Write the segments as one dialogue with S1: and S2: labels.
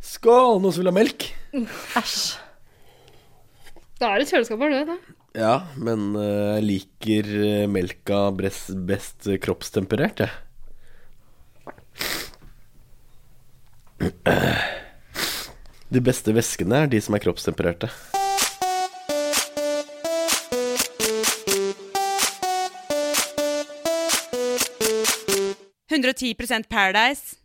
S1: Skål! Noen som vil ha melk?
S2: Æsj. Da er det kjøleskapet, har du det? da?
S1: Ja, men eh, jeg liker eh, melka best, best kroppstemperert, jeg. De beste væskene er de som er kroppstempererte.
S3: Paradise.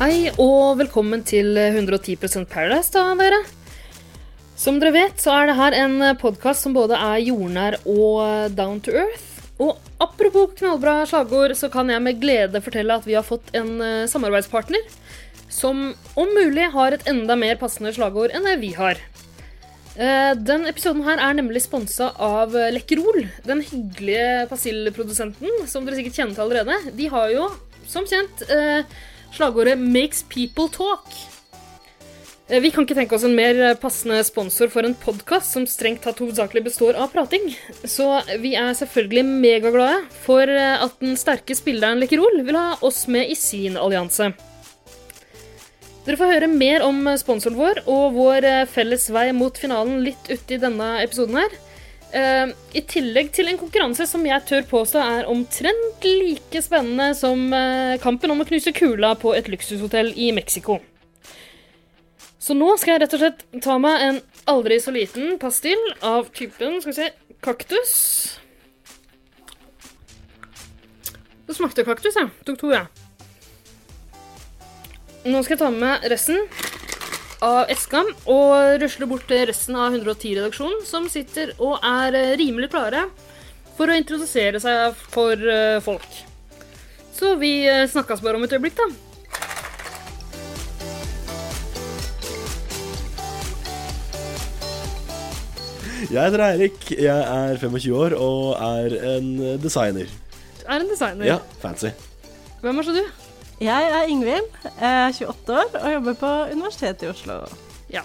S2: Hei og velkommen til 110 Paradise, da, dere. Som dere vet, så er det her en podkast som både er jordnær og down to earth. Og apropos knallbra slagord, så kan jeg med glede fortelle at vi har fått en eh, samarbeidspartner som om mulig har et enda mer passende slagord enn det vi har. Eh, Den episoden her er nemlig sponsa av eh, Lekkerol, den hyggelige persillprodusenten som dere sikkert kjenner til allerede. De har jo, som kjent, eh, slagordet 'Makes people talk'. Eh, Vi kan ikke tenke oss en mer eh, passende sponsor for en podkast som strengt tatt hovedsakelig består av prating. Så vi er selvfølgelig megaglade for eh, at den sterke spilleren Lekkerol vil ha oss med i sin allianse. Dere får høre mer om eh, sponsoren vår og vår eh, felles vei mot finalen litt uti denne episoden her. Eh, I tillegg til en konkurranse som jeg tør påstå er omtrent like spennende som eh, kampen om å knuse kula på et luksushotell i Mexico. Så nå skal jeg rett og slett ta meg en aldri så liten pastill av typen skal vi se, kaktus. Det smakte kaktus, ja. Tok to, ja. Nå skal jeg ta med resten av eska og rusle bort til resten av 110-redaksjonen, som sitter og er eh, rimelig klare for å introdusere seg for eh, folk. Så vi eh, snakkes bare om et øyeblikk, da.
S1: Jeg heter Eirik, jeg er 25 år og er en designer.
S2: Er en designer.
S1: Ja, fancy.
S2: Hvem er så du?
S4: Jeg er Ingvild, jeg er 28 år og jobber på Universitetet i Oslo.
S2: Ja.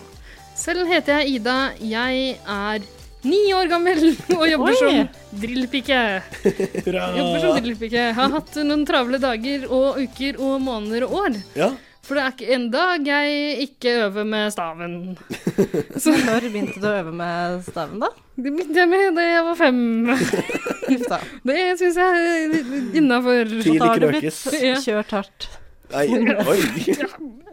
S2: Selv heter jeg Ida. Jeg er ni år gammel og jobber
S4: Oi.
S2: som drillpike. Jobber som
S4: sånn.
S1: Hurra!
S2: drillpike. Har hatt noen travle dager og uker og måneder og år.
S1: Ja,
S2: For det er ikke en dag jeg ikke øver med staven. Så
S4: Når begynte du å øve med staven, da?
S2: det begynte jeg med da jeg var fem.
S4: Uff da.
S2: Det syns jeg er innafor.
S1: Ti. Tidlig
S4: Da har du
S1: krøkes.
S2: Ja.
S4: blitt kjørt hardt.
S1: Nei, oi.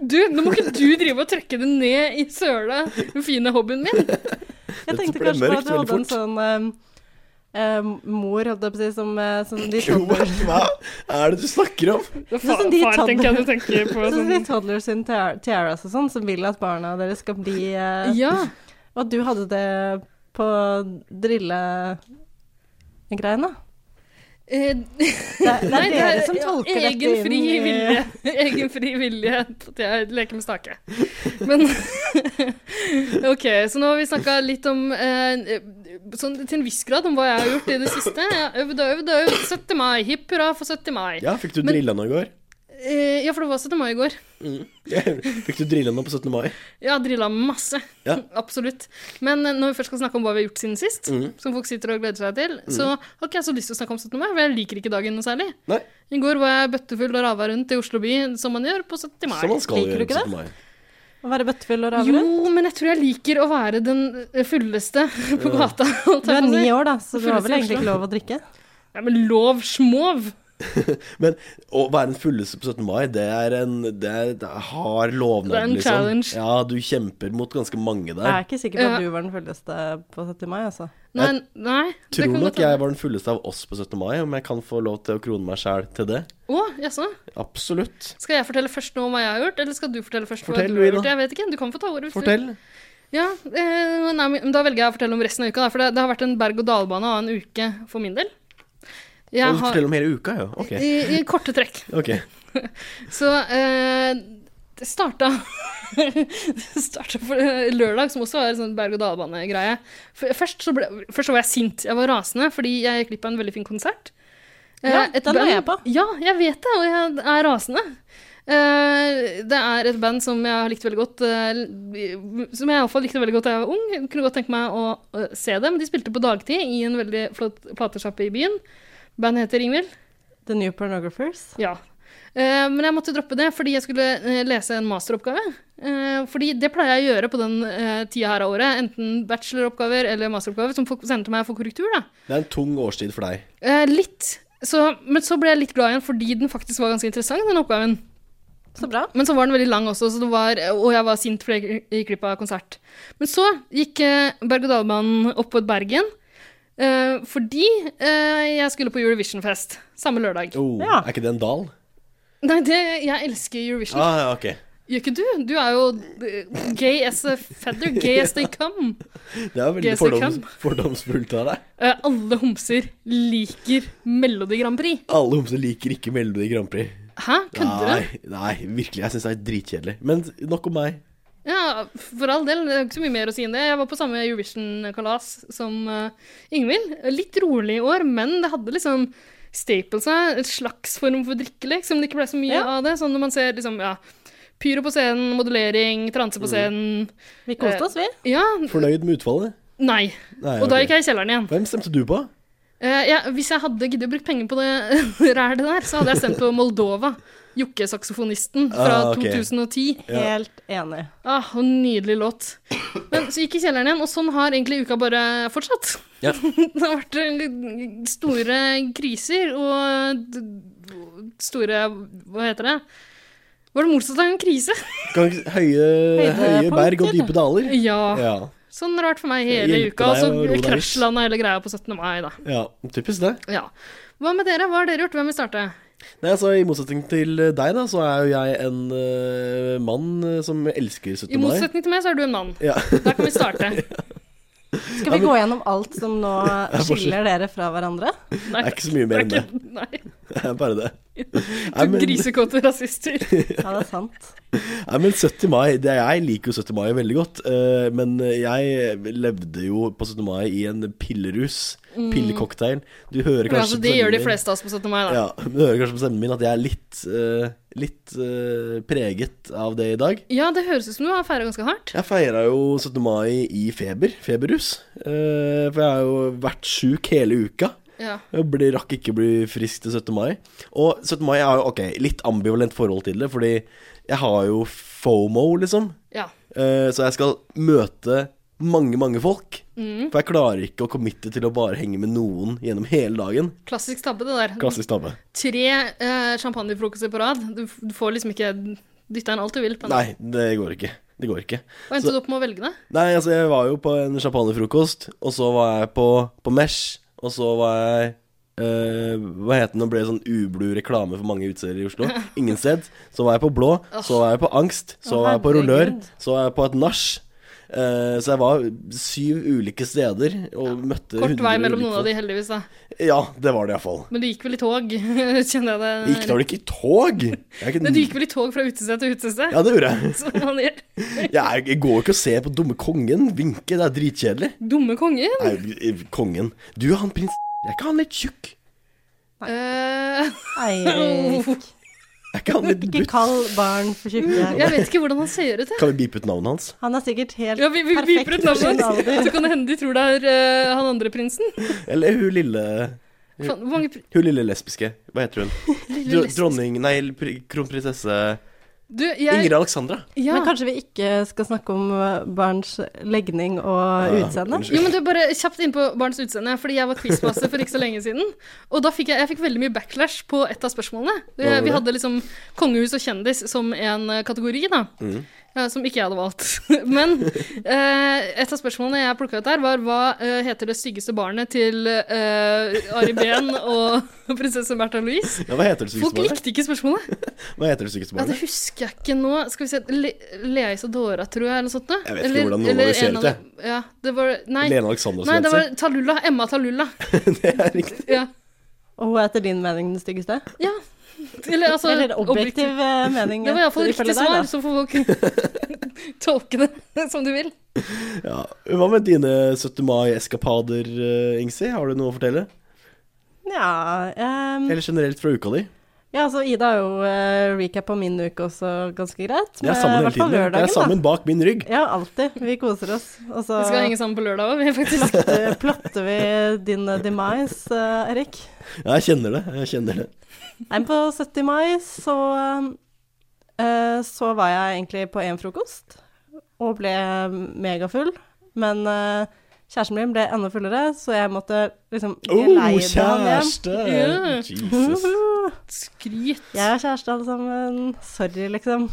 S2: Du, nå må ikke du drive og trekke det ned i søla, den fine hobbyen min.
S4: Jeg
S1: Dette
S4: tenkte
S1: ble
S4: kanskje på
S1: mørkt
S4: at du hadde en
S1: veldig
S4: sånn eh, eh, mor, holdt jeg på å si, som, eh, som de
S1: Hva
S4: toddler-
S1: hva er det du snakker om?
S2: Det er
S4: Sånn
S2: far,
S4: som de
S2: far
S4: tar-
S2: tenker jeg du tenker på.
S4: som de
S2: Sånn.
S4: toddler sin tiar- tiaras og sånn, som vil at barna deres skal bli eh,
S2: Ja,
S4: Og at du hadde det på drillegreiene.
S2: eh,
S4: Det, er- det er
S2: nei, det
S4: dere
S2: er
S4: som tolker dette
S2: egen
S4: inn
S2: fri
S4: i-
S2: vilje. Egen fri vilje at jeg leker med stake. Men OK, så nå har vi snakka litt om eh, sånn, Til en viss grad om hva jeg har gjort i det siste. Jeg har øvd og øvd og øvd. 70. mai. Hipp hurra for 70. mai.
S1: Ja, fikk du
S2: Men-
S1: drilla noe i går?
S2: Eh, ja, for det var 17. mai i går.
S1: Mm. Fikk du drilla noe på 17. mai?
S2: Jeg har drilla masse.
S1: Ja.
S2: Absolutt. Men eh, når vi først skal snakke om hva vi har gjort siden sist,
S1: Mhm.
S2: som folk sitter og gleder seg til, så har ikke jeg så lyst til å snakke om 17. mai, for jeg liker ikke dagen noe særlig.
S1: Nei,
S2: I går var jeg bøttefull og rava rundt i Oslo by, som man gjør på 70. mai.
S1: som man skal
S4: liker du
S1: gjøre på
S4: ikke
S1: 17. mai.
S4: Å være bøttefull og
S2: Jo,
S4: ravere.
S2: men jeg tror jeg liker å være den eh, fulleste på gata. holdt
S4: Du
S2: jeg
S4: er
S2: på å si.
S4: ni år, da, så du har
S2: Fulleste
S4: vel egentlig ikke
S2: Oslo.
S4: lov å drikke?
S2: Ja, men lov smov!
S1: Men å være den fulleste på 17. mai, det er en, det er, det er hard lovnad,
S2: Det er en challenge.
S1: Ja, du kjemper mot ganske mange
S4: Jeg er
S1: der.
S4: ikke sikker på
S2: Ja.
S4: at du var den fulleste på 70 mai, altså.
S2: Nei, nei. det
S1: Tror
S2: kan
S1: nok
S2: godt hende.
S1: jeg var den fulleste av oss på 17. mai, om jeg kan få lov til å krone meg sjæl til det.
S2: Å, jaså?
S1: Absolutt.
S2: Skal jeg fortelle først nå om hva jeg har gjort, eller skal du fortelle først
S1: Fortell,
S2: hva du har
S1: Ida.
S2: gjort? Jeg vet ikke, du kan få ta ordet. hvis du vil.
S1: Fortell.
S2: Ja, eh, nei, men da velger jeg å fortelle om resten av uka, da, for det, det har vært en berg-og-dal-bane av en uke for min del. Jeg
S1: Og
S2: har,
S1: fortell om hele uka, ja. Ok.
S2: i, I korte trekk.
S1: ok.
S2: Så eh, det starta Det starta for eh, lørdag, som også var en sånn berg-og-dal-bane-greie. F- Først, så ble- først så var jeg sint. Jeg var rasende fordi jeg gikk glipp av en veldig fin konsert.
S4: Ja,
S2: Eh, et
S4: den var
S2: band-
S4: jeg på.
S2: Ja, jeg vet det, og jeg er rasende. Eh, det er et band som jeg har likt veldig godt, eh, som jeg iallfall likte veldig godt da jeg var ung. Jeg kunne godt tenke meg å eh, se dem. De spilte på dagtid i en veldig flott platesjappe i byen. Bandet heter Ingvild.
S4: The New Pornographers.
S2: Ja. Eh, men jeg måtte droppe det fordi jeg skulle eh, lese en masteroppgave. Eh, fordi det pleier jeg å gjøre på den eh, tida her av året. Enten bacheloroppgaver eller masteroppgaver som folk sender til meg for korrektur. da.
S1: Det er en tung årstid for deg.
S2: Eh, litt. Så, men så ble jeg litt glad igjen fordi den faktisk var ganske interessant, den oppgaven.
S4: Så bra.
S2: Men så var den veldig lang også, så det var, eh, og jeg var sint fordi jeg gikk glipp av konsert. Men så gikk eh, berg-og-dal-banen opp på Bergen eh, fordi eh, jeg skulle på Eurovision-fest samme lørdag.
S1: Oh,
S4: Ja.
S1: Er ikke det en dal?
S2: Nei, det, jeg elsker Eurovision.
S1: Ah, ja, ok.
S2: Gjør ikke du? Du er jo eh, gay as a feather, gay as they come.
S1: Det er veldig
S2: Guess I
S1: fordoms, fordomsfullt av deg.
S2: Eh, alle homser liker Melodi Grand Prix.
S1: Alle homser liker ikke Melodi Grand Prix.
S2: Hæ? Kødder du?
S1: Nei, nei, virkelig. Jeg syns det er dritkjedelig. Men nok om meg.
S2: Ja, for all del. Det er ikke så mye mer å si enn det. Jeg var på samme Eurovision-kalas som eh, Ingvild. Litt rolig i år, men det hadde liksom staples av et slags form for drikkelek, som det ikke ble så mye
S4: Ja.
S2: av det. Sånn når man ser liksom, ja, pyro på scenen, modellering, transe på scenen.
S4: Vi koste oss, vi.
S2: Ja,
S1: Fornøyd med utfallet?
S2: nei.
S1: Nei,
S2: Og da
S1: ok.
S2: gikk jeg i kjelleren igjen.
S1: Hvem stemte du på?
S2: Eh, ja, hvis jeg hadde giddet å bruke penger på det rælet der, så hadde jeg stemt på Moldova. Jokkesaksofonisten
S1: Ah,
S2: fra
S1: ok.
S2: 2010.
S1: Ja.
S4: Helt enig.
S2: Ah, og nydelig låt. Men så gikk jeg i kjelleren igjen, og sånn har egentlig uka bare fortsatt.
S1: Ja.
S2: det har vært eh, store kriser og d- store Hva heter det? Var det motsatt av en krise?
S1: Kan ikke- Høye, høye
S4: Høydepunkter.
S1: berg og dype daler?
S2: Ja.
S1: Ja.
S2: Sånn har det vært for meg hele
S1: Hjelpe
S2: uka.
S1: deg å roe
S2: Og
S1: deg
S2: så
S1: litt.
S2: krasjlanda hele greia på 17. mai, da.
S1: ja. Typisk det.
S2: Ja. Hva med dere? Hva har dere gjort? Hvem vil starte?
S1: Nei, altså I motsetning til deg, da, så er jo jeg en eh, mann eh, som elsker 17.
S2: I
S1: mai.
S2: motsetning til meg, så er du en mann.
S1: Ja.
S2: Da kan vi starte.
S4: Skal vi gå gjennom alt som nå skiller dere fra hverandre?
S2: Nei,
S1: Det er ikke så mye mer enn det.
S2: Nei.
S1: Det er bare det. Nei,
S2: To
S1: men-
S2: grisekåte rasister.
S4: Ja, det er sant.
S1: Nei, men 70 mai, det, Jeg liker jo 70 mai veldig godt, eh, men jeg levde jo på 17. mai i en pillerus. Pillecocktail. Du hører
S2: Mm. Ja,
S1: kanskje
S2: altså,
S1: på
S2: det
S1: stemmen
S2: gjør de
S1: min-
S2: fleste av oss på 17. mai, da.
S1: Ja, du hører kanskje på stemmen min at jeg er litt, eh, litt eh, preget av det i dag.
S2: Ja, det høres ut som du har feira ganske hardt.
S1: Jeg feira jo 17. mai i feber, feberrus. eh, for jeg har jo vært sjuk hele uka.
S2: Ja.
S1: Jeg ble, rakk ikke bli frisk til 17. mai. Og 17. mai er jo ok, litt ambivalent forhold til det, fordi jeg har jo FOMO, liksom.
S2: ja.
S1: Eh, så jeg skal møte mange, mange folk. For jeg klarer ikke å committe til å bare henge med noen gjennom hele dagen.
S2: Klassisk tabbe, det der.
S1: Klassisk tabbe.
S2: Tre eh, champagnefrokoster på rad. Du, f- du får liksom ikke dytta inn alt du vil. På en dag.
S1: Nei, det går ikke. Det går ikke.
S2: Hva endte du opp med å velge, da?
S1: Nei, altså, jeg var jo på en champagnefrokost, og så var jeg på, på Mesh, og så var jeg eh, hva het den? Nå ble det sånn ublu reklame for mange utesteder i Oslo. Ingen sted. Så var jeg på Blå, så var jeg på Angst, så
S4: Å,
S1: var jeg på Rullør,
S4: herregud.
S1: så var jeg på et nach. Eh, så jeg var syv ulike steder og møtte
S2: Kort vei
S1: 100 ulike
S2: mellom noen
S1: folk.
S2: av de, heldigvis. da.
S1: Ja, det var det iallfall.
S2: Men du gikk vel i tog, kjenner jeg det.
S1: Gikk da vel ikke i tog? Jeg er ikke-
S2: Men du gikk vel i tog fra utested til utested?
S1: Ja, det gjorde jeg.
S2: Som man gjør.
S1: Jeg, er, jeg går jo ikke og ser på dumme kongen vinke, det er dritkjedelig.
S2: Dumme kongen.
S1: Nei, kongen. Du, han prins Er ikke han litt tjukk?
S2: Eh,
S4: Eirik.
S1: Er ikke han litt
S4: Ikke
S1: butt?
S4: kall barn for tjukke.
S2: jeg vet ikke hvordan han ser ut. Jeg.
S1: Kan vi beepe ut navnet hans?
S4: Han er sikkert helt
S2: Ja, vi, vi
S4: perfekt
S2: viper ut
S4: for sin
S2: navnet hans,
S4: alder.
S2: så kan det hende de tror det er eh, han andre prinsen.
S1: Eller hun lille
S2: Faen, hvor mange pri
S1: Hun lille lesbiske. Hva heter hun?
S2: lille
S1: Dro,
S2: lesbisk-
S1: dronning Nei, pri- kronprinsesse
S2: Du, jeg
S1: Ingrid Alexandra.
S2: ja.
S4: Men kanskje vi ikke skal snakke om eh, barns legning og
S1: Ja,
S4: utseende?
S1: unnskyld.
S2: Jo, men du, Bare kjapt inn på barns utseende, fordi jeg var quizmaster for ikke så lenge siden. Og da fikk jeg, jeg fikk veldig mye backlash på et av spørsmålene.
S1: var det?
S2: Vi hadde liksom kongehus og kjendis som en eh, kategori, da.
S1: Mm.
S2: Ja, som ikke jeg hadde valgt. Men eh, et av spørsmålene jeg plukka ut der, var hva eh, heter det styggeste barnet til eh, Ari Behn og prinsesse Märtha Louise?
S1: Ja, hva heter det
S2: Folk
S1: sykeste barnet?
S2: likte ikke spørsmålet.
S1: Hva heter det sykeste
S2: Ja, Det
S1: barnet?
S2: Altså, husker jeg ikke nå. Skal vi se Le Lea Isadora, tror jeg, eller noe sånt. da.
S1: Jeg vet ikke
S2: Eller-
S1: hvordan noen av
S2: eller
S1: de ser ut,
S2: en av de- Ja, det var, nei,
S1: Lene Alexandra
S2: Nei,
S1: som
S2: det
S1: heter
S2: var Talulla. Emma Talulla.
S1: Det er riktig.
S2: Ja.
S4: Og hun er etter din mening den styggeste?
S2: ja. Eller altså
S4: Eller objektiv eh, mening?
S2: Det var iallfall
S4: etter-
S2: riktig
S4: ifølge deg,
S2: svar,
S4: da.
S2: så får folk tolke det som de vil.
S1: Ja. Hva med dine 17. mai-eskapader, eh, Ingsi? Har du noe å fortelle?
S4: Ja, ehm,
S1: Eller generelt fra uka di?
S4: Ja, altså Ida har jo eh, recap på min uke også ganske greit.
S1: Det er
S4: men eh, i
S1: sammen hele
S4: hvert fall
S1: tiden. Det er
S4: lørdagen, da.
S1: sammen bak min rygg.
S4: Ja, alltid. Vi koser oss. Og så
S2: Vi skal henge sammen på lørdag òg, faktisk.
S4: plotter, plotter vi din demise, eh, Erik.
S1: Ja, jeg kjenner det. Jeg kjenner det.
S4: Nei, men på 70. mai så eh, Så var jeg egentlig på én frokost og ble megafull. Men eh, kjæresten min ble enda fullere, så jeg måtte liksom
S1: Oh,
S4: geleide han hjem.
S1: kjæreste!
S2: Ja.
S1: Jesus.
S2: Skryt.
S4: Jeg har kjæreste, alle sammen. Sorry, liksom.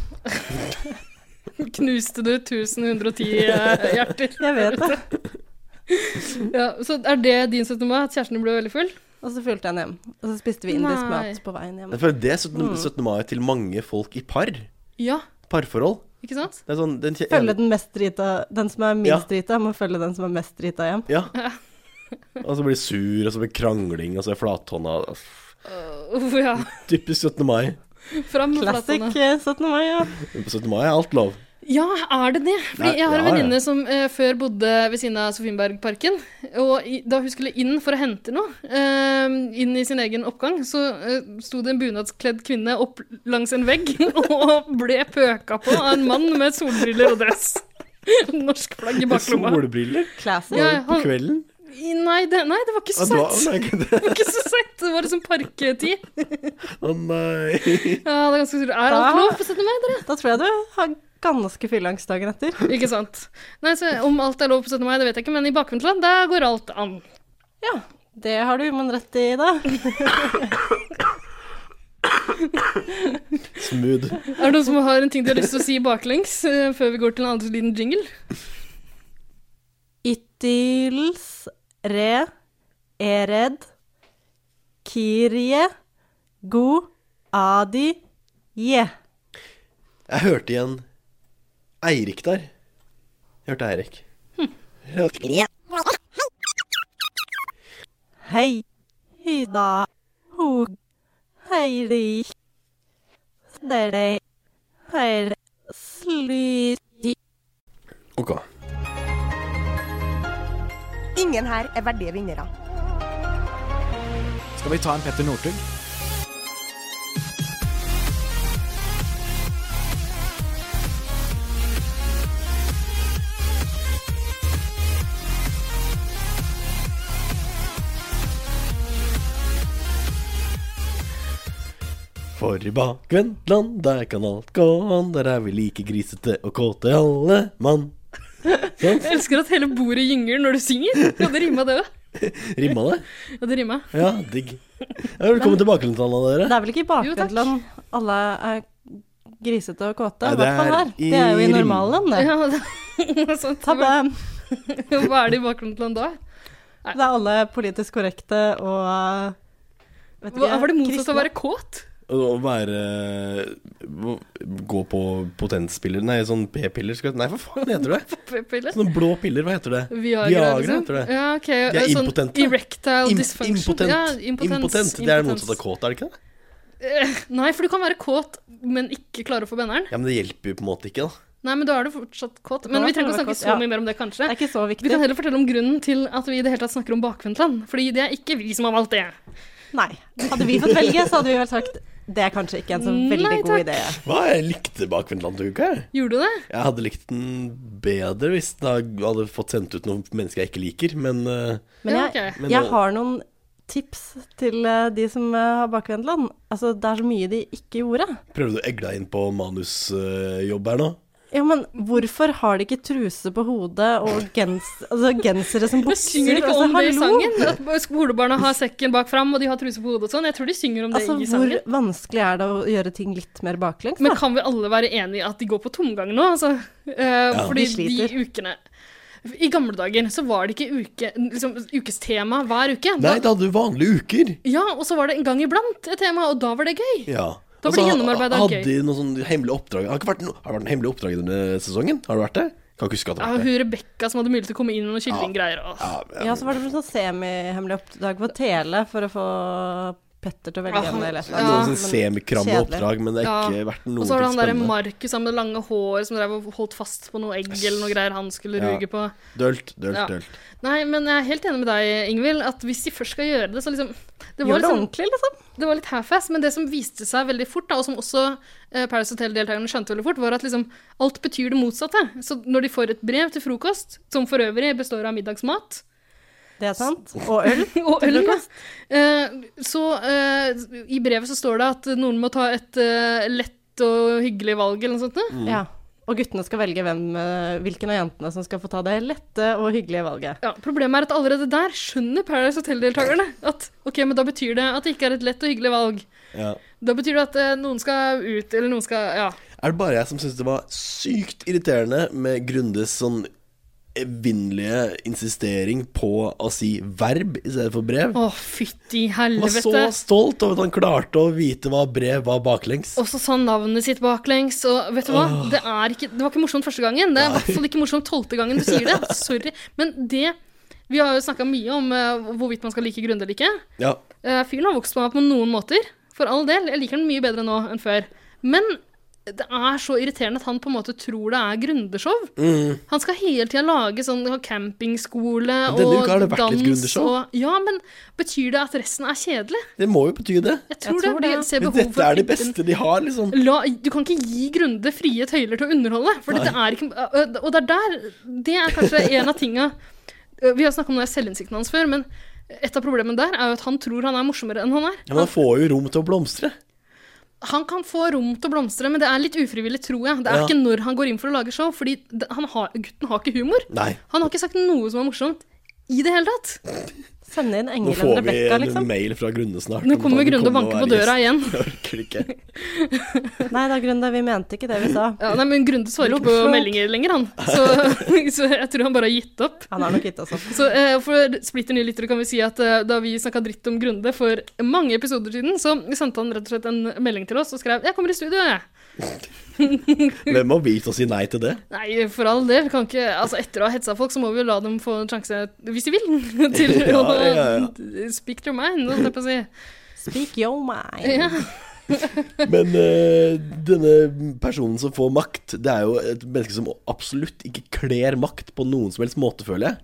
S2: Knuste du 1110 eh, hjerter?
S4: Jeg vet det.
S2: Ja, så er det din 17. mai, at kjæresten din ble veldig full?
S4: Og så fulgte jeg han hjem. Og så spiste vi indisk
S2: Nei.
S4: mat på veien hjem.
S1: Jeg føler det er 17. 17. mai til mange folk i par.
S2: Ja,
S1: Parforhold.
S2: ikke sant?
S1: Det er sånn den kje-
S4: Følge den mest drita Den som er minst
S1: Ja.
S4: drita, må følge den som er mest drita hjem.
S1: Ja. Og så blir det sur, og så blir det krangling, og så er flathånda Uff.
S2: Uff, ja.
S1: Typisk 17. mai.
S2: Fram med
S4: Classic
S2: platene.
S4: eh, 17. mai, ja.
S1: Men på 17. mai er alt lov.
S2: Ja, er det det? Fordi
S1: Nei,
S2: jeg har en
S1: ja, ja.
S2: venninne som eh, før bodde ved siden av Sofienbergparken. Og i, da hun skulle inn for å hente noe, eh, inn i sin egen oppgang, så eh, sto det en bunadskledd kvinne opp langs en vegg og ble pøka på av en mann med solbriller og dress. Norsk flagg i
S1: Med
S2: baklomma.
S1: solbriller
S4: Classic.
S2: Ja,
S1: på
S2: han-
S1: kvelden.
S2: I- Nei, det, nei, det var ikke
S1: Å
S2: så
S1: ah,
S2: søtt.
S1: nei, ikke det.
S2: Det var ikke så søtt. Det var liksom parketid.
S1: Å, nei.
S2: Ja, det er ganske Er alt lov på 17. mai, dere?
S4: Da tror jeg du har ganske fylleangst dagen etter.
S2: Ikke sant. Nei, så om alt er lov på 17. mai, det vet jeg ikke, men i bakvendtland, der går alt an.
S4: Ja, det har du men rett i, da.
S1: Smooth.
S2: Er det noen som har en ting de har lyst til å si baklengs eh, før vi går til en annen liten jingle?
S4: Ytils, re, ered, kirie, go, adi, je.
S1: Jeg hørte igjen Eirik der. Jeg hørte Eirik. Hørte-
S4: Hei, hyda, ho, heiri, dere, her, sly.
S1: Ok.
S5: Ingen her er verdige vinnere.
S6: Skal vi ta en Petter Northug?
S1: For i bakvendtland, der kan alt gå an. Der er vi like grisete og kåte alle mann.
S2: Jeg elsker at hele bordet gynger når du synger. Ja, det rima det òg.
S1: Rimma det?
S2: Ja, det rima.
S1: Ja, digg. Ja, velkommen til bakvendtland,
S4: Det
S1: dere.
S4: er vel ikke i
S2: Jo, takk.
S4: bakvendtland alle er grisete og kåte?
S1: Nei,
S4: I hvert fall her.
S1: det er i
S4: Det er jo i
S1: Rim.
S4: normalen, det.
S2: Ja, det, det er sant.
S4: Tabbe.
S2: Hva hva er det i bakvendtland da?
S4: Det er alle politisk korrekte og eh, vet
S2: Hva, var det motsatt
S4: kristne.
S2: av å være kåt?
S1: Å være eh, Gå på potenspiller Nei, sånn p-piller skal Nei, hva faen heter det?
S2: P-piller?
S1: Sånne blå piller, hva heter det?
S2: Viagra, liksom?
S1: heter det.
S2: Ja, ok.
S1: De er
S2: sånn
S1: impotente.
S2: Erectile
S1: Im-
S2: dysfunction.
S1: Impotent.
S2: Ja,
S1: impotent. Det er det motsatte av kåt, er det ikke det?
S2: Nei, for du kan være kåt, men ikke klare å få benneren.
S1: Ja, Men det hjelper jo på en måte ikke, da.
S2: Nei, men da er du fortsatt kåt. Men
S4: Da
S2: vi trenger ikke å
S4: kan du
S2: snakke
S4: være kåt,
S2: så
S4: ja.
S2: mye mer om det, kanskje.
S4: Det er ikke så
S2: Vi
S4: viktig.
S2: kan heller fortelle om grunnen til at vi i det hele tatt snakker om bakvendtland. Fordi det er ikke vi som har valgt det.
S4: Nei. Hadde vi fått velge, så hadde vi vel sagt det er kanskje ikke en så veldig
S2: Nei,
S4: god
S2: takk.
S4: idé.
S1: Hva? Jeg likte bakvendtland-uka, jeg.
S2: Gjorde du det?
S1: Jeg hadde likt den bedre hvis jeg hadde fått sendt ut noen mennesker jeg ikke liker, men eh,
S4: Men
S2: Ja,
S4: jeg,
S2: ok.
S1: Men
S4: jeg
S1: nå-
S4: har noen tips til eh, de som eh, har bakvendtland. Altså, det er så mye de ikke gjorde.
S1: prøvde du å egle deg inn på manusjobb her nå?
S4: Ja, men hvorfor har de ikke truse på hodet og gens, altså, gensere som
S2: Men
S4: bukser?
S2: synger de ikke
S4: Altså,
S2: om det i
S4: hallo!
S2: sangen? At skolebarna har sekken bak fram, og de har truse på hodet og sånn. Jeg tror de synger om det
S4: Altså,
S2: i
S4: hvor
S2: sangen.
S4: vanskelig er det å gjøre ting litt mer baklengs?
S2: Men
S4: Da?
S2: kan vi alle være enige i at de går på tomgang nå? Altså, Eh, Fordi
S4: De
S2: de,
S4: sliter.
S2: ukene I gamle dager så var det ikke uke, liksom, ukestema hver uke. Da,
S1: Nei, da hadde du vanlige uker.
S2: ja, og så var det en gang iblant et tema, og da var det gøy.
S1: Ja.
S2: Da
S1: Og
S2: blir
S1: så
S2: gjennomarbeidet
S1: ha- Hadde
S2: gøy.
S1: de noen sånne hemmelige oppdrag? Har, det ikke vært noe, har det vært noen hemmelige oppdrag denne sesongen? Har det vært det? Kan ikke huske at det
S2: Ja,
S1: har vært det.
S2: hun Rebekka som hadde mulighet til å komme inn med noen kyllinggreier. og-
S1: Ja,
S4: Ja, så var det sånn semihemmelig oppdrag på tele for å få Petter til å velge
S2: Ja,
S4: en eller et
S1: Det
S4: eller
S1: er
S2: Ja,
S4: annet.
S1: noen sånn semikramme
S4: kjedelig.
S1: oppdrag, men det har ikke
S2: Ja.
S1: vært noe
S2: Og så var det han derre
S1: spennende.
S2: Markus han med det lange håret som drev og holdt fast på noe egg eller noe greier han skulle
S1: Ja.
S2: ruge på.
S1: Dølt, dølt,
S2: Ja.
S1: dølt.
S2: Nei, men jeg er helt enig med deg, Ingvild, at hvis de først skal gjøre det, så liksom Det var,
S4: Gjør det
S2: liksom,
S4: ordentlig, liksom.
S2: det var litt half-ass, men det som viste seg veldig fort, da, og som også eh, Paris Hotel-deltakerne skjønte veldig fort, var at liksom alt betyr det motsatte. Så når de får et brev til frokost, som for øvrig består av middagsmat,
S4: Det er sant. Og øl.
S2: og
S4: til
S2: øl, da.
S4: frokost.
S2: Eh, så eh, i brevet så står det at noen må ta et eh, lett og hyggelig valg eller noe sånt. da.
S1: Mm.
S4: Ja. Og guttene skal velge hvem, eh, hvilken av jentene som skal få ta det lette og hyggelige valget.
S2: Ja, problemet er at allerede der skjønner Paradise Hotel-deltakerne at ok, men da betyr det at det ikke er et lett og hyggelig valg.
S1: Ja.
S2: Da betyr det at eh, noen skal ut, eller noen skal Ja.
S1: Er det bare jeg som syns det var sykt irriterende med Grundes sånn evinnelige insistering på å si verb i stedet for brev?
S2: Å, fytti
S1: Han var så
S2: helvete.
S1: stolt over at han klarte å vite hva brev var baklengs.
S2: Og så sa han navnet sitt baklengs, og vet du hva? Det, er ikke, det var ikke morsomt første gangen. Det er i hvert fall ikke morsomt tolvte gangen du sier det. Sorry. Men det Vi har jo snakka mye om eh, hvorvidt man skal like Grunde eller ikke.
S1: Ja,
S2: Eh, fyren har vokst på meg på noen måter. For all del. Jeg liker den mye bedre nå enn før. Men det er så irriterende at han på en måte tror det er grundeshow.
S1: Mm.
S2: Han skal hele tida lage sånn ha campingskole
S1: Men
S2: og
S1: denne
S2: dans.
S1: uka har det vært litt Grunde-show.
S2: og, ja, men betyr det at resten er kjedelig?
S1: det må jo bety det.
S2: Jeg tror,
S4: tror
S2: det.
S4: det.
S2: blir- ser
S1: Men
S2: behov for
S1: dette er det
S2: å putte inn-
S1: beste de har, liksom.
S2: La, du kan ikke gi Grunde frie tøyler til å underholde. For dette er ikke, ø, ø, og det er der Det er kanskje en av tinga ø, Vi har snakka om det er selvinnsikten hans før, men et av problemene der er jo at han tror han er morsommere enn han er.
S1: Ja, men han får jo rom til å blomstre.
S2: Han kan få rom til å blomstre, men det er litt ufrivillig, tror jeg. Det er
S1: Ja.
S2: ikke når han går inn for å lage show, fordi det- han har, gutten har ikke humor.
S1: Nei.
S2: Han har ikke sagt noe som er morsomt i det hele tatt.
S4: Sende inn
S1: Nå
S4: engelen
S1: får vi
S4: Rebekka,
S1: en
S4: liksom.
S1: mail fra Grunde snart.
S2: Nå
S1: om
S2: kommer
S1: at han
S2: Grunde og
S1: kommer
S2: banker på
S1: være
S2: døra
S1: gjest.
S2: igjen.
S1: Jeg orker ikke.
S4: Nei da, Grunde, vi mente ikke det vi sa.
S2: Ja, nei, men Grunde svarer ikke på
S4: Blomstre.
S2: meldinger lenger, han. Så, så jeg tror han bare har gitt opp.
S4: Han har nok gitt oss opp.
S2: Så eh, for splitter nye lyttere kan vi si at eh, da vi snakka dritt om Grunde for mange episoder siden, så sendte han rett og slett en melding til oss og skrev 'Jeg kommer i studio', jeg.
S1: Hvem har begynt å si nei til det?
S2: Nei, for all del. Kan ikke, altså etter å ha hetsa folk, så må vi jo la dem få en sjanse, hvis de vil, til
S1: Ja,
S2: å
S1: ja,
S2: speak their mind, holdt jeg på å si.
S4: Speak yo mind.
S2: Ja.
S1: Men eh, denne personen som får makt, det er jo et menneske som absolutt ikke kler makt på noen som helst måte, føler jeg.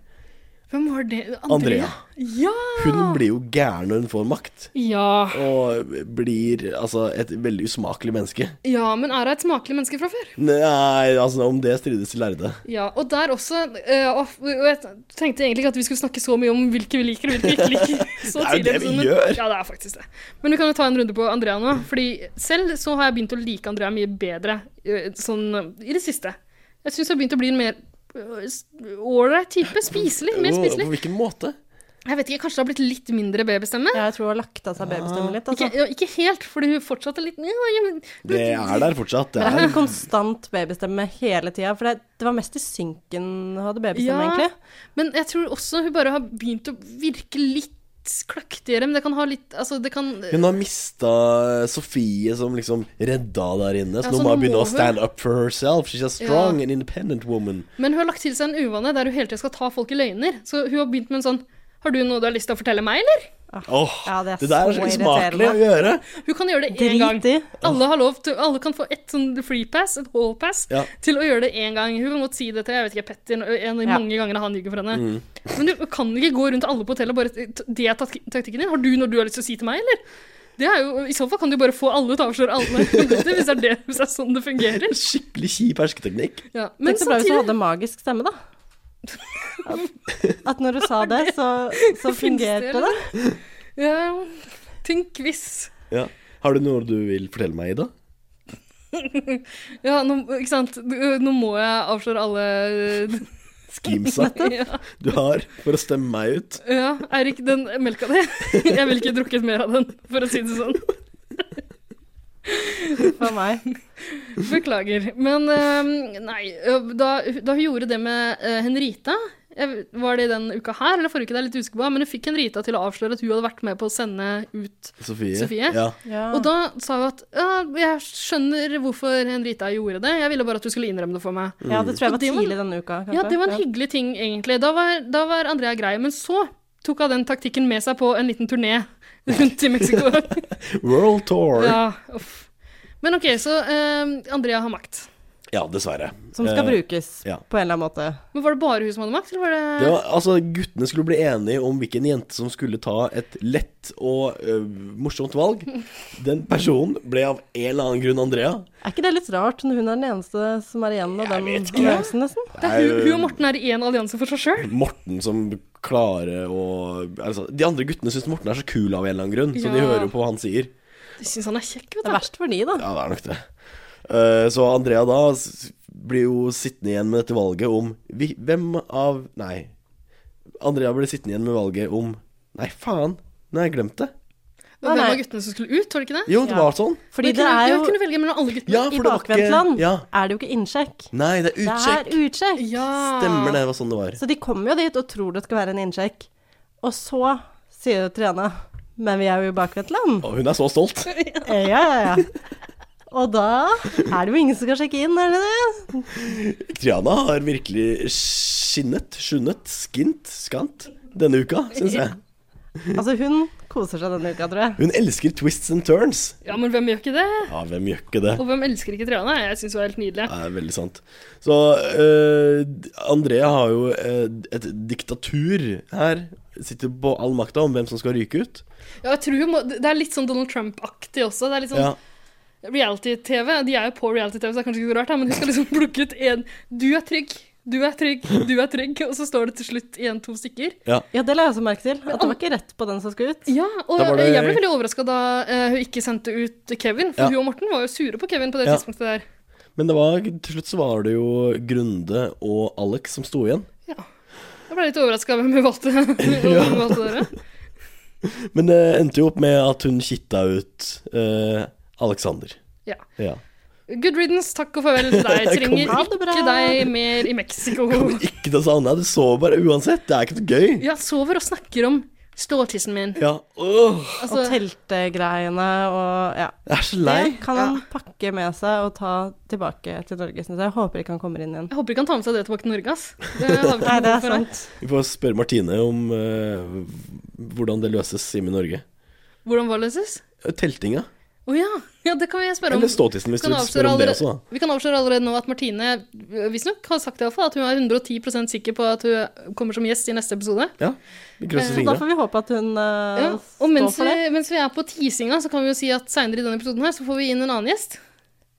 S2: Hvem var det?
S1: Andrea.
S2: Ja! Ah.
S1: Hun blir jo gæren når hun får makt.
S2: Ja,
S1: Og blir altså et veldig usmakelig menneske.
S2: ja, men er hun et smakelig menneske fra før?
S1: Nei, altså om det strides de lærde.
S2: Ja, og der også eh, og, og Jeg tenkte egentlig ikke at vi skulle snakke så mye om hvilke vi liker og hvilke vi ikke liker. Så
S1: Det er jo
S2: tidlig i
S1: det vi
S2: episoden.
S1: gjør.
S2: Ja, det er faktisk det. Men vi kan jo ta en runde på Andrea nå. Fordi selv så har jeg begynt å like Andrea mye bedre eh, sånn eh, i det siste. Jeg syns jeg har begynt å bli en mer eh, s- ålreit type. Spiselig. Mer
S1: Og
S2: spiselig.
S1: På hvilken måte?
S2: Jeg vet ikke, kanskje det har blitt litt mindre babystemme?
S4: Ja, jeg tror hun har lagt av seg babystemmen litt. Altså.
S2: Ikke, ja, ikke helt, fordi hun fortsatt er litt ja, ja, men-
S1: Det er der fortsatt. Det
S4: Jeg
S1: er
S4: hadde konstant babystemme hele tida, for det, det var mest i synken hun hadde babystemme,
S2: Ja.
S4: egentlig.
S2: Men jeg tror også hun bare har begynt å virke litt kløktigere. Men det kan ha litt Altså, det kan
S1: hun har mista Sofie, som liksom redda der inne. Så
S2: Ja,
S1: nå
S2: så
S1: må
S2: nå
S1: hun begynne
S2: må
S1: å stand up for herself. She's a strong
S2: Ja.
S1: and independent woman.
S2: Men hun har lagt til seg en uvane der hun hele tiden skal ta folk i løgner. Så hun har begynt med en sånn Har du noe du har lyst til å fortelle meg, eller?
S1: Åh,
S4: Ja, det er
S1: det der er
S4: så
S1: så usmakelig å gjøre.
S2: Hun kan gjøre det én gang.
S4: Drit i.
S2: Alle, har lov til, alle kan få et sånn free pass, et hall pass,
S1: Ja.
S2: til å gjøre det én gang. Hun kan godt si det til jeg vet ikke, Petter en, en,
S4: Ja.
S2: mange ganger han ljuger for henne. Men du kan ikke gå rundt til alle på hotellet og bare t- Det er tak- taktikken din. Har du noe du har lyst til å si til meg, eller? Det er jo, I så fall kan du bare få alle til å avsløre alle, hvis det er det, hvis det er sånn det fungerer.
S1: Skikkelig kjip hersketeknikk.
S2: Ja. Men
S4: Tenk så bra hvis hun
S2: samtidig
S4: hadde magisk stemme, da. At, at når du sa det, så, så
S2: Finnes det,
S4: fungerte det. sånn.
S2: ja, Tenk hvis
S1: Ja. Har du noe du vil fortelle meg, Ida?
S2: Ja, nå, ikke sant? Du- Nå må jeg avsløre alle
S1: Skimsa
S2: ja.
S1: du har for å stemme meg ut.
S2: ja, Eirik, den melka di. Jeg ville ikke drukket mer av den, for å si det sånn.
S4: For meg.
S2: Beklager. Men eh, nei, eh, da, da hun gjorde det med eh, Henrita jeg, Var det den uka her eller forrige uke? Det er jeg litt usikker på, men hun fikk Henrita til å avsløre at hun hadde vært med på å sende ut
S1: Sofie.
S2: Sofie?
S1: Ja.
S4: Ja.
S2: Og da sa hun at ja, jeg skjønner hvorfor Henrita gjorde det, jeg ville bare at du skulle innrømme det for meg.
S4: ja, det tror jeg
S2: Og
S4: var
S2: det var-
S4: tidlig denne uka, kanskje.
S2: Ja, det var en hyggelig ting, egentlig. Da var, da var Andrea grei. Men så tok av den taktikken med seg på en liten turné rundt i Mexico.
S1: World Tour. Ja,
S2: ja, uff. Men ok, så eh, Andrea har makt.
S1: dessverre.
S4: Som skal
S1: Eh,
S4: brukes
S1: ja.
S4: på en eller annen måte.
S2: Men var det bare hun som hadde makt, eller var det,
S1: Det var, altså, guttene skulle bli enige om hvilken jente som skulle ta et lett og ø, morsomt valg. Den personen ble av en eller annen grunn Andrea.
S4: Er ikke det litt rart når hun er den eneste som er igjen av
S1: Jeg
S4: den
S1: vet ikke.
S4: alliansen, nesten?
S2: det er hun, hun og Morten er i én allianse for seg sjøl?
S1: Morten som klarer å altså, De andre guttene syns Morten er så kul av en eller annen grunn, så de
S2: Ja.
S1: hører jo på hva han sier.
S2: De syns han er kjekk, vet du.
S4: Det er verst for de, da.
S1: Ja, det er nok det. Eh, så Andrea da s- blir jo sittende igjen med dette valget om vi, Hvem av Nei. Andrea blir sittende igjen med valget om Nei, faen. Nå har jeg glemt det.
S2: Hvem
S4: Nei,
S2: var
S4: nei.
S2: guttene som skulle ut, var det ikke det?
S1: Jo, det
S4: Ja.
S1: var sånn.
S4: Fordi
S2: Men
S4: det
S2: kunne,
S4: er jo
S2: kunne velge mellom alle guttene.
S1: Ja,
S4: I
S1: for det var ikke-
S4: bakvendtland
S1: Ja.
S4: er det jo ikke innsjekk.
S1: Nei, det er
S4: Det
S1: utsjekk.
S4: er utsjekk.
S2: Ja.
S1: Stemmer det, det var sånn det var.
S4: Så de kommer jo dit og tror det skal være en innsjekk. Og så sier de til Trene Men vi er jo i bakvendtland.
S1: Og hun er så stolt.
S4: Eh, Ja, ja, ja. Og da er det jo ingen som skal sjekke inn, er det det?
S1: Triana har virkelig skinnet, skjunnet, skint, skant denne uka, syns jeg.
S4: Altså, hun koser seg denne uka, tror jeg.
S1: Hun elsker twists and turns.
S2: Ja, men hvem gjør ikke det?
S1: Ja, hvem gjør ikke det?
S2: Og hvem elsker ikke Triana? Jeg syns hun er helt nydelig.
S1: Det er veldig sant. Så eh, Andrea har jo eh, et diktatur her. Sitter på all makta om hvem som skal ryke ut.
S2: Ja, jeg tror hun må, det er litt sånn Donald Trump-aktig også. Det er litt sånn
S1: Ja,
S2: reality-TV. De er jo på reality-TV, så det er kanskje ikke så rart, da, men hun skal liksom plukke ut én Du er trygg, du er trygg, du er trygg, og så står det til slutt igjen to stykker.
S4: Ja, det la jeg også merke til. At det var ikke rett på den som skulle ut.
S2: Ja, og
S1: Da var det-
S2: jeg ble veldig overraska da eh, hun ikke sendte ut Kevin, for
S1: Ja.
S2: hun og Morten var jo sure på Kevin på det
S1: Ja.
S2: tidspunktet der.
S1: Men det var, til slutt så var det jo Grunde og Alex som sto igjen.
S2: Jeg ble litt overraska hvem hun valgte. ja. valgte dere.
S1: Men det endte jo opp med at hun kitta ut eh, Alexander.
S2: Ja.
S1: Ja.
S2: Good riddance, takk og farvel til deg. Trenger
S4: Ha det bra.
S2: ikke deg mer i Mexico.
S1: Ikke noe sånn, nei, du sover bare uansett. Det er ikke noe gøy.
S2: Ja, sover og snakker om ståtissen min.
S1: Ja, åh,
S2: Altså,
S4: Og teltegreiene og ja.
S1: jeg er så lei.
S4: Det kan han pakke med seg og ta tilbake til Norge, syns jeg. Jeg Håper ikke han kommer inn igjen.
S2: jeg håper ikke han tar med seg det tilbake til Norge, ass. Det har vi
S4: Nei,
S2: ikke
S4: det
S2: noe
S4: er
S2: for her.
S4: sant.
S1: Vi får spørre Martine om eh, hvordan det løses hjemme i Norge.
S2: Hvordan var det løses?
S1: Teltinga.
S2: Å ja. ja, det kan vi spørre om.
S1: Eller ståtissen, hvis
S2: Kan
S1: du
S2: avsløre
S1: spør om det
S2: allerede-
S1: også. da
S2: Vi kan avsløre allerede nå at Martine øh, visstnok har sagt i hvert fall at hun er 110 sikker på at hun kommer som gjest i neste episode.
S1: Vi
S2: Eh,
S1: krysser
S4: Så da
S1: fingra.
S4: får vi håpe at hun eh,
S2: Ja, og
S4: står
S2: mens
S4: for det.
S2: vi, mens vi er på teasinga, så kan vi jo si at seinere i denne episoden her så får vi inn en annen gjest.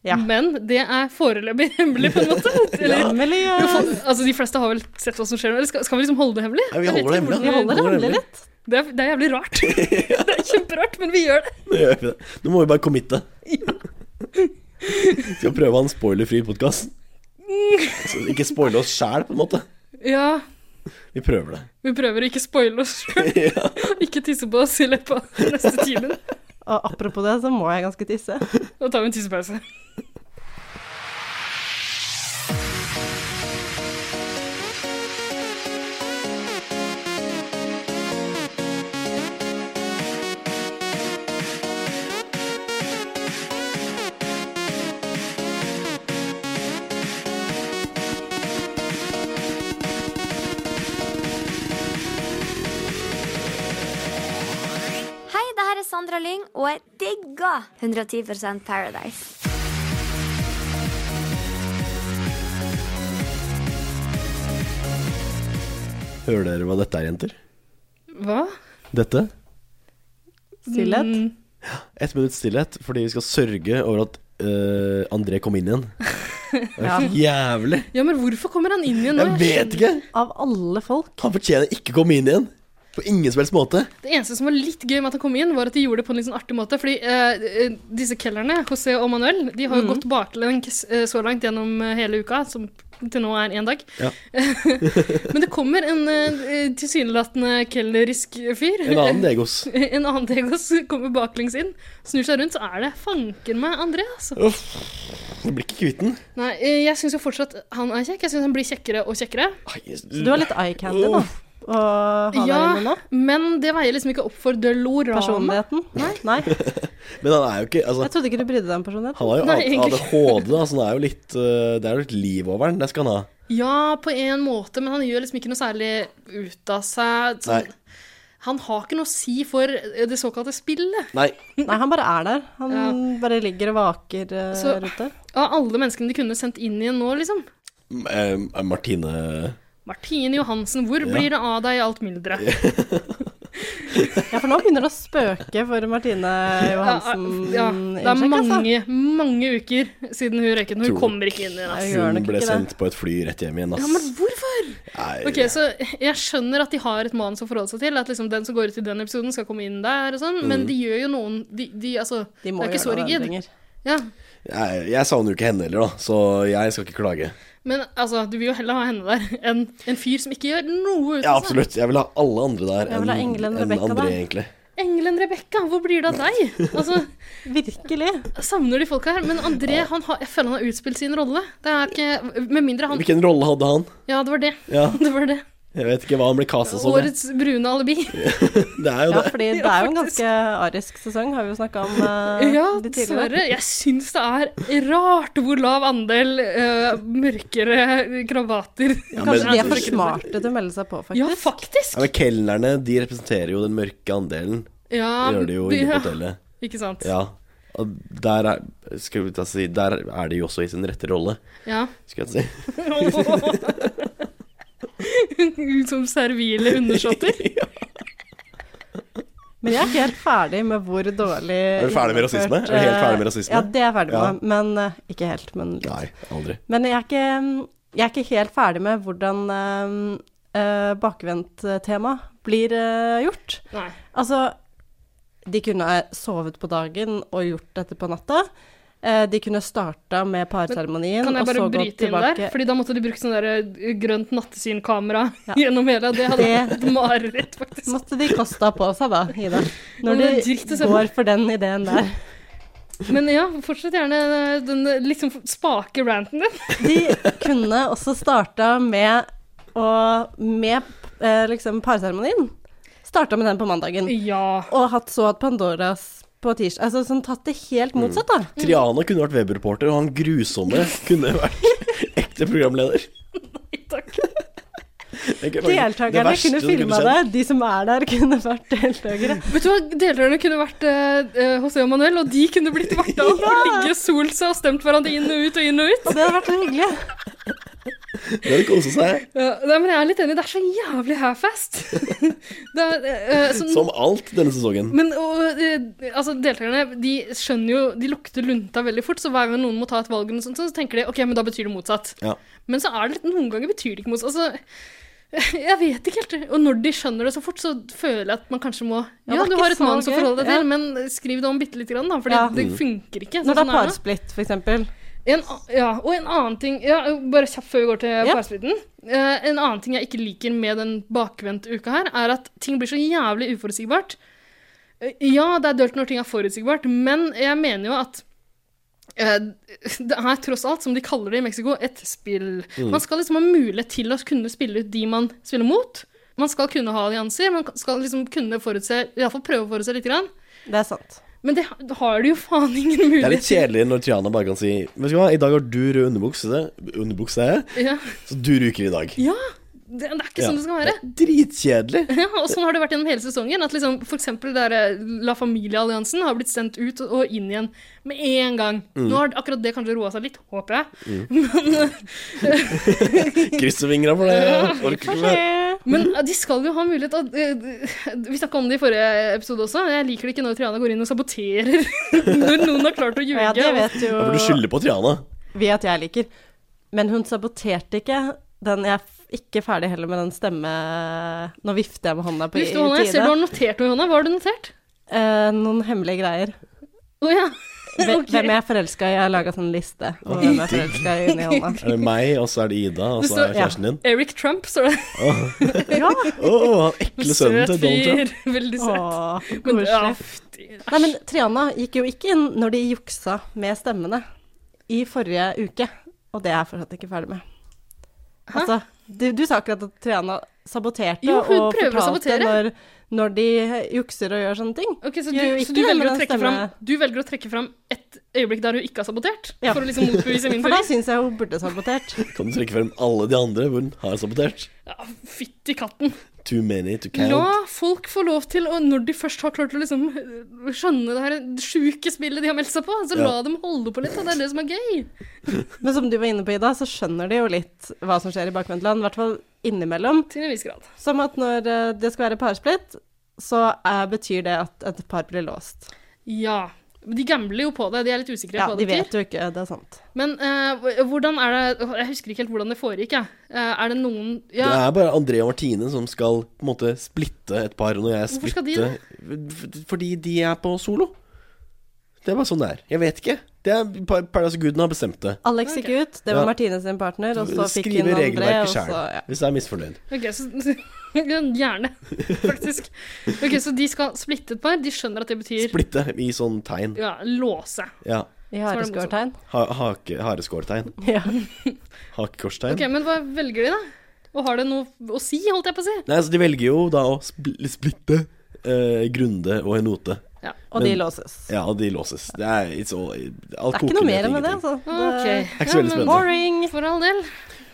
S4: Ja.
S2: Men det er foreløpig hemmelig, på en måte. Eller,
S4: Hemmelig, eh,
S2: jo, for, altså, de fleste har vel sett hva som skjer. Eller skal, skal vi liksom holde det hemmelig?
S1: Ja, vi
S2: Jeg vet
S1: holder det
S2: ikke
S1: hemmelig,
S2: hvordan
S4: vi holder det
S1: Holder
S4: hemmelig
S1: hemmelig.
S4: litt.
S2: Det er, det er jævlig rart. det er kjemperart, men vi gjør det.
S1: Nå gjør vi det. Nå må vi bare committe. Skal prøve å ha en spoilerfri podkast. Ikke spoile oss sjæl, på en måte.
S2: Ja,
S1: Vi prøver det.
S2: vi prøver å ikke spoile oss sjøl. ikke tisse på oss i løpet av neste timen.
S4: Og apropos det, så må jeg ganske tisse.
S2: Da tar vi en tissepause.
S6: Hei, det her er Sandra Lyng, og jeg digger 110 Paradise.
S1: Hører dere hva dette er, jenter?
S2: Hva?
S1: Dette?
S4: Stillhet.
S2: Mm.
S1: Ett minutts stillhet, fordi vi skal sørge over at øh, André kom inn igjen. Det er jævlig.
S2: Ja, men hvorfor kommer han inn igjen nå?
S1: Jeg vet ikke.
S4: Av alle folk.
S1: Han fortjener ikke å komme inn igjen. På ingen som helst måte.
S2: Det eneste som var litt gøy med at han kom inn, var at de gjorde det på en litt sånn artig måte. Fordi eh, eh, disse kellerne, José og Manuel, de har jo gått baklengs eh, så langt gjennom eh, hele uka, som til nå er én dag.
S1: Ja.
S2: Men det kommer en eh, tilsynelatende kellerisk fyr.
S1: En annen Degos.
S2: En annen Degos kommer baklengs inn, snur seg rundt, så er det fanken meg André, altså.
S1: Uff. Jeg blir ikke kvitt den.
S2: Nei, eh, jeg syns jo fortsatt han er kjekk. Jeg syns han blir kjekkere og kjekkere.
S4: Du har litt eye candy, da. Å ha der inne nå.
S2: Ja, men det veier liksom ikke opp for Delorama.
S4: Personligheten? Nei.
S1: Men han er jo ikke altså,
S4: Jeg trodde ikke du brydde deg om personligheten.
S1: Han har jo
S2: Nei, egentlig ikke.
S1: ADHD, da, så han er jo litt øh, Det er jo litt liv over den. Det skal han ha.
S2: Ja, på en måte, men han gjør liksom ikke noe særlig ut av seg.
S1: Nei.
S2: Sånn. Han har ikke noe å si for eh, det såkalte spillet.
S1: Nei.
S4: Nei, han bare er der. Han
S2: Ja.
S4: bare ligger og vaker eh,
S2: Så-
S4: rundt der.
S2: Av alle menneskene de kunne sendt inn igjen nå, liksom.
S1: M- eh, Martine
S2: Martine Johansen, hvor blir det av deg i alt mylderet?
S4: Ja, for nå begynner det å spøke for Martine Johansen.
S2: Ja, det er
S4: innsjekk, altså.
S2: mange, mange uker siden hun røyket. Hun
S1: Tror-
S2: kommer ikke inn igjen.
S4: Nei,
S2: ass.
S4: hun gjør
S1: Hun
S4: nok
S1: ble
S4: ikke det.
S1: sendt på et fly rett hjem igjen, ass.
S2: Ja, men hvorfor?
S1: Nei,
S4: Eh,
S2: Ok, så Jeg skjønner at de har et manus å forholde seg til. At liksom den som går ut i den episoden, skal komme inn der og sånn. Men de gjør jo noen De, de altså
S4: Mm. De
S2: Det
S4: må
S2: er ikke så
S4: gjøre noen
S2: rigid.
S4: endringer.
S2: Ja.
S1: jeg, jeg savner jo ikke henne heller, da, så jeg skal ikke klage.
S2: Men altså, du vil jo heller ha henne der enn en fyr som ikke gjør noe ut altså.
S1: Ja,
S2: av seg.
S1: absolutt. Jeg vil ha alle andre der
S4: Altså- Jeg vil
S1: enn
S4: ha Engelen
S1: enn
S4: Rebecca
S1: André,
S4: der.
S1: egentlig.
S2: Engelen Rebekka, hvor blir det av deg? Altså,
S4: Virkelig.
S2: Savner de folka her? Men André, han har, jeg føler han har utspilt sin rolle. Det er ikke Med mindre han
S1: Hvilken rolle hadde han?
S2: Ja, det var det.
S1: Ja,
S2: Det var det.
S1: Jeg vet ikke hva han ble kasta som.
S4: sånn,
S1: jeg.
S2: Årets brune alibi.
S1: Det er jo
S4: Ja,
S1: det.
S4: fordi det er jo en ganske arisk sesong, har vi jo snakka om eh,
S2: Ja,
S4: de tidligere.
S2: dessverre. Jeg syns det er rart hvor lav andel eh, mørkere kravater
S1: Ja,
S4: Kanskje de er
S1: men-
S4: for smarte til å melde seg på,
S2: Ja,
S4: faktisk.
S1: Ja,
S2: faktisk!
S1: men Kelnerne de representerer jo den mørke andelen.
S2: Ja,
S1: Det gjør de jo inne på
S2: ja,
S1: hotellet.
S2: Ikke sant.
S1: Ja. Og der er, skal vi ta si, der er de jo også i sin rette rolle,
S2: Ja.
S1: skal jeg si.
S2: Som servile undersåtter.
S4: Men jeg er ikke helt ferdig med hvor dårlig eh,
S1: Er du ferdig med rasisme? Er du helt ferdig med rasisme?
S4: Ja, det er jeg ferdig
S1: Ja.
S4: med. Men eh, ikke helt, men litt.
S1: Nei, aldri.
S4: Men jeg er ikke, mm, jeg er ikke helt ferdig med hvordan eh, eh, bakvendt-tema blir eh, gjort.
S2: Nei.
S4: Altså, de kunne ha sovet på dagen og gjort dette på natta. Eh, de kunne starta med parseremonien
S2: Kan jeg
S4: og
S2: bare
S4: så gått
S2: bryte inn der?
S4: tilbake.
S2: Fordi da måtte de bruke sånn der eh, grønt nattesynkamera gjennom hele. Det hadde
S4: Det-
S2: vært et mareritt, faktisk.
S4: Måtte de kosta på seg da, Ida.
S2: men
S4: Når
S2: det er
S4: de
S2: dritt å se på.
S4: går for den ideen der.
S2: Men ja, fortsett gjerne eh, den eh, liksom spake ranten din.
S4: De kunne også starta med å Med eh, liksom parseremonien. Starta med den på mandagen.
S2: Ja.
S4: Og hatt så at Pandoras på tirsdag Altså sånn tatt det helt motsatt,
S1: Mm.
S4: da.
S1: Triana kunne vært webreporter, og han grusomme kunne vært ekte programleder.
S2: Takk.
S1: Det er faktisk det
S4: Deltakerne
S1: verste
S4: kunne
S1: som
S4: filma
S1: skjedd.
S4: det. De som er der, kunne vært deltakere.
S2: Vet du hva, deltakerne kunne vært eh, eh, José og Manuel, og de kunne blitt varta opp og ligge solt seg og stemt hverandre inn og ut og inn og ut.
S4: Og det hadde vært så hyggelig.
S1: Det hadde kosa seg.
S2: Ja, nei, men jeg er litt enig, det er så jævlig half-fast. Det er, eh, sånn-
S1: Som alt denne sesongen.
S2: Men og, eh, altså, deltakerne de skjønner jo De lukter lunta veldig fort, så hver gang noen må ta et valg, eller noe sånt, så tenker de ok, men da betyr det motsatt.
S1: Ja.
S2: Men så er det litt, noen ganger betyr det ikke motsatt. Altså, jeg vet ikke helt. Og når de skjønner det så fort, så føler jeg at man kanskje må
S4: Ja,
S2: Ja,
S4: det er
S2: du
S4: ikke
S2: har et
S4: så
S2: manus å
S4: gøy.
S2: forholde deg
S4: Ja.
S2: til, men skriv det om bitte lite grann, da, for
S4: Ja.
S2: det funker ikke.
S4: Når det
S2: sånn
S4: er
S2: er det.
S4: parsplitt, for eksempel.
S2: En, a- ja, og en annen ting ja, Bare kjapt før vi går til
S4: Ja.
S2: parsplitten. Eh, en annen ting jeg ikke liker med den bakvendte uka her, er at ting blir så jævlig uforutsigbart. Eh, ja, det er dølt når ting er forutsigbart, men jeg mener jo at eh, det er tross alt, som de kaller det i Mexico, et spill.
S1: Mm.
S2: Man skal liksom ha mulighet til å kunne spille ut de man spiller mot. Man skal kunne ha allianser, man skal liksom kunne forutse, iallfall prøve å forutse litt. Grann.
S4: Det er sant.
S2: Men det har de jo faen ingen
S1: Det er
S2: mulighet
S1: litt kjedelig når Triana bare kan si Vet du hva, i dag har du rød underbukse, underbukse
S2: Ja.
S1: så du ryker i dag.
S2: Ja, det, det er ikke sånn det skal være.
S1: Ja, det er dritkjedelig.
S2: Ja, og sånn har det vært gjennom hele sesongen. At liksom, for eksempel der, eh, La Familia-alliansen har blitt sendt ut og- og inn igjen med en gang.
S1: Mm.
S2: Nå har akkurat det kanskje roa seg litt, håper jeg.
S1: Krysser fingra for det. Orker ikke mer.
S2: Men eh, de skal jo ha mulighet og, eh, Vi snakka om det i forrige episode også. Jeg liker det ikke når Triana går inn og saboterer når noen har klart å ljuge.
S4: Ja, det vet jo
S1: Ja, for du skylder på Triana.
S4: vi at jeg liker. Men hun saboterte ikke den Jeg er f- ikke ferdig heller med den stemme... Nå vifter jeg med hånda på i i
S2: Vifte med hånda. Jeg ser du
S4: tide.
S2: har notert noe, Johanna. Hva har du notert?
S4: Eh, noen hemmelige greier.
S2: Å ja.
S4: Hve-
S2: Ok.
S4: Hvem jeg er forelska i. Jeg har laga sånn liste over hvem jeg er forelska i inni hånda.
S1: Er det meg, og så er det Ida, og
S2: Det
S1: så er
S2: står-
S1: det kjæresten din?
S2: Eric Trump, står det.
S4: Ja.
S1: Å, han ekle sønnen til Donald Trump.
S2: Veldig søt.
S4: Åh,
S2: Men, ja,
S4: koselig.
S2: fy-
S4: Nei, men Triana gikk jo ikke inn når de juksa med stemmene i forrige uke. Og det er jeg fortsatt ikke ferdig med. Altså, du, du sa akkurat at Triana saboterte
S2: Jo, hun
S4: og
S2: prøver å
S4: fortalte
S2: sabotere.
S4: når, når de jukser og gjør sånne ting.
S2: Ok, så du,
S4: Gjør jo
S2: så
S4: ikke
S2: du,
S4: det
S2: velger
S4: med
S2: å
S4: den
S2: trekke fram,
S4: stemmen.
S2: du velger å trekke fram et øyeblikk der hun ikke har sabotert?
S4: Ja.
S2: For å liksom motbevise min
S4: For da
S2: teori?
S4: syns jeg hun burde sabotert.
S1: Kan du trekke frem alle de andre hvor hun har sabotert?
S2: Ja, Fytti katten.
S1: Too many to count.
S2: La folk få lov til å Når de først har klart å liksom øh, skjønne det her sjuke spillet de har meldt seg på, så
S1: Ja.
S2: la dem holde på litt. Da. Det er det som er gøy.
S4: Men som du var inne på, Ida, så skjønner de jo litt hva som skjer i bakvendtland, i hvert fall innimellom.
S2: Til en viss grad.
S4: Som at når eh, det skal være parsplitt, så eh, betyr det at et par blir låst.
S2: Ja. De gambler jo på det. De er litt usikre
S4: Ja,
S2: på hva
S4: de
S2: det betyr.
S4: vet jo ikke, det er sant.
S2: Men eh, hv- hvordan er det åh, Jeg husker ikke helt hvordan det foregikk, jeg. Eh, er det noen ja,
S1: Det er bare André og Martine som skal på en måte splitte et par. Og når jeg
S2: Hvorfor skal de
S1: splitter F- Fordi de er på solo. Det er bare sånn det er. Jeg vet ikke. Det er Pa- Paradise Gooden har bestemt det.
S4: Alex gikk ut, det var
S1: Ja.
S4: Martine sin partner, og så fikk hun
S1: Skrive
S4: André, og
S1: regelverket
S4: så
S1: sjæl
S4: ja.
S1: hvis jeg er misfornøyd.
S2: Ok, så Gjerne, faktisk. Ok, Så de skal splitte et par. De skjønner at det betyr
S1: Splitte i sånn tegn.
S2: ja, låse.
S1: Ja.
S4: I
S2: var det
S4: hareskårtegn.
S1: Ha hake, hareskårtegn.
S4: Ja.
S1: Hakekorstegn.
S2: Ok, Men hva velger de, da? Og har det noe å si, holdt jeg på å si?
S1: Nei, så de velger jo da å spl splitte eh, Grunde og en note.
S4: Og de
S1: Men-
S4: låses.
S1: Ja, og de låses. Det er, it's all, alt
S4: Det er ikke noe mer enn det,
S1: ingenting.
S4: altså.
S2: Mm, Ok.
S4: Det-
S1: er ikke så veldig
S2: men
S1: spennende.
S4: Boring!
S2: For all del.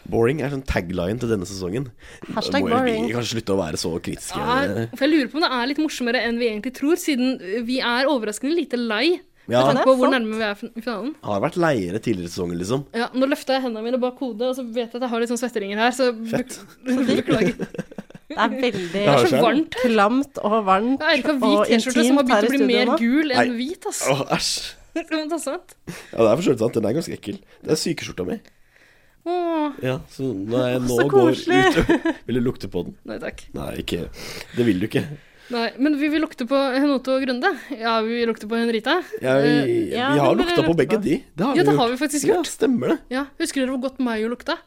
S1: Boring er sånn tagline til denne sesongen.
S4: Hashtag
S1: Må vi-
S4: boring.
S1: Vi kan slutte å være så Eh, kritiske.
S2: Ja, for jeg lurer på om det er litt morsommere enn vi egentlig tror, siden vi er overraskende lite lei.
S1: Ja,
S2: Med
S1: han
S2: tanke på hvor
S4: sant.
S2: nærme vi er fin- finalen.
S1: har vært leiere tidligere i sesongen, liksom.
S2: Ja, Nå løfta jeg hendene mine bak hodet, og så vet jeg at jeg har litt sånn svetteringer her. Så
S1: Fett.
S2: beklager.
S4: Det er veldig
S1: Ja,
S2: Det
S1: skjønner.
S2: er så varmt.
S4: klamt og varmt
S2: Det er ikke en
S4: og
S2: hvit T-skjorte som har
S4: intimt her
S2: begynt
S4: i
S2: å bli mer
S4: studio nå.
S2: gul enn
S1: Nei.
S2: hvit, ass.
S1: Åh, æsj.
S2: Men det er sant.
S1: Ja, det er for så vidt sant. Den er ganske ekkel. Det er sykeskjorta mi.
S2: Åh,
S1: Ja, så når jeg nå
S4: Så
S1: går
S4: koselig.
S1: ut Vil du lukte på den?
S2: nei takk.
S1: Nei, ikke Det vil du ikke.
S2: Nei, men vi vil lukte på Henote og Grunde. Ja, vi vil lukte på Henrita.
S1: Jeg,
S2: Eh,
S4: ja,
S1: vi har
S4: den vil
S1: lukta
S4: jeg
S1: på
S4: lukte
S1: begge
S4: på.
S1: de. Det har vi
S2: Ja, det har
S1: gjort.
S2: vi faktisk
S1: Ja,
S2: gjort.
S1: stemmer det.
S2: Ja, Husker dere hvor godt Mayo lukta?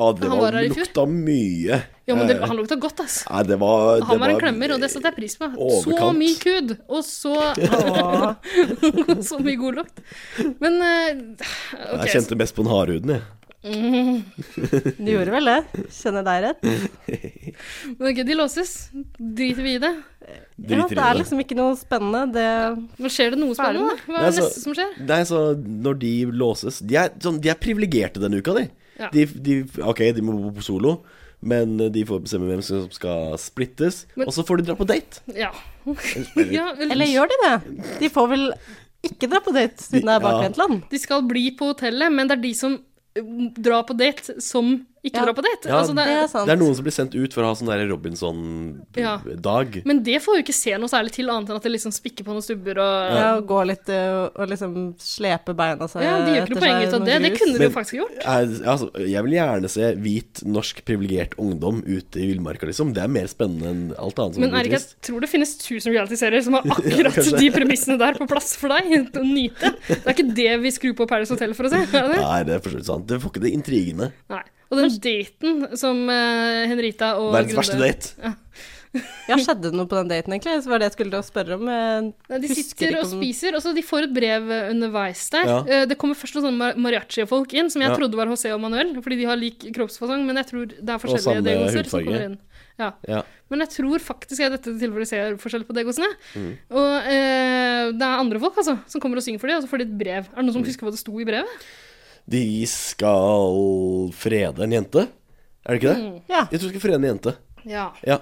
S1: Ja, det
S2: Han var
S1: var,
S2: her i fjor.
S1: lukta mye.
S2: Ja, men det,
S1: Eh,
S2: han lukta godt, ass.
S1: Nei, det var det
S2: Han var en
S1: var-
S2: klemmer, og det setter jeg pris på. Så
S1: overkant.
S2: mye kud, og så
S4: Åh.
S2: Så mye god lukt. Men eh, OK.
S1: Jeg kjente mest på den harde huden, jeg.
S4: Du gjorde vel det? Kjenner deg rett?
S2: så- men ok, de låses. Driter vi i det?
S4: Ja,
S1: Driter
S4: det er
S1: i det.
S4: liksom ikke noe spennende. Det
S2: Men skjer det noe spennende? da? Hva
S1: Nei,
S2: er det
S1: så-
S2: neste som skjer?
S1: Nei, så når de låses De er, sånn, de er privilegerte denne uka, de.
S2: Ja.
S1: de. de. Ok, de må bo på solo, men de får bestemme hvem som skal splittes.
S2: Men-
S1: og så får de dra på date.
S2: Ja.
S1: eller-
S2: ja vel,
S4: Eller gjør de det? De får vel ikke dra på date siden det er
S1: Ja.
S4: bakvendtland?
S2: De skal bli på hotellet, men det er de som eh, drar på date, som ikke
S4: Ja.
S2: drar på date.
S1: Ja,
S2: altså, det
S4: Det er
S2: er,
S4: sant.
S1: Det er noen som blir sendt ut for å ha sånn der
S2: Ja.
S1: Robinson-dag.
S2: men det får vi ikke se noe særlig til, annet enn at det liksom spikker på noen stubber og
S4: Ja,
S2: ja.
S4: å gå litt ø, og liksom slepe beina seg
S2: De gjør ikke noe poeng ut av det. Det kunne de
S1: Men-
S2: jo faktisk gjort.
S1: Jeg, altså, jeg vil gjerne se hvit, norsk privilegert ungdom ute i villmarka, liksom. Det er mer spennende enn alt annet som
S2: Men
S1: blir
S2: er det ikke,
S1: trist.
S2: jeg tror det finnes 1000 reality-serier som har akkurat
S1: kanskje.
S2: de premissene der på plass for deg til å nyte. Det er ikke det vi skrur på Paradise Hotel for å se. Er det det?
S1: Nei, det er for så vidt sant. Det får ikke det intrigene.
S2: Nei. Og den daten som eh, Henrita og
S1: Verdens verste date.
S4: Ja, skjedde det noe på den daten, egentlig? Så var det jeg skulle til å spørre om. men
S2: Nei, De
S4: husker
S2: sitter
S4: ikke
S2: og
S4: om-
S2: spiser, og så de får et brev eh, underveis der.
S1: Ja.
S2: Eh, Det kommer først noen sånne ma- mariachi-folk inn, som jeg
S1: Ja.
S2: trodde var José og Manuel, fordi de har lik kroppsfasong, men jeg tror det er
S1: samme
S2: forskjellige degoser som
S1: hudfarge.
S2: kommer inn. Ja.
S1: Ja.
S2: Men jeg tror faktisk jeg i dette tilfellet ser forskjell på degosene. Og eh, det er andre folk altså, som kommer og synger for dem, og så får de et brev. Er det noen som husker hva det sto i brevet?
S1: De skal frede en jente. Er det ikke det?
S4: Ja.
S1: Jeg tror de skal frede en jente.
S2: Ja.
S1: Ja.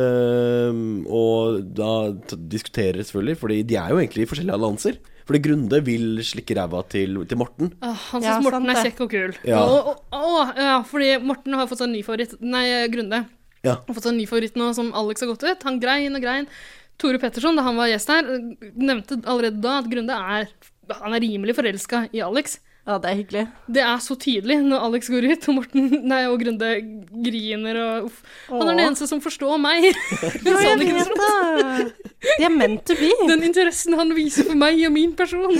S1: Ehm, og da t- diskuterer selvfølgelig, Fordi de er jo egentlig i forskjellige allianser. Fordi Grunde vil slikke ræva til, til Morten.
S2: Åh, han
S4: Ja,
S2: syns Morten
S4: sant
S2: er
S4: det.
S2: kjekk og kul.
S1: Ja.
S2: Og, og, og, ja, fordi Morten har fått seg en ny favoritt. Nei, Grunde.
S1: Ja.
S2: har fått seg en ny favoritt nå som Alex har gått ut. Han grein og grein. Tore Petterson, da han var gjest her, nevnte allerede da at Grunde er han er rimelig forelska i Alex.
S4: ja, det er hyggelig.
S2: Det er så tydelig når Alex går ut og Morten nei, og Grunde griner og uff. Han er den
S4: Åh.
S2: eneste som forstår meg.
S4: Ja,
S2: sa
S4: jeg
S2: det ikke
S4: vet det! De er meant to be.
S2: Den interessen han viser for meg og min person.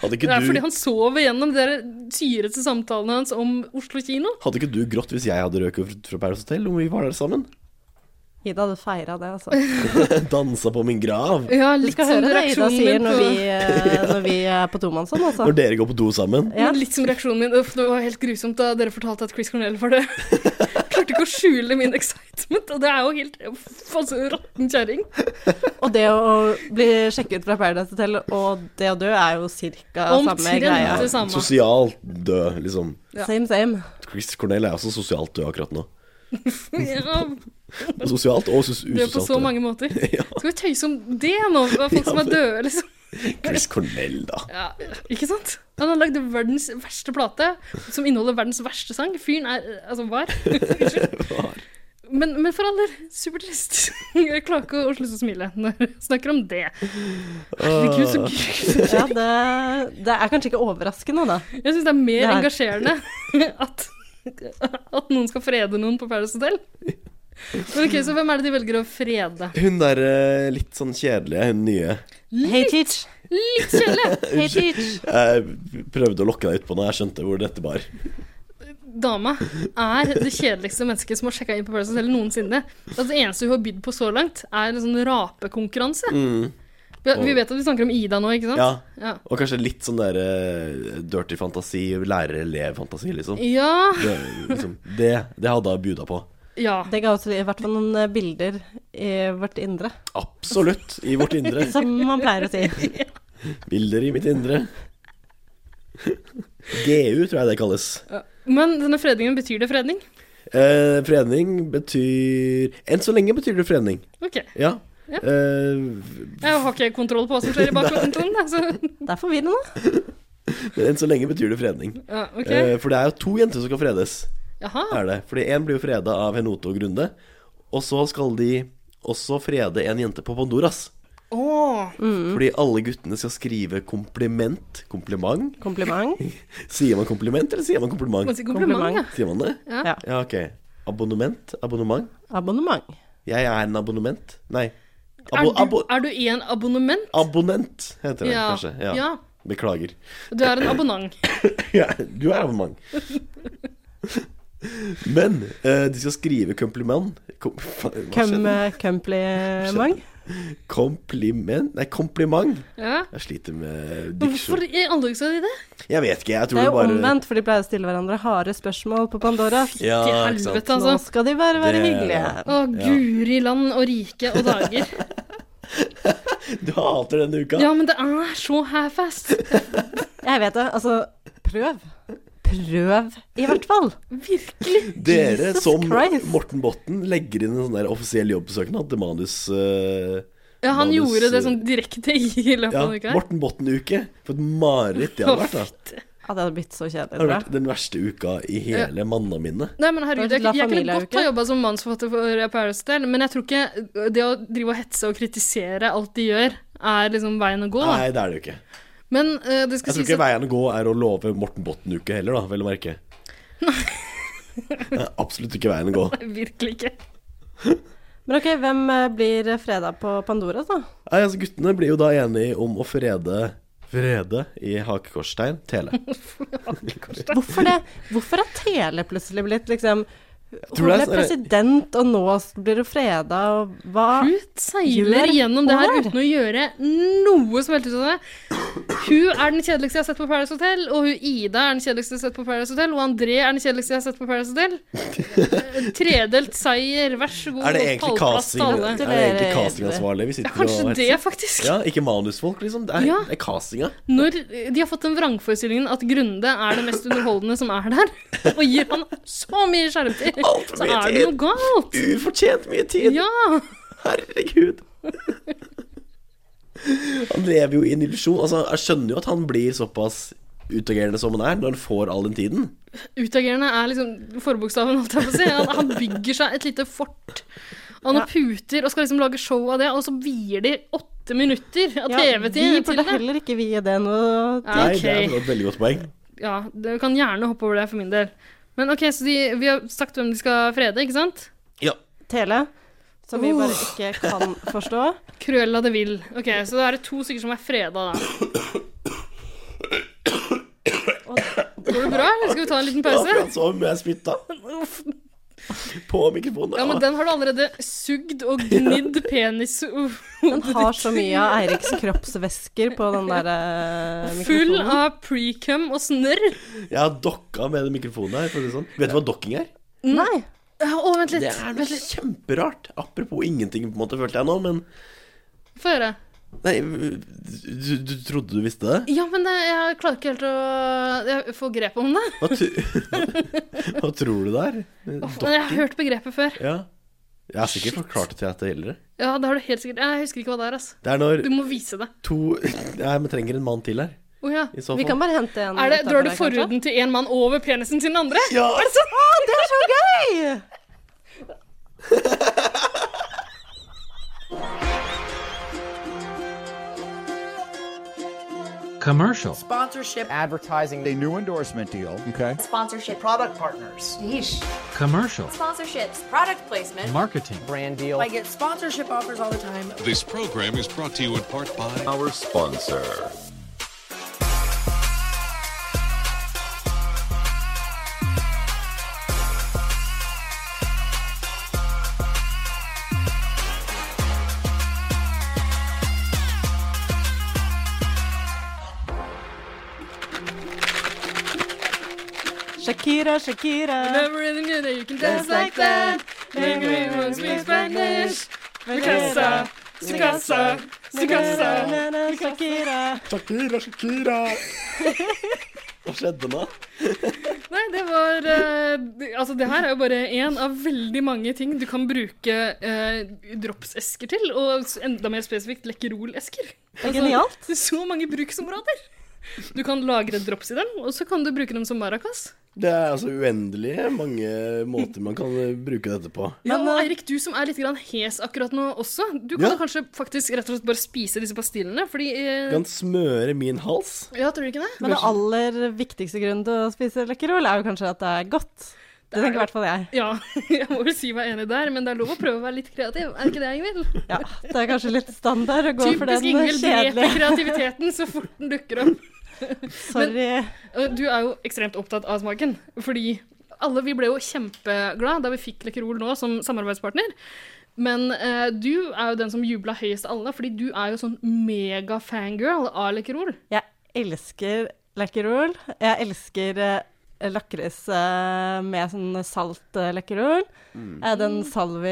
S1: Hadde ikke,
S2: Det er
S1: du,
S2: fordi han sover gjennom de der syrete samtalene hans om Oslo kino.
S1: hadde ikke du grått hvis jeg hadde røket fra- fra Paradise Hotel om vi var der sammen?
S4: Ida hadde feira det, altså.
S1: Dansa på min grav.
S2: Ja,
S4: Du
S2: litt
S4: skal
S2: som
S4: høre det Ida
S2: reaksjonen
S4: sånn sier
S2: min
S4: når
S2: på
S4: vi, ø, når vi er på tomannshånd, altså.
S1: Når dere går på do sammen.
S4: Ja.
S2: Men litt som reaksjonen min Uff, det var helt grusomt da dere fortalte at Chris Cornell var død. Jeg Klarte ikke å skjule min excitement, og det er jo helt uff, altså, råtten kjerring.
S4: Og det å bli sjekket ut fra Paradise Hotel og det å dø er jo cirka samme
S2: Omtrent
S4: greia.
S2: det samme.
S1: Sosialt død, liksom.
S2: Ja.
S4: Same, same.
S1: Chris Cornell er også sosialt død akkurat nå.
S2: Ja,
S1: Sosialt og sus-
S2: det er på så
S1: usosialt.
S2: mange måter.
S1: Ja.
S2: Skal vi tøyse om det nå? Folk som er døde, liksom.
S1: Chris Cornell, da.
S2: Ja, ikke sant? Han har lagd verdens verste plate, som inneholder verdens verste sang. Fyren er eh, Altså, var. Unnskyld. Men, men for all del, supertrist. Jeg klarer ikke å slutte å smile når jeg snakker om det. Herregud, så gud.
S4: Ja, det, det er kanskje ikke overraskende, da.
S2: Jeg syns det er mer
S4: Det er-
S2: engasjerende at, at noen skal frede noen på Paradise Hotel. Men ok, Så hvem er det de velger å frede?
S1: Hun der eh, litt sånn kjedelige, hun nye.
S4: Hey, teach.
S2: Litt kjedelig!
S4: Hey, teach.
S1: Jeg prøvde å lokke deg utpå når jeg skjønte hvor dette bar.
S2: Dama er det kjedeligste mennesket som har sjekka inn på Paradise Hotel noensinne. Altså, det eneste hun har bydd på så langt, er en sånn rapekonkurranse.
S1: Mm.
S2: Vi, vi vet at vi snakker om Ida nå, ikke sant?
S1: Ja.
S2: Ja.
S1: Og kanskje litt sånn der eh, dirty fantasi, lærer-elev-fantasi, liksom.
S2: Ja,
S1: Det, liksom det, det hadde jeg buda på.
S2: ja.
S4: Det ga oss i hvert fall noen eh, bilder i vårt indre,
S1: Absolutt. I vårt indre.
S4: som man pleier å si.
S1: Bilder i mitt indre. GU, tror jeg det kalles.
S2: Men denne fredningen, betyr det fredning?
S1: Eh, fredning betyr Enn så lenge betyr det fredning.
S2: Ok.
S1: Ja.
S2: Ja.
S1: Eh,
S2: Jeg har ikke kontroll på hva som skjer i bakgrunnen, da, så
S4: Det er forvirrende. da.
S1: enn så lenge betyr det fredning.
S2: ja, ok.
S1: Eh, for det er jo to jenter som skal fredes.
S2: Jaha.
S1: Er det. Fordi én blir jo freda av Henote og Grunde. Og så skal de også frede en jente på Pandoras.
S2: Åh.
S1: Fordi alle guttene skal skrive kompliment. Kompliment?
S4: Kompliment.
S1: Sier man kompliment, eller sier man
S2: Man
S1: kompliment?
S2: sier kompliment, ja.
S1: Sier man det?
S2: Ja.
S1: ja ok. Abonnement? Abonnement?
S4: Abonnement.
S1: Jeg er en abonnement. Nei.
S2: Er
S1: Abo
S2: du,
S1: abo
S2: er du i en abonnement?
S1: abonnent, heter det
S2: Ja,
S1: kanskje.
S2: ja.
S1: Beklager.
S2: Du er en abonnent.
S1: Ja, du er abonnement. Men eh, de skal skrive kompliment kom, faen, hva
S2: eh,
S1: skjedde?
S4: Kompliment.
S1: Kompliment? Nei, kompliment.
S2: Ja.
S1: Jeg sliter med
S2: Hvorfor
S1: diksjon.
S2: i alle dager skal de det?
S1: Jeg vet ikke, jeg tror
S4: Det
S1: det,
S4: er jo
S1: bare
S4: omvendt, for de pleier å stille hverandre harde spørsmål på Pandora.
S1: Ja,
S2: Til
S1: ikke sant.
S2: helvete,
S4: Nå
S2: altså.
S4: skal de bare være
S1: Det-
S4: hyggelige.
S2: Å, guri land og rike og dager.
S1: Du hater denne uka.
S2: Ja, men det er så half-fast.
S4: Jeg vet det. Altså, prøv. Prøv, i hvert fall.
S2: Virkelig.
S1: Dere
S4: Jesus
S1: som
S4: Christ.
S1: Morten Botten legger inn en sånn der offisiell jobbsøknad til manus... eh,
S2: Ja, han
S1: manus,
S2: gjorde det
S1: eh,
S2: sånn direkte i løpet
S1: ja,
S2: av en uke.
S1: Morten Botten-uke. For et mareritt det har vært. da
S4: Ja, det hadde blitt så kjedelig,
S1: Det har
S4: tror
S1: vært
S4: jeg.
S1: den verste uka i hele manneminnet.
S2: Nei, men herregud,
S4: Det
S2: jeg,
S4: var
S2: jeg
S4: et La
S2: kunne godt
S4: Familia-uke.
S2: ha jobba som manusforfatter for Paradise Hotel, men jeg tror ikke øh, det å drive og hetse og kritisere alt de gjør, er liksom veien å gå. Da.
S1: Nei, det er det jo ikke.
S2: Men eh, det
S1: Jeg
S2: skal
S1: tror
S2: sies
S1: ikke
S2: at
S1: veien å gå er å love Morten Botten-uke heller, da, vel å merke. Det er absolutt ikke veien å gå.
S2: Virkelig ikke.
S4: Men ok, hvem eh, blir freda på Pandora, da?
S1: Nei, altså Guttene blir jo da enige om å frede Frede i hakekorstegn Tele.
S4: Hvorfor det? Hvorfor er Tele plutselig blitt liksom Hun
S1: du det er
S4: ble
S1: sånn-
S4: president, og nå blir hun freda, og hva
S2: Hun seiler
S4: Gjør
S2: gjennom det her
S4: år.
S2: uten å gjøre noe som helst ut av det. Hun er den kjedeligste jeg har sett på Paradise Hotel, og hun Ida er den kjedeligste jeg har sett på Paradise Hotel, og André er den kjedeligste jeg har sett på Paradise Hotel. Eh, Tredelt seier, vær så god.
S1: Er det egentlig
S2: pallplass til
S1: casting
S2: alle.
S1: Er det egentlig castingansvarlig vi
S2: Ja,
S1: sitter og
S2: kanskje det, faktisk.
S1: Ja, ikke manusfolk, liksom. Det er,
S2: Ja.
S1: det er castinga.
S2: Når de har fått den vrangforestillingen at Grunde er det mest underholdende som er der, og gir han så mye skjermtid,
S1: Altfor
S2: så
S1: mye
S2: er det noe
S1: tid.
S2: galt.
S1: Ufortjent mye tid!
S2: Ja.
S1: Herregud. Han lever jo i en illusjon. Altså, jeg skjønner jo at han blir såpass utagerende som han er, når han får all den tiden.
S2: Utagerende er liksom forbokstaven, holdt jeg på å si. Han, han bygger seg et lite fort. Han har puter og skal liksom lage show av det, og så vier de åtte minutter av
S4: Vi
S2: TV-tid til
S4: burde
S2: det.
S4: heller ikke vie det noe
S2: Ja,
S1: Nei, det er
S2: ok.
S1: et veldig godt poeng.
S2: Ja, du kan gjerne hoppe over det for min del. Men ok, så de, vi har sagt hvem de skal frede, ikke sant?
S1: Ja.
S4: Tele, som vi
S2: Uh.
S4: bare ikke kan forstå.
S2: Cruella de Vil. Ok, så da er det to stykker som er freda, da. Går det bra, eller skal vi ta en liten pause?
S1: Akkurat som jeg spytta på mikrofonen.
S2: Ja, men den har du allerede sugd og gnidd penis
S4: Den har så mye av Eiriks kroppsvæsker på den der eh,
S2: Full
S4: mikrofonen.
S2: av precum og snørr.
S1: Jeg har dokka med den mikrofonen her. For å si det sånn. Vet du hva dokking er?
S4: Nei.
S2: Mm. Ja, Å, vent litt.
S1: Det er noe kjemperart. Apropos ingenting, på en måte, følte jeg nå, men
S2: Få høre.
S1: Nei, du, du trodde du visste det?
S2: Ja, men det, jeg klarer ikke helt å jeg får grep om det.
S1: Hva, tu- Hva tror du det er?
S2: Men jeg har hørt begrepet før.
S1: Ja. Jeg har sikkert forklart det til deg tidligere.
S2: Ja, det har du helt sikkert. Jeg husker ikke hva det er, altså.
S1: Det er når
S2: Du må vise det.
S1: to Nei, vi trenger en mann til her.
S2: Å ja.
S1: I så
S4: Vi kan
S1: fall.
S4: bare hente en
S2: Er det, drar du
S4: utenfor her, kanskje?
S2: forhuden til én mann over penisen til den andre?
S1: Ja!
S4: Det er så gøy!
S7: Commercial.
S8: advertising a new endorsement deal. Okay.
S6: Sponsorship.
S8: Product partners.
S7: Commercial.
S6: Sponsorships. Product placement.
S7: Marketing.
S8: Brand deal.
S5: I get sponsorship offers all the time.
S9: This program is brought to you in part by
S8: our sponsor.
S4: Shakira, Shakira.
S2: Never really knew that you can dance like that. Make me want to speak Spanish.
S4: uh,
S2: uh, Mikasa, Mikasa, Mikasa.
S4: Na-na-na-na, Shakira.
S2: Altså,
S1: Shakira, Shakira. Hva skjedde nå?
S2: Nei, det var eh, det- Altså, det her er jo bare én av veldig mange ting du kan bruke eh, dropsesker til. Og s- enda mer spesifikt Lekkerol-esker.
S4: Genialt.
S2: det er så mange bruksområder. Du kan lagre drops i dem, og så kan du bruke dem som maracas.
S1: Det er altså uendelig mange måter man kan eh, bruke dette på.
S2: Ja,
S4: Men,
S2: og
S4: eh,
S2: Eirik, du som er litt grann hes akkurat nå også, du
S1: Ja.
S2: kan jo kanskje faktisk rett og slett bare spise disse pastillene, fordi eh,
S1: Du kan smøre min hals.
S2: Ja, tror du ikke det?
S4: Men den aller viktigste grunnen til å spise lekkerol er jo kanskje at det er godt. Det tenker i hvert fall jeg.
S2: Ja, jeg må vel si meg enig der, men det er lov å prøve å være litt kreativ. Er ikke det, Ingvild?
S4: Ja, det er kanskje litt standard å gå for
S2: Typisk
S4: den
S2: Ingvild dreper
S4: kjedelige.
S2: kreativiteten så fort den dukker opp.
S4: Sorry.
S2: Og Eh, Du er jo ekstremt opptatt av smaken, fordi alle vi ble jo kjempeglad da vi fikk Lekkerol nå som samarbeidspartner. Men eh, du er jo den som jubla høyest av alle, fordi du er jo sånn mega-fangirl av Lekkerol.
S4: Jeg elsker lekkerol. Jeg elsker eh, lakris eh, med sånn salt eh, lekkerol. Eh, Den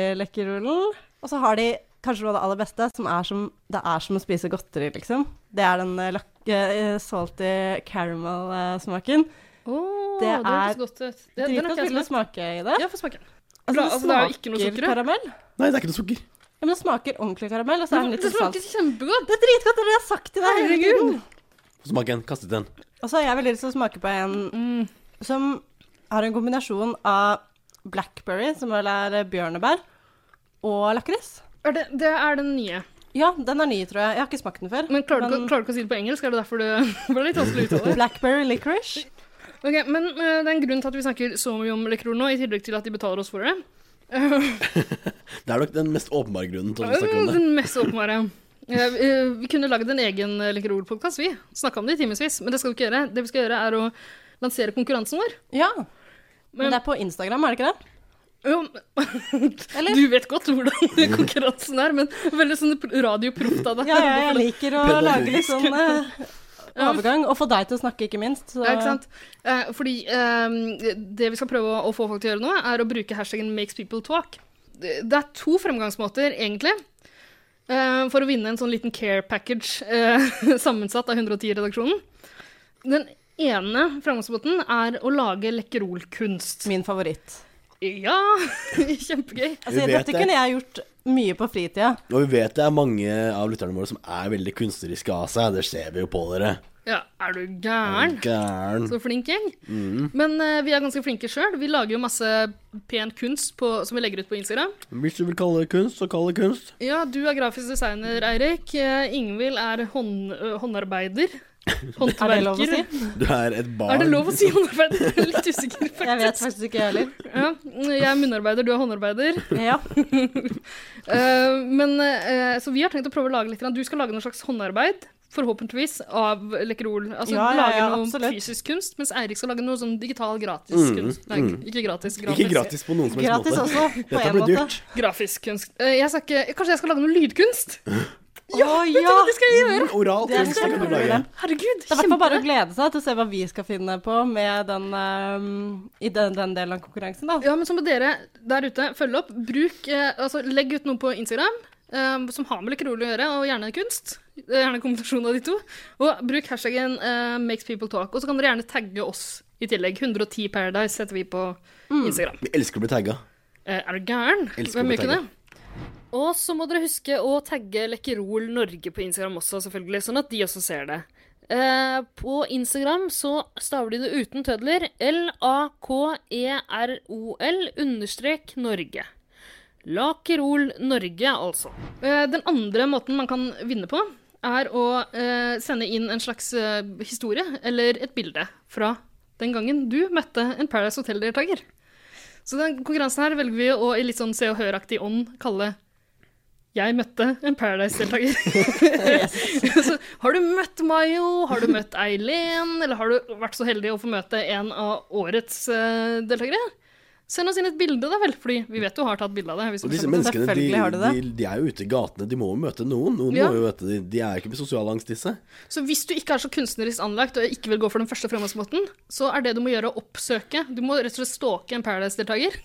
S4: salvi-lekkerolen. Og så har de kanskje noe av det aller beste, som er som, det er som å spise godteri, liksom. Det er den eh, lak- eh, salty eh, caramel-smaken.
S2: Oh,
S4: Det
S2: det
S4: er
S2: hørtes godt ut. Det, den har
S4: Dritgodt
S2: ikke jeg
S4: vil du
S2: smakt.
S4: smake i det.
S2: Ja, få smake.
S4: Altså,
S2: Bra, altså, det er jo ikke noe
S4: smaker
S2: sukker i.
S4: karamell.
S1: Nei, det er ikke noe sukker.
S4: Ja, men det smaker ordentlig karamell, og så er den litt
S2: Det
S4: sånn salt.
S2: smakte kjempegodt.
S4: Det er dritgodt, det har jeg sagt til deg hele tiden.
S1: Smak en. Kastet den.
S4: Og så har jeg veldig lyst til å smake på en
S2: Mm.
S4: som har en kombinasjon av blackberry, som vel er bjørnebær, og lakris.
S2: Er det, det er den nye.
S4: Ja, den er ny, tror jeg. Jeg har ikke smakt den før.
S2: Men klarer du, ikke, klarer du ikke å si det på engelsk? Er det derfor du ble litt vanskelig å uttale?
S4: Blackberry licorice.
S2: Ok, Men eh, det er en grunn til at vi snakker så mye om Lekkerol nå, i tillegg til at de betaler oss for det.
S1: Det er nok den mest åpenbare grunnen til at vi snakker om det.
S2: Den mest åpenbare. Eh, eh, Vi kunne lagd en egen eh, Lekkerol-podkast, vi. Snakka om det i timevis. Men det skal vi ikke gjøre. Det vi skal gjøre, er å lansere konkurransen vår.
S4: Ja.
S2: Men-
S4: Men det er på Instagram, er det ikke det?
S2: Jo,
S4: Eller?
S2: Du vet godt hvordan konkurransen er, men veldig sånn radioproft av deg.
S4: Ja, ja, jeg liker å lage litt sånn eh, overgang. Og få deg til å snakke, ikke minst. Så.
S2: Ja, ikke sant? Eh, fordi eh, det vi skal prøve å, å få folk til å gjøre nå, er å bruke hashtaggen 'makes people talk'. Det det er to fremgangsmåter, egentlig, eh, for å vinne en sånn liten care package eh, sammensatt av 110-redaksjonen. Den ene fremgangsmåten er å lage lekkerolkunst.
S4: Min favoritt.
S2: Ja, kjempegøy.
S4: Altså,
S1: Vi vet
S4: dette
S1: det.
S4: kunne jeg gjort mye på fritida.
S1: Og vi vet det er mange av lytterne våre som er veldig kunstneriske av seg. Det ser vi jo på dere.
S2: Ja, er du gæren?
S1: Gæren.
S2: Så flink gjeng. Men eh, vi er ganske flinke sjøl. Vi lager jo masse pen kunst på, som vi legger ut på Instagram.
S1: Hvis du vil kalle det kunst, så kall det kunst.
S2: Ja, du er grafisk designer, Eirik. Eh, Ingvild er hånd, ø, håndarbeider. Håndverker.
S4: Er det lov å si?
S1: Du er et barn.
S2: Er det lov å si håndarbeider? Jeg er Litt usikker,
S4: Jeg vet
S2: faktisk.
S4: faktisk ikke, jeg heller.
S2: Ja, jeg er munnarbeider, du er håndarbeider.
S4: Ja.
S2: Eh, men, eh, så vi har tenkt å prøve å lage litt. grann. Du skal lage noe slags håndarbeid. Forhåpentligvis av Lekkerol. Altså
S4: Ja, ja, ja,
S2: lage noe
S4: absolutt.
S2: fysisk kunst, mens Eirik skal lage noe sånn digital gratis kunst. Nei, ikke gratis.
S1: Ikke gratis på noen som helst
S4: Gratis
S1: måte.
S4: også, på
S1: Dette
S4: en
S1: blir
S4: måte.
S1: dyrt.
S2: Grafisk kunst. Eh, jeg skal ikke, kanskje jeg skal lage noe lydkunst?
S4: Ja, ja.
S2: Det skal jeg gjøre!
S1: Oral
S4: Det er
S1: kunst det kan du
S4: kjempebra.
S1: lage.
S2: Herregud,
S4: Det er i hvert fall bare å glede seg til å se hva vi skal finne på med den, ehm, i den, den delen av konkurransen. Da.
S2: Ja, men så må dere der ute følge opp. Bruk, eh, altså Legg ut noe på Instagram. eh, som har med Lekkerol å gjøre, og gjerne kunst. Eh, Gjerne en kombinasjon av de to. Og bruk hashtaggen eh, makes people talk. Og så kan dere gjerne tagge oss i tillegg. 110 Paradise heter vi på
S4: Mm.
S2: Instagram.
S1: Vi elsker å bli tagga.
S2: Eh, er du gæren?
S1: Elsker å
S2: Hvem
S1: bli
S2: gjør ikke det? Og så må dere huske å tagge Lekkerol Norge på Instagram også, selvfølgelig, sånn at de også ser det. Eh, på Instagram så staver de det uten tødler. E L-A-K-E-R-O-L understrek Norge. Lakerol Norge, altså. Eh, Den andre måten man kan vinne på, er å eh, sende inn en slags eh, historie eller et bilde fra den gangen du møtte en Paradise Hotel-deltaker. Så den konkurransen her velger vi å i litt sånn Se og Hør-aktig ånd kalle jeg møtte en Paradise-deltaker. så har du møtt Mayo? Har du møtt Eileen? Eller har du vært så heldig å få møte en av årets eh, deltakere? Send oss inn et bilde, da vel, fordi vi vet du har tatt bilde av det. hvis
S1: Og
S2: du
S1: disse
S2: sender det.
S1: menneskene de,
S4: Selvfølgelig har de
S1: de,
S4: det.
S1: de er jo ute i gatene. De må jo møte noen. Noen
S2: Ja.
S1: må jo møte de. de er jo ikke med sosial angst, disse.
S2: Så hvis du ikke er så kunstnerisk anlagt og ikke vil gå for den første fremgangsmåten, så er det du må gjøre å oppsøke. Du må rett og slett stalke en Paradise-deltaker.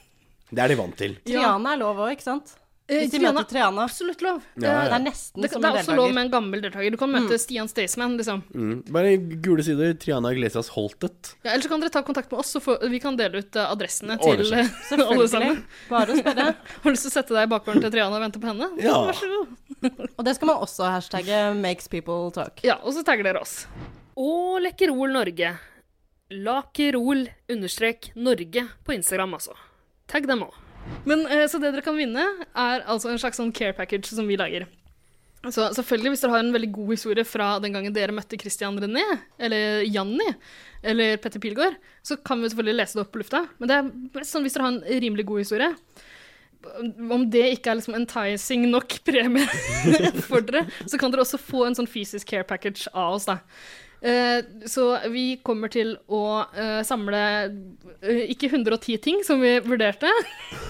S1: Det er de vant til.
S4: Triana er lov òg, ikke sant?
S2: Eh,
S4: Hvis de
S2: Triana-
S4: møter Triana.
S2: Absolutt lov.
S1: Ja, ja.
S4: Det er nesten
S2: Det, det
S4: som
S2: er
S4: en
S2: også lov
S4: deltaker. Mm.
S2: med en gammel deltaker. Du kan møte Stian Staysman, liksom.
S1: Mm. Bare gule sider. Triana Iglesias Holtet.
S2: Ja, eller så kan dere ta kontakt med oss, så får, vi kan dele ut eh, adressene
S1: Ordner
S2: til
S1: seg.
S2: eh, alle
S4: Selvfølgelig.
S2: sammen.
S4: Bare å spørre.
S2: Har du lyst til å sette deg i bakgården til Triana og vente på henne?
S1: Ja.
S2: Vær så god.
S4: Og det skal man også hashtagge 'makes people talk'.
S2: Ja, og så tagger dere oss.
S10: Og Lekkerol Norge. Lakerol understrek Norge på Instagram, altså. Tagg dem òg.
S2: Men eh, Så det dere kan vinne, er altså en slags sånn care package som vi lager. Så selvfølgelig, hvis dere har en veldig god historie fra den gangen dere møtte Christian René, eller Janni, eller Petter Pilgaard, så kan vi selvfølgelig lese det opp på lufta. Men det er best sånn hvis dere har en rimelig god historie. Om det ikke er liksom enticing nok premie for dere, så kan dere også få en sånn fysisk care package av oss, da. Eh, så vi kommer til å eh, samle eh, ikke 110 ting, som vi vurderte,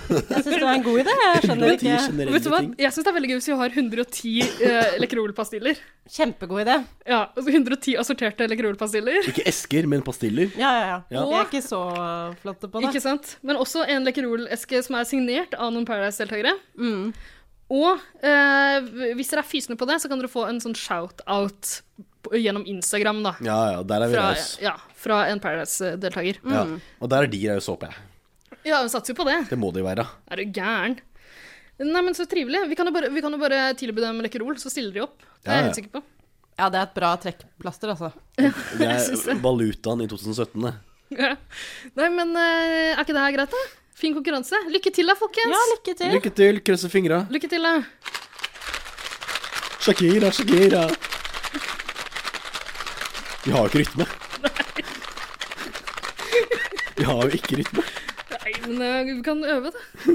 S4: Jeg syns det var en god idé. Jeg
S1: Ti
S4: skjønner ikke
S1: generelle
S2: Vet du hva?
S1: ting.
S2: Jeg syns det er veldig gøy hvis vi har 110 uh, Lekkerol-pastiller.
S4: Kjempegod idé.
S2: Ja, altså 110 assorterte Lekkerol-pastiller.
S1: Ikke esker, men pastiller.
S4: Ja, ja, ja.
S1: Ja.
S4: Vi er ikke så flotte på det.
S2: Ikke sant? Men også en Lekkerol-eske som er signert av noen Paradise-deltakere. Og eh, hvis dere er fysende på det, så kan dere få en sånn shout-out på- gjennom Instagram, da.
S1: Ja, ja, der er vi
S2: Fra, mm.
S1: rause.
S2: ja, fra en Paradise-deltaker.
S1: Ja. Og der er de rause, håper jeg.
S2: Ja, vi satser jo på det.
S1: Det må de være.
S2: Er du gæren? Nei, men så trivelig. Vi kan jo bare, vi kan jo bare tilby dem Lekkerol, så stiller de opp. Det er
S1: Ja,
S2: jeg
S1: ja.
S2: helt sikker på.
S4: Ja, det er et bra trekkplaster, altså.
S1: Det er valutaen i 2017. det.
S2: Ja. Nei, men eh, er ikke det her greit, da? Fin konkurranse. Lykke til, da, folkens.
S4: Ja, lykke til.
S1: Lykke til, krysser fingra.
S2: lykke til, da.
S1: Shakira, Shakira. Vi har jo ikke rytme. Vi har jo ikke rytme.
S2: Nei, men eh, vi kan øve, da.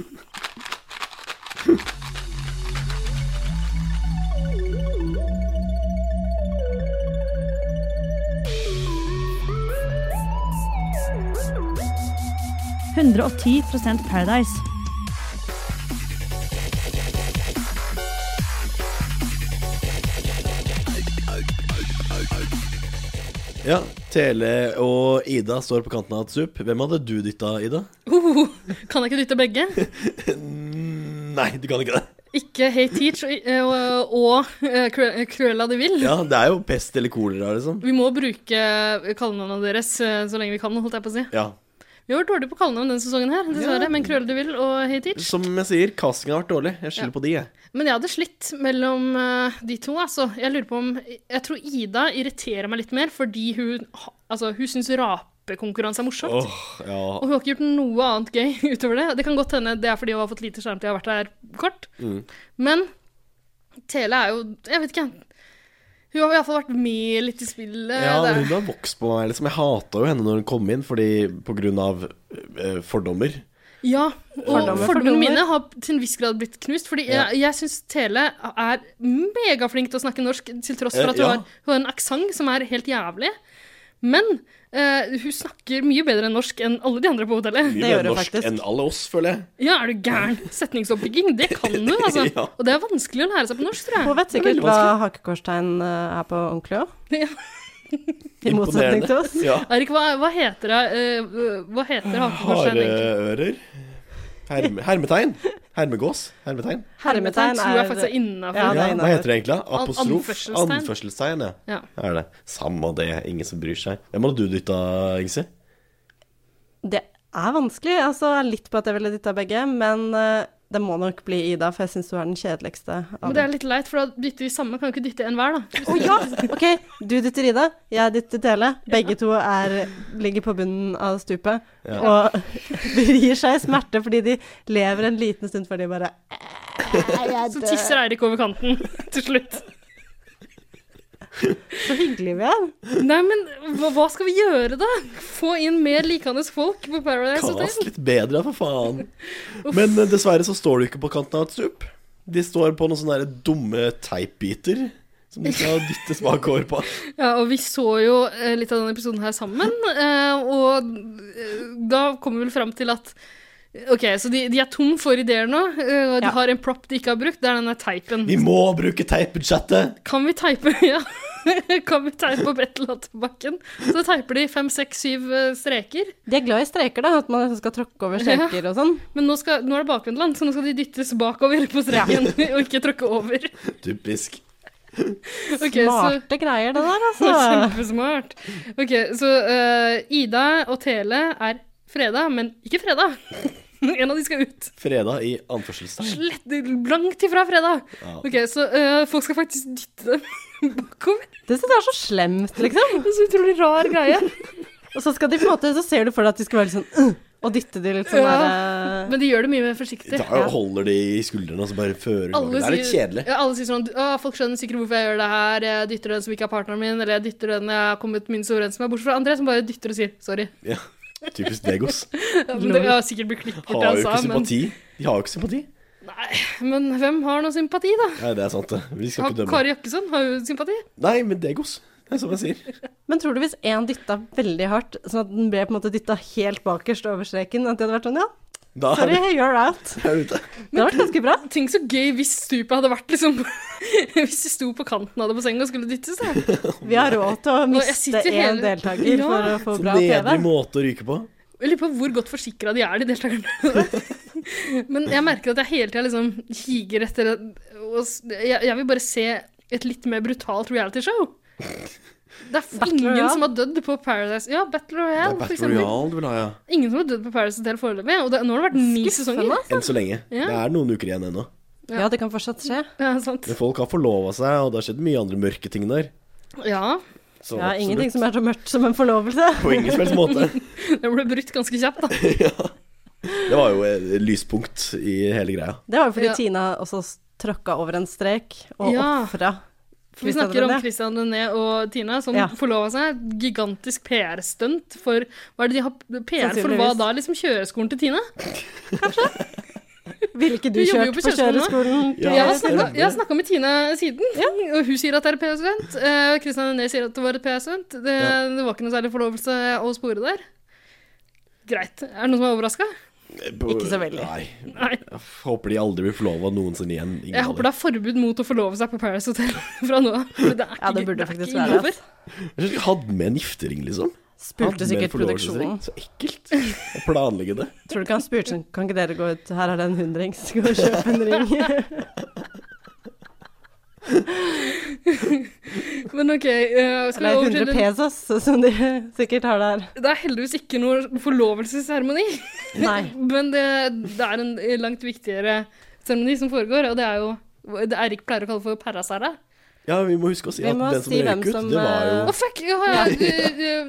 S1: Ja, Tele og Ida står på kanten av et sup. Hvem hadde du dytta, Ida?
S2: Hoho. kan jeg ikke dytte begge?
S1: Nei, du kan ikke det.
S2: Ikke Hey Teach og, eh, og, og eh, Cru- Cruella de Vil.
S1: Ja, Det er jo pest eller kolera, liksom.
S2: Vi må bruke kallenavnene deres eh, så lenge vi kan, holdt jeg på å si.
S1: Ja.
S2: Vi har vært dårlige på kallenavn denne sesongen her, dessverre.
S1: Ja.
S2: Men Cruella de Vil og Hey Teach.
S1: Som jeg sier, castinga har vært dårlig. Jeg skylder på de, jeg.
S2: Men jeg hadde slitt mellom eh, de to, altså. Jeg lurer på om Jeg tror Ida irriterer meg litt mer, fordi hun, ha- altså, hun syns rapekonkurranse er morsomt.
S1: Åh, ja.
S2: Og hun har ikke gjort noe annet gøy utover det. Det kan godt hende det er fordi hun har fått lite skjermtid og har vært her kort.
S1: Mm.
S2: Men Tele er jo Jeg vet ikke. Hun har i hvert fall vært med litt i
S4: Eh,
S2: spillet.
S1: Ja, men
S2: det er-
S1: hun har vokst på meg. Liksom. Jeg hata jo henne når hun kom inn, fordi på grunn av eh, fordommer.
S2: ja og
S4: Fordommer.
S2: fordommene mine har til en viss grad blitt knust. Fordi
S1: Ja.
S2: jeg, jeg syns Tele er megaflink til å snakke norsk, til tross
S1: Eh,
S2: for at hun,
S1: ja.
S2: har, hun har en aksent som er helt jævlig. Men eh, hun snakker mye bedre norsk enn alle de andre på hotellet.
S1: Mye
S4: Det gjør
S1: mer
S4: hun
S1: norsk
S4: faktisk.
S1: enn alle oss, føler jeg.
S2: Ja, er du gæren? Setningsoppbygging, det kan du, altså.
S1: Ja.
S2: Og det er vanskelig å lære seg på norsk, tror jeg.
S4: Hun vet sikkert hva hakekorstegn eh, er på ordentlig òg.
S2: Ja.
S4: I motsetning til oss.
S1: Ja.
S2: Erik, hva, hva heter det? eh, hva heter hakekorstegn egentlig?
S1: Hareører. Herme, hermetegn. Hermegås? Hermetegn?
S4: Hermetegn
S2: tror jeg
S4: er-
S2: faktisk er innafor.
S4: Ja, det
S1: Ja,
S4: er
S1: hva
S4: innafor.
S1: heter det egentlig? Apostrof?
S2: anførselstegn.
S1: Anførselstegn, ja.
S2: Ja.
S1: Er det. Samme det, ingen som bryr seg. Hvem hadde du dytta, Ingsi?
S4: Det er vanskelig. Altså, jeg er litt på at jeg ville dytta begge, men eh, det må nok bli Ida, for jeg syns du er den kjedeligste. av
S2: Men det er litt leit, for da dytter vi samme. Kan jo ikke dytte en hver, da.
S4: Å ja! Ok, du dytter Ida, jeg dytter Tele. Begge to er, ligger på bunnen av stupet. Og de gir seg smerte fordi de lever en liten stund før de bare
S2: Så tisser Eirik over kanten til slutt.
S4: Så hyggelige vi er.
S2: Nei, men hva, hva skal vi gjøre, da? Få inn mer likende folk på Paradise
S1: Kast
S2: Hotel?
S1: litt bedre, for faen. Men eh, dessverre så står du ikke på kanten av et stup. De står på noen sånne der dumme teipbiter som de skal dytte smakhår på.
S2: Ja, og vi så jo eh, litt av denne episoden her sammen, eh, og eh, da kom vi vel fram til at Ok, så de, de er tom for ideer nå, eh, og de
S4: Ja.
S2: har en prop de ikke har brukt, det er denne teipen.
S1: Vi må bruke teipbudsjettet!
S2: Kan vi teipe Ja. Kan vi teipe opp et eller annet på bakken? Så teiper de fem, seks, syv eh, streker.
S4: De er glad i streker, da. At man liksom skal tråkke over streker og sånn.
S2: Men nå, skal, nå er det bakvendtland, så nå skal de dyttes bakover på streken og ikke tråkke over.
S1: Typisk.
S2: Ok, så,
S4: Smarte greier, det der,
S2: så
S4: altså.
S2: Kjempesmart. Ok, så eh, Ida og Tele er freda, men ikke freda. En av de skal ut.
S1: Fredag i anførselstegn.
S2: Lett, langt ifra freda.
S1: Ja.
S2: Ok, så eh, folk skal faktisk dytte dem bakover.
S4: Det syns jeg er så slemt, liksom.
S2: Det er så utrolig rar greie.
S4: Og så skal de på en måte Så ser du for deg at de skal være litt sånn «Ugh», og dytte de litt sånn
S2: Ja.
S4: derre
S2: Men de gjør det mye mer forsiktig.
S1: Da holder de i skuldrene og så bare fører
S2: Alle
S1: de. Det er litt
S2: sier-
S1: kjedelig.
S2: Ja, alle sier sånn Å, folk skjønner sikkert hvorfor jeg gjør det her. Jeg dytter den som ikke er partneren min, eller jeg dytter den jeg har kommet minst overens med. Bortsett fra André, som bare dytter og sier sorry.
S1: Ja. Typisk Degos.
S2: Ja, men det har sikkert blitt klippet,
S1: Har
S2: jeg
S1: jo
S2: sa,
S1: ikke
S2: men,
S1: sympati. De har jo ikke sympati.
S2: men hvem har noe sympati, da?
S1: Nei, det er sant, det. Vi skal
S2: Har-
S1: ikke dømme.
S2: Kari Jakkesson har jo sympati.
S1: Nei, men Degos. Det er som jeg sier.
S4: Men tror du hvis én dytta veldig hardt, sånn at den ble på en måte dytta helt bakerst over streken, at de hadde vært sånn ja,
S1: Da er
S4: sorry, you're out.
S1: vi- er vi ute.
S4: Det hadde vært ganske bra.
S2: Tenk så gøy hvis stupet hadde vært liksom Hvis de sto på kanten av det bassenget og skulle dyttes, da.
S4: Vi har råd til å
S2: jeg
S4: miste
S2: sitter
S4: én
S2: hele-
S4: deltaker
S2: Ja.
S4: for å få
S1: Så
S4: bra TV.
S1: nedrig måte å ryke på.
S2: Jeg lurer på hvor godt forsikra de er, de deltakerne. Men jeg merker at jeg hele tida liksom higer etter å s- jeg, jeg vil bare se et litt mer brutalt realityshow. Det er f- ingen
S4: Royale?
S2: som har dødd på Paradise Ja, Battle Royale, for
S1: Battle
S2: eksempel.
S1: Royale du vil ha, ja.
S2: Ingen som har dødd på Paradise Hotel foreløpig. Og det, nå har det vært ni sesonger.
S1: Enn så lenge.
S2: Ja.
S1: Det er noen uker igjen ennå.
S4: Ja, det kan fortsatt skje.
S2: Ja, sant.
S1: Men folk har forlova seg, og det har skjedd mye andre mørke ting der.
S2: Ja,
S1: Så
S4: Ja,
S1: absolutt.
S4: ingenting som er så mørkt som en forlovelse.
S1: På ingen som helst måte.
S2: det ble brutt ganske kjapt, da.
S1: Det var jo et lyspunkt i hele greia.
S4: Det var jo fordi
S2: Ja.
S4: Tina også s- tråkka over en strek og
S2: Ja.
S4: ofra.
S2: For vi snakker om
S4: Christian
S2: Christian
S4: René.
S2: René og Tina, som
S4: Ja.
S2: forlova seg. Gigantisk PR-stunt for Hva er det de har PR for? Hva
S4: Sannsynligvis.
S2: da? Liksom kjøreskolen til Tina?
S4: Ville ikke
S2: Du
S4: du
S2: jobber jo
S4: kjørt
S2: på
S4: på kjøreskolen?
S2: kjøreskolen
S1: Ja,
S2: jeg, har
S1: stemmer
S2: snakket,
S1: det.
S2: jeg har snakka med Tina siden, og hun sier at det er et PS-event. Kristian René sier at det var et PS-event. Det,
S1: Ja.
S2: det var ikke noe særlig forlovelse å spore der. Greit. Er det noen som er overraska?
S1: Ikke
S4: så veldig.
S1: Nei.
S2: Nei.
S1: Jeg håper de aldri blir forlova noensinne igjen. Ingen
S2: Jeg
S1: av
S2: håper
S1: dem.
S2: det er forbud mot å forlove seg på Paradise Hotel fra nå av. for er
S4: Ja, det
S2: ikke-
S4: burde
S2: er
S4: faktisk
S2: ikke
S4: være det, altså.
S2: innenfor.
S1: Jeg synes de hadde med en giftering, liksom. Hadde
S4: Spurte
S1: med en
S4: sikkert
S1: forlovelsesring.
S4: produksjonen.
S1: Så ekkelt å planlegge det.
S4: Tror du ikke han spurte sånn Kan ikke dere gå ut, her er det en hundrings, gå og kjøpe en ring?
S2: Men OK. eh, skal vi
S4: Eller
S2: over til
S4: 100 pesos, som de sikkert har der.
S2: Det er heldigvis ikke noe forlovelsesseremoni,
S4: Nei.
S2: men det, det er en langt viktigere seremoni som foregår, og det er jo det Eirik pleier å kalle for parasara.
S1: Ja, vi må huske å si
S4: Vi
S1: at
S4: må
S1: den som
S4: si hvem
S1: røyk ut,
S4: som, eh,
S1: det var
S2: Å,
S1: jo
S2: fuck! Ja, ja,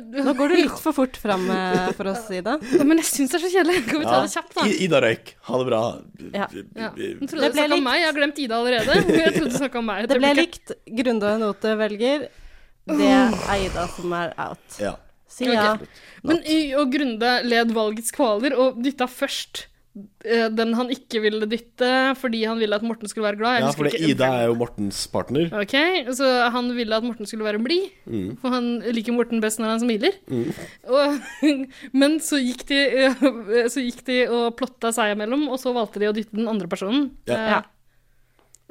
S2: du-
S4: Nå går du litt for fort fram eh, for oss, Ida.
S2: du- men jeg syns det er så kjedelig. Kan vi ta det kjapt, da?
S1: I- Ida røyk. Ha det bra.
S4: Ja.
S2: Ja. Hun trodde du
S4: Det ble
S2: snakka om
S4: likt.
S2: meg. Jeg har glemt Ida allerede. Jeg trodde du snakka om meg.
S4: Det ble likt. Grunde og Note velger. Det er Ida som er out.
S1: Ja.
S4: Si ja.
S2: Men i- og Grunde led valgets kvaler og dytta først eh, den han ikke ville dytte fordi han ville at Morten skulle være glad. Jeg
S1: ja,
S2: husker
S1: for
S2: ikke-
S1: Ida er jo Mortens partner.
S2: Ok, Så han ville at Morten skulle være blid, for han liker Morten best når han smiler. Og, men så gikk, de, eh, så gikk de og plotta seg imellom, og så valgte de å dytte den andre personen.
S1: Ja.
S2: Eh,
S4: Ja.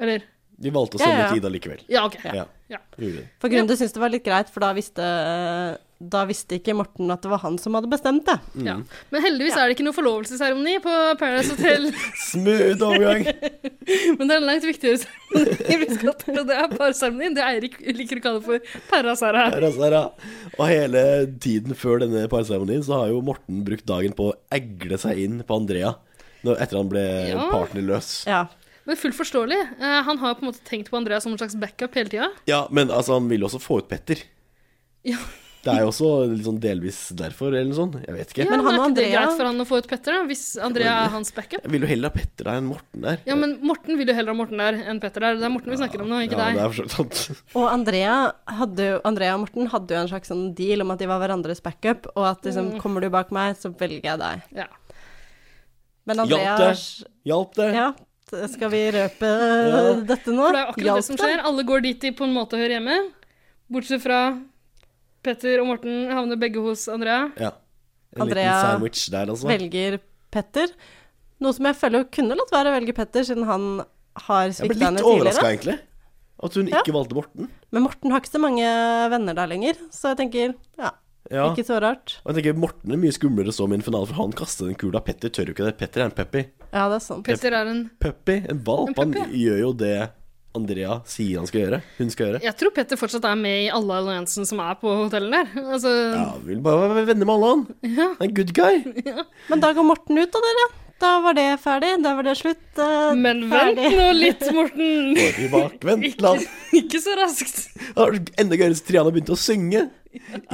S2: Eller
S1: De valgte å
S4: Ja,
S1: sende
S4: ja.
S1: ut Ida likevel.
S2: Ja, OK.
S1: Ja.
S2: Ja.
S1: Gjorde de.
S4: For Grunde syntes det var litt greit, for da visste eh, da visste ikke Morten at det var han som hadde bestemt det.
S2: Ja. Men heldigvis er det ikke noe forlovelsesseremoni på Paradise Hotel.
S1: Smooth overgang.
S2: Men det er en langt viktigere seremoni i Brysgata, og det er parseremoni. Det Eirik liker å kalle for parasara.
S1: Her, altså, her, ja. Og hele tiden før denne parseremonien så har jo Morten brukt dagen på å egle seg inn på Andrea. Når, etter han ble
S2: Ja.
S1: partnerløs.
S4: Ja.
S2: Men fullt forståelig. Eh, han har på en måte tenkt på Andrea som en slags backup hele tida.
S1: Ja, men altså, han vil også få ut Petter.
S2: Ja.
S1: Det er jo også litt sånn delvis derfor, eller noe sånt. Jeg vet ikke.
S2: Ja, men
S4: Men han
S2: er
S4: og
S2: ikke det
S4: Andrea-
S2: greit for han å få ut Petter, da? Hvis Andrea er hans backup?
S1: Jeg vil jo heller ha Petter der enn Morten der.
S2: Ja, men Morten vil jo heller ha Morten der enn Petter der. Det er Morten vi snakker om nå, ikke
S1: ja, det
S2: deg.
S1: er for så vidt sant.
S4: Og Andrea, hadde, jo- Andrea og Morten hadde jo en slags sånn deal om at de var hverandres backup, og at
S1: Mm.
S4: liksom, kommer du bak meg, så velger jeg deg.
S2: Ja.
S4: Men
S1: Hjalp
S4: Andrea
S1: det? Hjalp det?
S4: Ja, t- skal vi røpe eh, dette nå?
S2: For det er jo akkurat det som skjer. Alle går dit de på en måte hører hjemme. Bortsett fra Petter og Morten havner begge hos Andrea.
S1: Ja. En
S4: Andrea-
S1: liten sandwich der, altså.
S4: Velger Petter. Noe som jeg føler kunne latt være å velge Petter, siden han har
S1: jeg ble
S4: svikta henne
S1: litt overraska,
S4: tidligere.
S1: egentlig. At hun
S4: Ja.
S1: ikke valgte Morten.
S4: Men Morten har ikke så mange venner der lenger, så jeg tenker ja,
S1: Ja.
S4: ikke så rart.
S1: Og jeg tenker Morten er mye skumlere som i en finale, for han kaster den kula. Petter tør jo ikke det. Petter er en puppy.
S4: Ja, det er sant.
S2: Petter er en
S1: Puppy, en valp.
S2: En
S1: Han
S2: puppy,
S1: gjør jo det Andrea sier han skal gjøre. Hun skal gjøre.
S2: Jeg tror Petter fortsatt er med i alle alliansene som er på hotellet der. Altså,
S1: Ja, vil bare være venner med alle, han. Han er en good guy.
S4: Men da går Morten ut, da, dere. Da var det ferdig. Da var det slutt. eh,
S2: Men vent
S4: ferdig.
S2: nå litt, Morten!
S1: Går tilbake, vent, la han
S2: Ikke så raskt.
S1: Det var enda gøyere hvis Triana begynte å synge.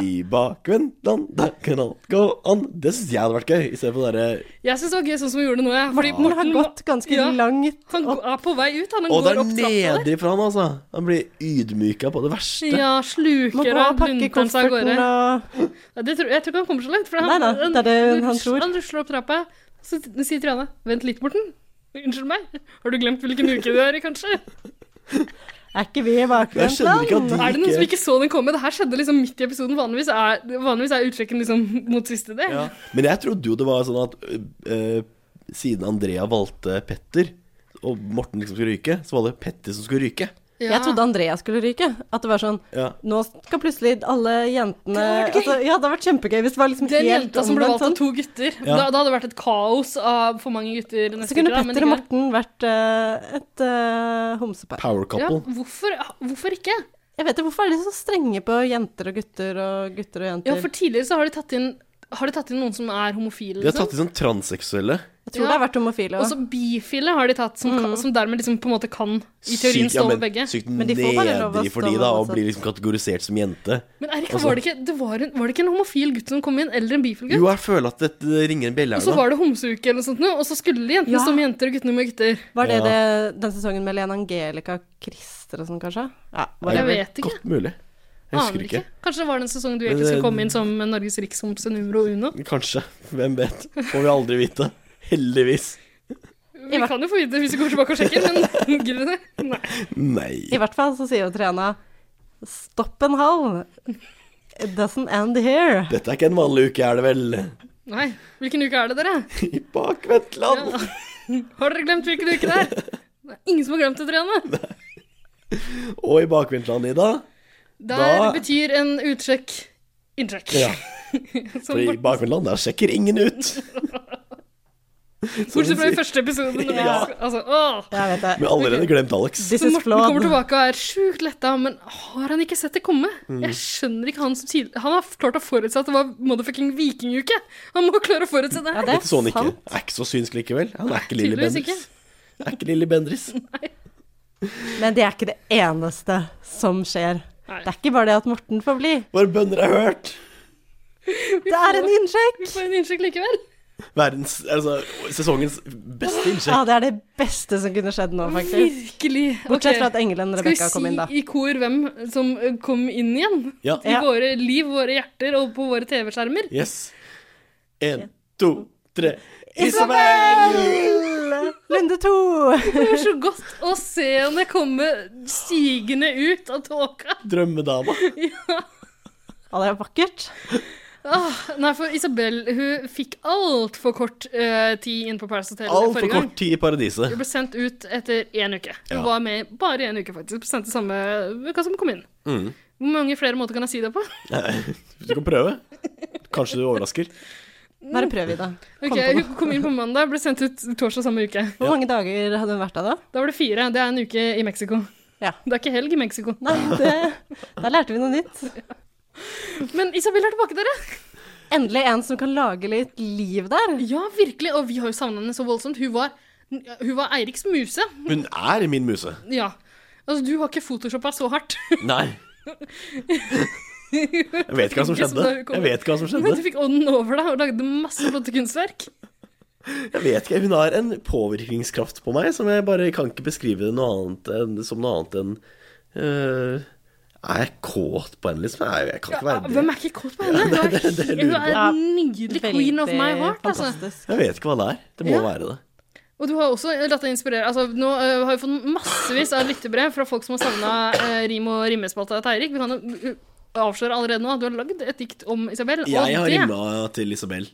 S1: I bakvendtland, der kan alt gå an. Det syns jeg hadde vært gøy, istedenfor det derre
S2: Jeg syns det var gøy sånn som vi gjorde det nå. jeg. Fordi
S4: Morten har
S2: Morten
S4: gått ganske
S2: Ja.
S4: langt.
S2: Han går- er på vei ut. Han, han
S1: Og det
S2: går
S1: er
S2: opp trappa der.
S1: nedrig for han, altså. Han blir ydmyka på det verste.
S2: Ja,
S4: Må
S2: sluker
S4: gå og
S2: og
S4: pakke
S2: blunter han seg av
S4: kofferten
S2: gårde.
S4: og
S2: Ja, det tror, jeg tror ikke han kommer så langt. For han,
S4: Nei, nei, det er det han tror.
S2: han rusler opp trappa, så t- sier Triana 'Vent litt, Morten'. Unnskyld meg, har du glemt hvilken uke du er i, kanskje?
S4: Er ikke vi i
S1: Jeg skjønner ikke
S4: bakvendtland?
S1: at de
S2: Er det noen som ikke så den komme? Det her skjedde liksom midt i episoden. Vanligvis er, vanligvis er utsjekken liksom mot siste del.
S1: Ja. Men jeg trodde jo det var sånn at øh, øh, siden Andrea valgte Petter, og Morten liksom skulle ryke, så var det Petter som skulle ryke.
S4: Jeg trodde Andrea skulle ryke. At det var sånn
S1: Ja.
S4: Nå skal plutselig alle jentene altså, Ja, det hadde vært kjempegøy hvis det var liksom
S2: Den
S4: helt
S2: jenta som ble
S4: omvendt
S2: valgt av
S4: sånn.
S2: to gutter.
S1: Ja.
S2: Da, da hadde det vært et kaos av for mange gutter. neste
S4: Så kunne
S2: uke, da, men
S4: Petter
S2: ikke-
S4: og Morten vært eh, et eh, homsepar.
S1: Power
S2: ja,
S1: couple.
S2: hvorfor, hvorfor ikke?
S4: Jeg vet ikke, Hvorfor er de så strenge på jenter og gutter og gutter og
S2: Ja,
S4: jenter?
S2: for tidligere så har de tatt inn har de tatt inn noen som er homofile?
S1: De har
S2: Liksom?
S1: tatt i sånn transseksuelle.
S4: jeg tror
S2: ja.
S4: det har vært homofile
S2: Og
S4: òg.
S2: så bifile har de tatt, som, kan, som dermed liksom på en måte kan i teorien
S1: Mm. Sykt-
S2: stå
S1: men
S2: med begge.
S1: Sykt
S4: Men de får bare lov å
S1: nedig for
S4: stå
S1: de,
S4: med
S1: da,
S4: alle
S1: og
S4: sammen.
S1: blir liksom kategorisert som jente.
S2: Men Erik,
S1: Altså-
S2: var, det ikke, det var, en, var det ikke en homofil gutt som kom inn, eller en bifil gutt?
S1: Jo, jeg føler at dette ringer en bjelle
S2: Og så
S1: her nå.
S2: var det homseuke eller noe sånt, nå, og så skulle jentene
S4: Ja.
S2: stå med jenter og guttene med gutter.
S4: Var det,
S1: Ja.
S4: det den sesongen med Lene Angelica Christer og sånn, kanskje? Ja,
S2: Jeg
S4: whatever.
S2: vet ikke.
S1: Godt mulig. Jeg husker
S2: Aner
S1: ikke.
S2: ikke. Kanskje det var den sesongen du
S1: Men
S2: egentlig
S1: det-
S2: skulle komme inn som Norges rikshomse numero uno?
S1: Kanskje. Hvem vet. Får vi aldri vite. Heldigvis.
S2: Vi kan jo få vite det hvis vi går tilbake og sjekker, men gidder vi det? Nei.
S1: Nei.
S4: I hvert fall så sier jo Triana Stopp en halv. It doesn't end here.
S1: Dette er ikke en vanlig uke, er det vel?
S2: Nei. Hvilken uke er det, dere?
S1: I bakvendtland!
S2: Har dere glemt hvilken uke det er? Det er ingen som har glemt det, Triane.
S1: Og i bakvendtland, Ida.
S2: Der
S1: Da-
S2: betyr en utsjekk innsjekk.
S1: Ja. For
S2: Som
S1: i
S2: bort-
S1: bakvendtland, der sjekker ingen ut.
S2: Bortsett fra i første episode. når vi-
S1: Ja.
S2: Altså, åh.
S4: Jeg
S1: Vi
S4: vet
S1: har
S4: det.
S1: allerede glemt Alex.
S4: This
S2: Så
S4: is
S2: Morten kommer
S4: flawed.
S2: tilbake og er sjukt letta, men har han ikke sett det komme?
S1: Mm.
S2: Jeg skjønner ikke Han som tidlig Han har klart å forutse at det var motherfucking vikinguke! Han må klare å forutse det!
S4: Ja, det
S1: Dette så han
S4: er
S1: ikke.
S4: sant.
S1: Er ikke så synsk likevel. Han er ikke Lilly
S2: tydeligvis
S1: Bendriss. Er ikke Lilly Bendriss.
S4: Men det er ikke det eneste som skjer.
S2: Nei.
S4: Det er ikke bare det at Morten får bli.
S1: Våre bønner er hørt.
S4: Det er en innsjekk!
S2: Vi får en innsjekk likevel.
S1: Verdens, altså, sesongens beste
S4: Ja,
S1: innsjekk.
S4: det er det beste som kunne skjedd nå, faktisk.
S2: Virkelig.
S4: Bortsett
S2: Ok.
S4: fra at engelen
S2: Skal vi
S4: Rebekka kom inn, da.
S2: si i kor hvem som eh, kom inn igjen?
S1: Ja.
S2: I
S4: Ja.
S2: våre liv, våre hjerter og på våre TV-skjermer?
S1: Yes. En, to, tre. Isabel!
S4: Lunde to!
S2: Det var så godt å se henne komme stigende ut av tåka.
S1: Drømmedama.
S4: Ja, det er vakkert.
S2: Ah, nei, for Isabel hun fikk altfor kort eh, tid inn på Paris Hotel
S1: Altfor
S2: forrige gang.
S1: kort tid i paradiset.
S2: Hun ble sendt ut etter én uke. Hun
S1: Ja.
S2: var med bare én uke, faktisk. Ble sendt til samme uka som hun kom inn. Hvor mange flere måter kan jeg si det på?
S1: Mm. Du kan prøve. Kanskje du overrasker.
S4: Bare prøv, Ida. Kom
S2: Ok,
S4: på
S2: Hun
S4: noe.
S2: kom inn på mandag, ble sendt ut torsdag samme uke.
S4: Hvor mange dager hadde hun vært der da?
S2: Da var det fire. Det er en uke i Mexico.
S4: Ja.
S2: Det er ikke helg i Mexico.
S4: Nei, det, da lærte vi noe nytt.
S2: Men Isabel er tilbake, dere!
S4: Endelig en som kan lage litt liv der.
S2: Ja, virkelig. Og vi har jo savna henne så voldsomt. Hun var, hun var Eiriks muse.
S1: Hun er min muse.
S2: Ja. Altså, du har ikke photoshoppa så hardt.
S1: Nei. Jeg vet ikke hva som skjedde. Jeg vet ikke hva som
S2: Men du
S1: skjedde.
S2: fikk ånden over deg og lagde masse flotte kunstverk.
S1: Jeg vet ikke, Hun har en påvirkningskraft på meg som jeg bare kan ikke beskrive det noe annet enn, som noe annet enn øh, Er jeg kåt på henne, liksom? Nei, jeg kan ikke være
S2: Hvem
S1: det.
S2: er ikke kåt på henne? Hun er,
S1: det jeg
S2: hun
S1: lurer
S2: er
S4: på.
S2: en nydelig queen of my heart. Altså.
S4: fantastisk.
S1: Jeg vet ikke hva det er. Det må
S2: Ja.
S1: være det.
S2: Og du har også latt deg inspirere. Altså, nå øh, har vi fått massevis av lyttebrev fra folk som har savna rim- og rimespalte av Eirik. Vi kan jo øh, avsløre allerede nå at du har lagd et dikt om Isabel.
S1: Jeg har
S2: og
S1: rimma til Isabel.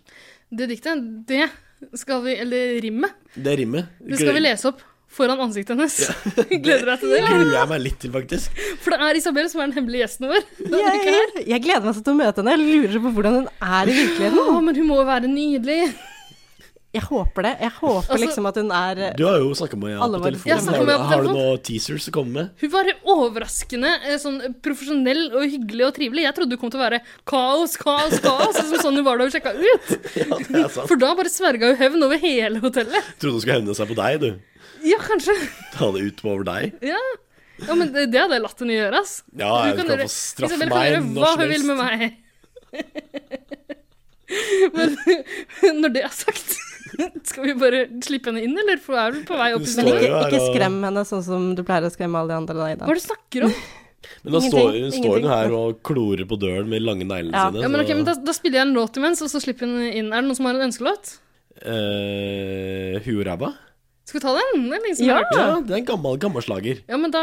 S2: det, det diktet, det skal vi Eller rimmet.
S1: Det rimmet
S2: Det skal vi lese opp foran ansiktet hennes. Gleder du deg til det? eller?
S1: gruer jeg meg litt til, faktisk.
S2: For det er Isabel som er den hemmelige gjesten vår. Det er ikke her.
S4: Jeg, jeg gleder meg så til å møte henne. Jeg lurer på hvordan hun er i virkeligheten.
S2: Å, men hun må jo være nydelig.
S4: Jeg håper det. Jeg håper
S2: Altså-
S4: liksom at hun er
S1: Du har jo snakka med henne
S4: Alle
S1: på
S4: var-
S1: telefonen.
S2: Jeg snakket
S1: Har,
S2: med
S1: du-
S2: henne på
S1: har du
S2: telefon.
S1: noen teasers å komme med?
S2: Hun var overraskende eh, sånn profesjonell og hyggelig og trivelig. Jeg trodde hun kom til å være kaos, kaos, kaos, som sånn hun var da hun sjekka ut.
S1: Ja, det er sant.
S2: For da bare sverga hun hevn over hele hotellet.
S1: Trodde hun skulle hevne seg på deg, du.
S2: Ja, kanskje.
S1: Ta det ut over deg.
S2: Ja. Ja, men det det hadde jeg latt henne gjøre, ass.
S1: Ja,
S2: Hun
S1: hun kan
S2: gjøre-
S1: få straffe
S2: Isabel
S1: meg
S2: kan gjøre hva
S1: når som
S2: hun vil med
S1: helst.
S2: meg. Men når det er sagt, skal vi bare slippe henne inn, eller? For hun er vel på vei
S1: Hun
S2: opp i
S4: Men
S1: står
S2: sending?
S1: jo
S4: ikke,
S1: her
S4: ikke
S1: og-
S4: skrem henne sånn som du pleier å skremme alle de andre. da,
S2: Hva
S4: Ida.
S2: er det du snakker om?
S1: Men da står
S4: Ingenting,
S1: hun står hun
S4: ingenting.
S1: her og klorer på døren med de lange neglene
S4: Ja.
S1: sine.
S2: Ja, men
S1: så-
S2: ok, men da, da spiller jeg en låt imens, og så slipper hun inn. Er det noen som har en ønskelåt?
S1: Eh, Hu og ræva?
S2: Skal vi ta den? Det er lenge siden vi har hørt den.
S1: Ja, det er en gammel, gammel slager.
S2: ja, men da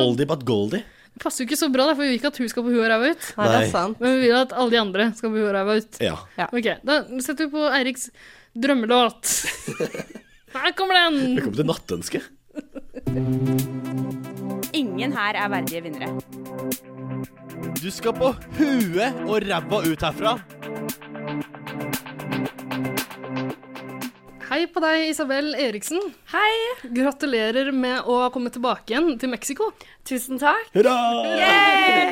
S1: Oldie but goldie.
S2: passer jo ikke så bra, da, for vi vil ikke at hun skal på huet og ræva ut.
S4: Nei, det
S1: Nei.
S4: er sant.
S2: Men vi vil at alle de andre skal på huet og ræva ut.
S1: Ja.
S2: Ok, da setter vi på Eiriks drømmelåt. Her kommer den!
S1: Velkommen til Nattønske.
S11: Ingen her er verdige vinnere.
S1: Du skal på huet og ræva ut herfra.
S2: Hei på deg, Isabel Eriksen.
S5: Hei!
S2: Gratulerer med å ha kommet tilbake igjen til Mexico.
S5: Tusen takk.
S1: Hurra!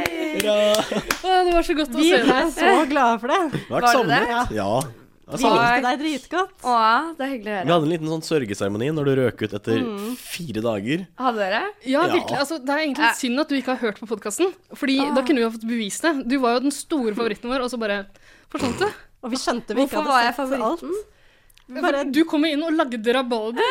S1: Hurra!
S2: Å, det var så godt å
S4: Vi
S2: se
S4: er
S2: deg.
S4: så glade for det.
S1: Vært
S5: Var det
S1: samlet.
S5: det?
S1: Ja. Jeg
S4: Vi
S1: savnet.
S4: likte deg dritgodt.
S5: Å, det er hyggelig å
S1: Vi
S5: høre.
S1: hadde en liten sånn sørgeseremoni når du røk ut etter fire dager.
S5: Hadde dere?
S2: Ja,
S1: Ja.
S2: virkelig. Altså, det er egentlig litt synd at du ikke har hørt på podkasten. Fordi da kunne vi ha fått bevist det. Du var jo den store favoritten vår, og så bare forsvant du.
S4: Og vi skjønte vi ikke
S5: Hvorfor var jeg
S4: hadde sett alt.
S5: favoritten?
S4: Bare,
S2: Du kom inn og lagde rabalder.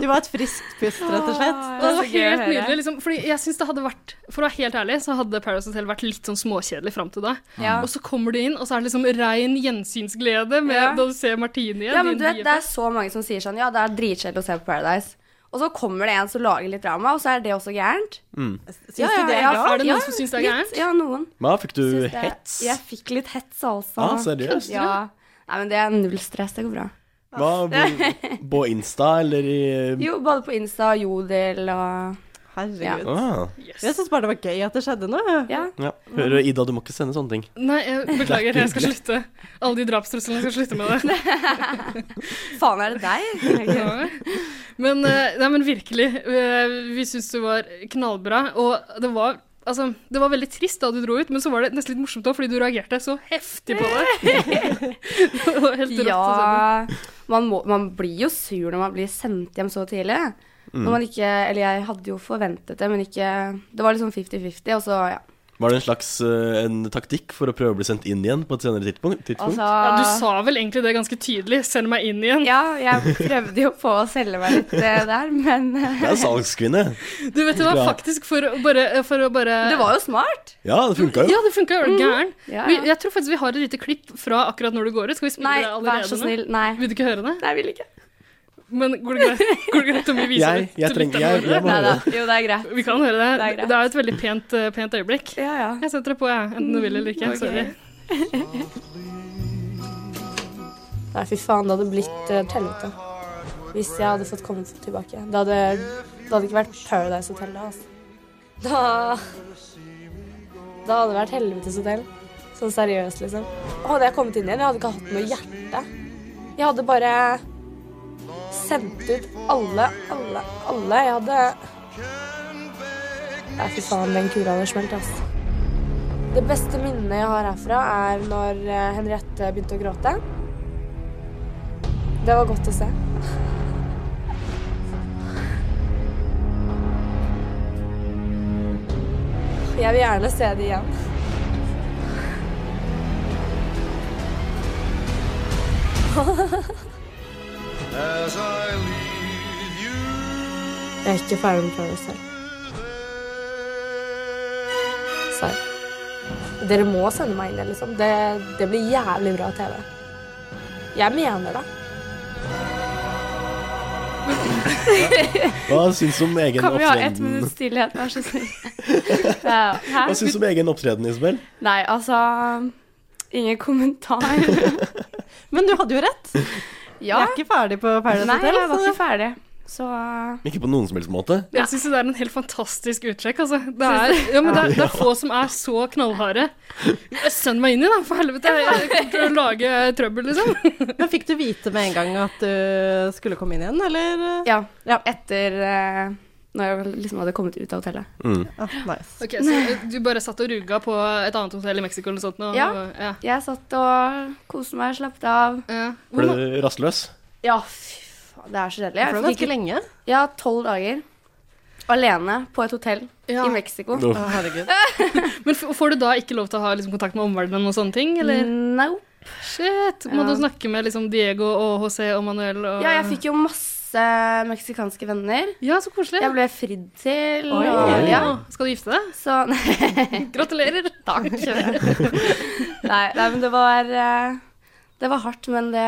S4: du var et friskt pust, rett og slett.
S2: Og det var
S5: så gøy å
S2: helt
S5: høre.
S2: nydelig. Liksom. Fordi jeg synes det hadde vært For å være helt ærlig, så hadde Paradise Hotel vært litt sånn småkjedelig fram til da.
S5: Ja.
S2: Og så kommer du inn, og så er det liksom rein gjensynsglede med
S5: Ja.
S2: da du ser Martine igjen.
S5: Ja, men
S2: din
S5: du vet,
S2: BFF.
S5: Det er så mange som sier sånn Ja, det er dritkjedelig å se på Paradise. Og så kommer det en som lager litt drama, og så er det også gærent.
S1: Mm.
S4: Syns du det er
S2: ja.
S4: bra?
S2: Er det noen som synes det er
S5: litt.
S2: gærent?
S5: Ja, noen.
S1: Men fikk du
S5: Syns det-
S1: hets?
S5: Jeg fikk litt hets, altså.
S1: Ah, seriøst?
S5: Ja. Nei, men det er null stress. Det går bra.
S1: Hva, på, på Insta eller i
S5: Jo, både på Insta og Jodel og
S4: Herregud.
S1: ah,
S4: Jeg syns bare det var gøy at det skjedde noe.
S5: Ja.
S1: ja. Hører du, Ida, du må ikke sende sånne ting.
S2: Nei, jeg beklager, jeg skal slutte. Alle de drapstruslene skal slutte med det.
S5: Faen, er det deg?
S2: Ja. Men, eh, nei, men virkelig, eh, vi syns du var knallbra. Og det var, altså, det var veldig trist da du dro ut, men så var det nesten litt morsomt òg, fordi du reagerte så heftig på det. det var helt rått. altså. å se på.
S5: Ja. Man, må, man blir jo sur når man blir sendt hjem så tidlig.
S1: Mm.
S5: Når man ikke Eller jeg hadde jo forventet det, men ikke Det var liksom 50-50, og så, ja.
S1: Var det en slags eh, en taktikk for å prøve å bli sendt inn igjen på et senere tidspunkt? tidspunkt?
S5: Altså
S2: Ja, du sa vel egentlig det ganske tydelig. Send meg inn igjen.
S5: Ja, jeg prøvde jo på å selge meg litt eh, der, men eh,
S1: Det er en salgskvinne.
S2: Du vet det var
S1: Ja.
S2: faktisk for å bare, for å bare
S5: Det var jo smart.
S1: Ja, det funka jo.
S2: Ja, det funka jo. Er du gæren?
S5: Ja,
S2: Vi,
S5: ja.
S2: jeg tror faktisk vi har et lite klipp fra akkurat når du går ut. Skal vi spille
S5: Nei,
S2: det
S5: vær
S2: allerede
S5: så
S2: nå?
S5: snill. Nei.
S2: Vil du ikke høre det?
S5: Nei, jeg vil ikke.
S2: Men går det greit, går det greit om vi viser
S1: Jeg-
S2: det
S1: jeg
S2: til
S1: trenger-
S2: lytterne
S1: jeg-
S2: våre?
S1: jeg må-
S5: Nei da. Jo, det er greit.
S2: Vi kan høre det.
S5: Det
S2: Det
S5: er greit.
S2: er, et veldig pent, eh, pent øyeblikk.
S5: Ja, ja.
S2: Jeg setter det på, jeg. Enten du vil eller
S5: Mm,
S2: ikke. Sorry.
S5: Nei, fy faen, det hadde blitt
S12: eh,
S5: uh, tellete. Hvis jeg hadde fått komme tilbake. Det hadde, det hadde ikke vært Paradise Hotel da, altså. Da
S12: Da hadde det vært helvetes hotell. Sånn seriøst, liksom. Hadde jeg kommet inn igjen, jeg hadde ikke hatt noe hjerte. Jeg hadde bare sendt ut alle, alle, alle. Jeg hadde Nei, fy faen, den kula hadde smelt, ass. Det beste minnet jeg har herfra, er når eh, Henriette begynte å gråte. Det var godt å se. Jeg vil gjerne se det igjen. Jeg er ikke ferdig med prøven selv. Serr. Dere må sende meg inn det, liksom. Det, det blir jævlig bra TV. Jeg mener det.
S1: Hva syns du om egen
S13: Kan vi ha ett
S1: opptreden?
S13: minutts stillhet, vær så snill? Ja, hæ?
S1: Hva syns du om egen opptreden, Isabel?
S13: Nei, altså Ingen kommentar.
S4: Men du hadde jo rett.
S13: Ja.
S4: Jeg er ikke ferdig på Paradise
S13: Nei, altså.
S4: Hotel. altså.
S13: jeg var
S4: så-
S13: ikke ferdig. Så
S1: Ikke på noen som helst måte?
S2: Jeg syns det er en helt fantastisk uttrekk, altså. Det
S13: Synes
S2: er,
S13: du?
S2: ja, men det, er, det er få som er så knallharde. Send meg inn i, da, for helvete. Jeg kommer til å lage trøbbel, liksom.
S4: Men fikk du vite med en gang at du skulle komme inn igjen, eller?
S13: Ja.
S14: Etter eh, når jeg liksom hadde kommet ut av hotellet.
S1: Mm.
S4: Ah, nice.
S2: Ok, Så eh, du bare satt og ruga på et annet hotell i Mexico eller noe sånt? nå?
S14: Ja.
S2: ja.
S14: Jeg satt og koste meg, slappet av.
S1: Ble du rastløs?
S14: Ja, fy faen, det er så kjedelig.
S4: For det var ganske lenge.
S14: Ja, tolv dager. Alene på et hotell i Mexico.
S1: Uff.
S4: Å, herregud.
S2: Men f- får du da ikke lov til å ha liksom, kontakt med omverdenen og sånne ting, eller?
S14: Nope.
S2: Shit. Må
S14: Mm. Ja.
S2: du snakke med liksom, Diego og HC og Manuel og
S14: Ja, jeg fikk jo masse meksikanske venner.
S2: Ja, så koselig.
S14: Jeg ble fridd til.
S2: Oi.
S14: og- Ja.
S2: Skal du gifte deg?
S14: Så
S2: Gratulerer.
S14: Takk. nei, nei, men det var eh, Det var hardt, men det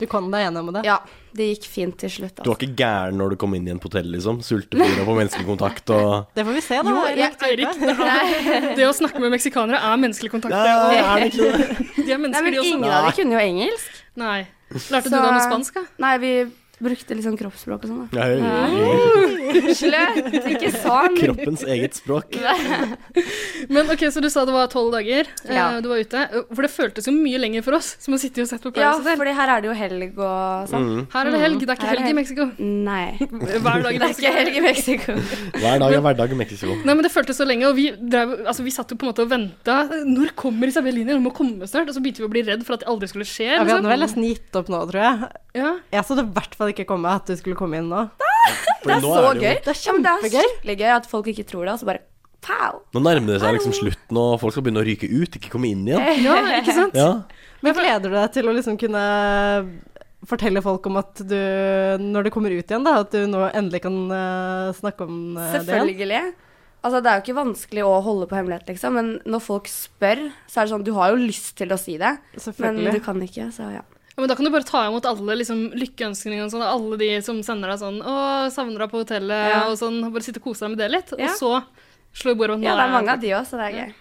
S4: Du kom deg gjennom det?
S14: Ja. Det gikk fint til slutt. altså.
S1: Du var ikke gæren når du kom inn igjen på hotellet, liksom? Sultefòra på menneskekontakt og
S4: Det får vi se, da.
S2: Jo,
S4: Eirik,
S2: jeg,
S4: tenker
S2: Eirik,
S4: jeg.
S2: det, det å snakke med meksikanere er menneskelig kontakt.
S1: Ja,
S2: og-
S1: er det ikke det?
S2: De er
S14: Nei,
S2: mennesker,
S14: men
S2: de også.
S14: Ingen av dem kunne jo sånn engelsk.
S2: Nei. Lærte du da noe spansk, da?
S14: Nei, vi brukte liksom kroppsspråk og sånn. da.
S1: Ja, ja, ja.
S14: Sløtt! Ikke sånn!
S1: Kroppens eget språk.
S2: Men ok, Så du sa det var tolv dager eh,
S14: Ja.
S2: du var ute. For det føltes jo mye lenger for oss som har sittet og sett på
S14: Ja,
S2: Paradise Hotel.
S14: fordi her er det jo helg og sånn.
S1: Mm.
S2: Her er det helg, det er ikke
S14: Her
S2: helg i Mexico.
S14: Nei.
S2: Hver dag i
S14: Det er ikke helg i Mexico.
S1: Hver dag er hverdag i Mexico.
S2: Nei, men Det føltes så lenge, og vi, drev, altså, vi satt jo på en måte og venta. Når kommer Isabel inn? Hun må komme snart. Og så begynte vi å bli redd for at det aldri skulle skje.
S4: Ja, vi hadde
S2: liksom.
S4: vel nesten gitt opp nå, tror jeg.
S2: ja.
S4: Jeg så det i hvert fall ikke komme at du skulle komme inn nå.
S1: Fordi nå
S14: Så
S1: er det
S14: gøy.
S1: jo-
S14: Det er kjempegøy. Det er skikkelig gøy at folk ikke tror det, og så bare pow!
S1: Nå nærmer det seg liksom slutten, og folk skal begynne å ryke ut, ikke komme inn igjen.
S2: ja, ikke sant?
S1: Ja.
S4: Men gleder du deg til å liksom kunne fortelle folk om at du, når du kommer ut igjen, da, at du nå endelig kan eh, snakke om eh, det igjen?
S14: Selvfølgelig. Altså, det er jo ikke vanskelig å holde på hemmelighet, liksom, men når folk spør, så er det sånn Du har jo lyst til å si det, men
S4: Selvfølgelig.
S14: du kan ikke, så ja.
S2: Ja, men Da kan du bare ta imot alle liksom, lykkeønskningene og sånn. Alle de som sender deg sånn 'Å, savner deg på hotellet',
S14: Ja.
S2: og sånn. Bare sitte og kose deg med det litt.
S14: Ja.
S2: Og så slå i bordet med at nå
S14: Ja, det er mange av
S2: jeg-
S14: de òg, så det er gøy.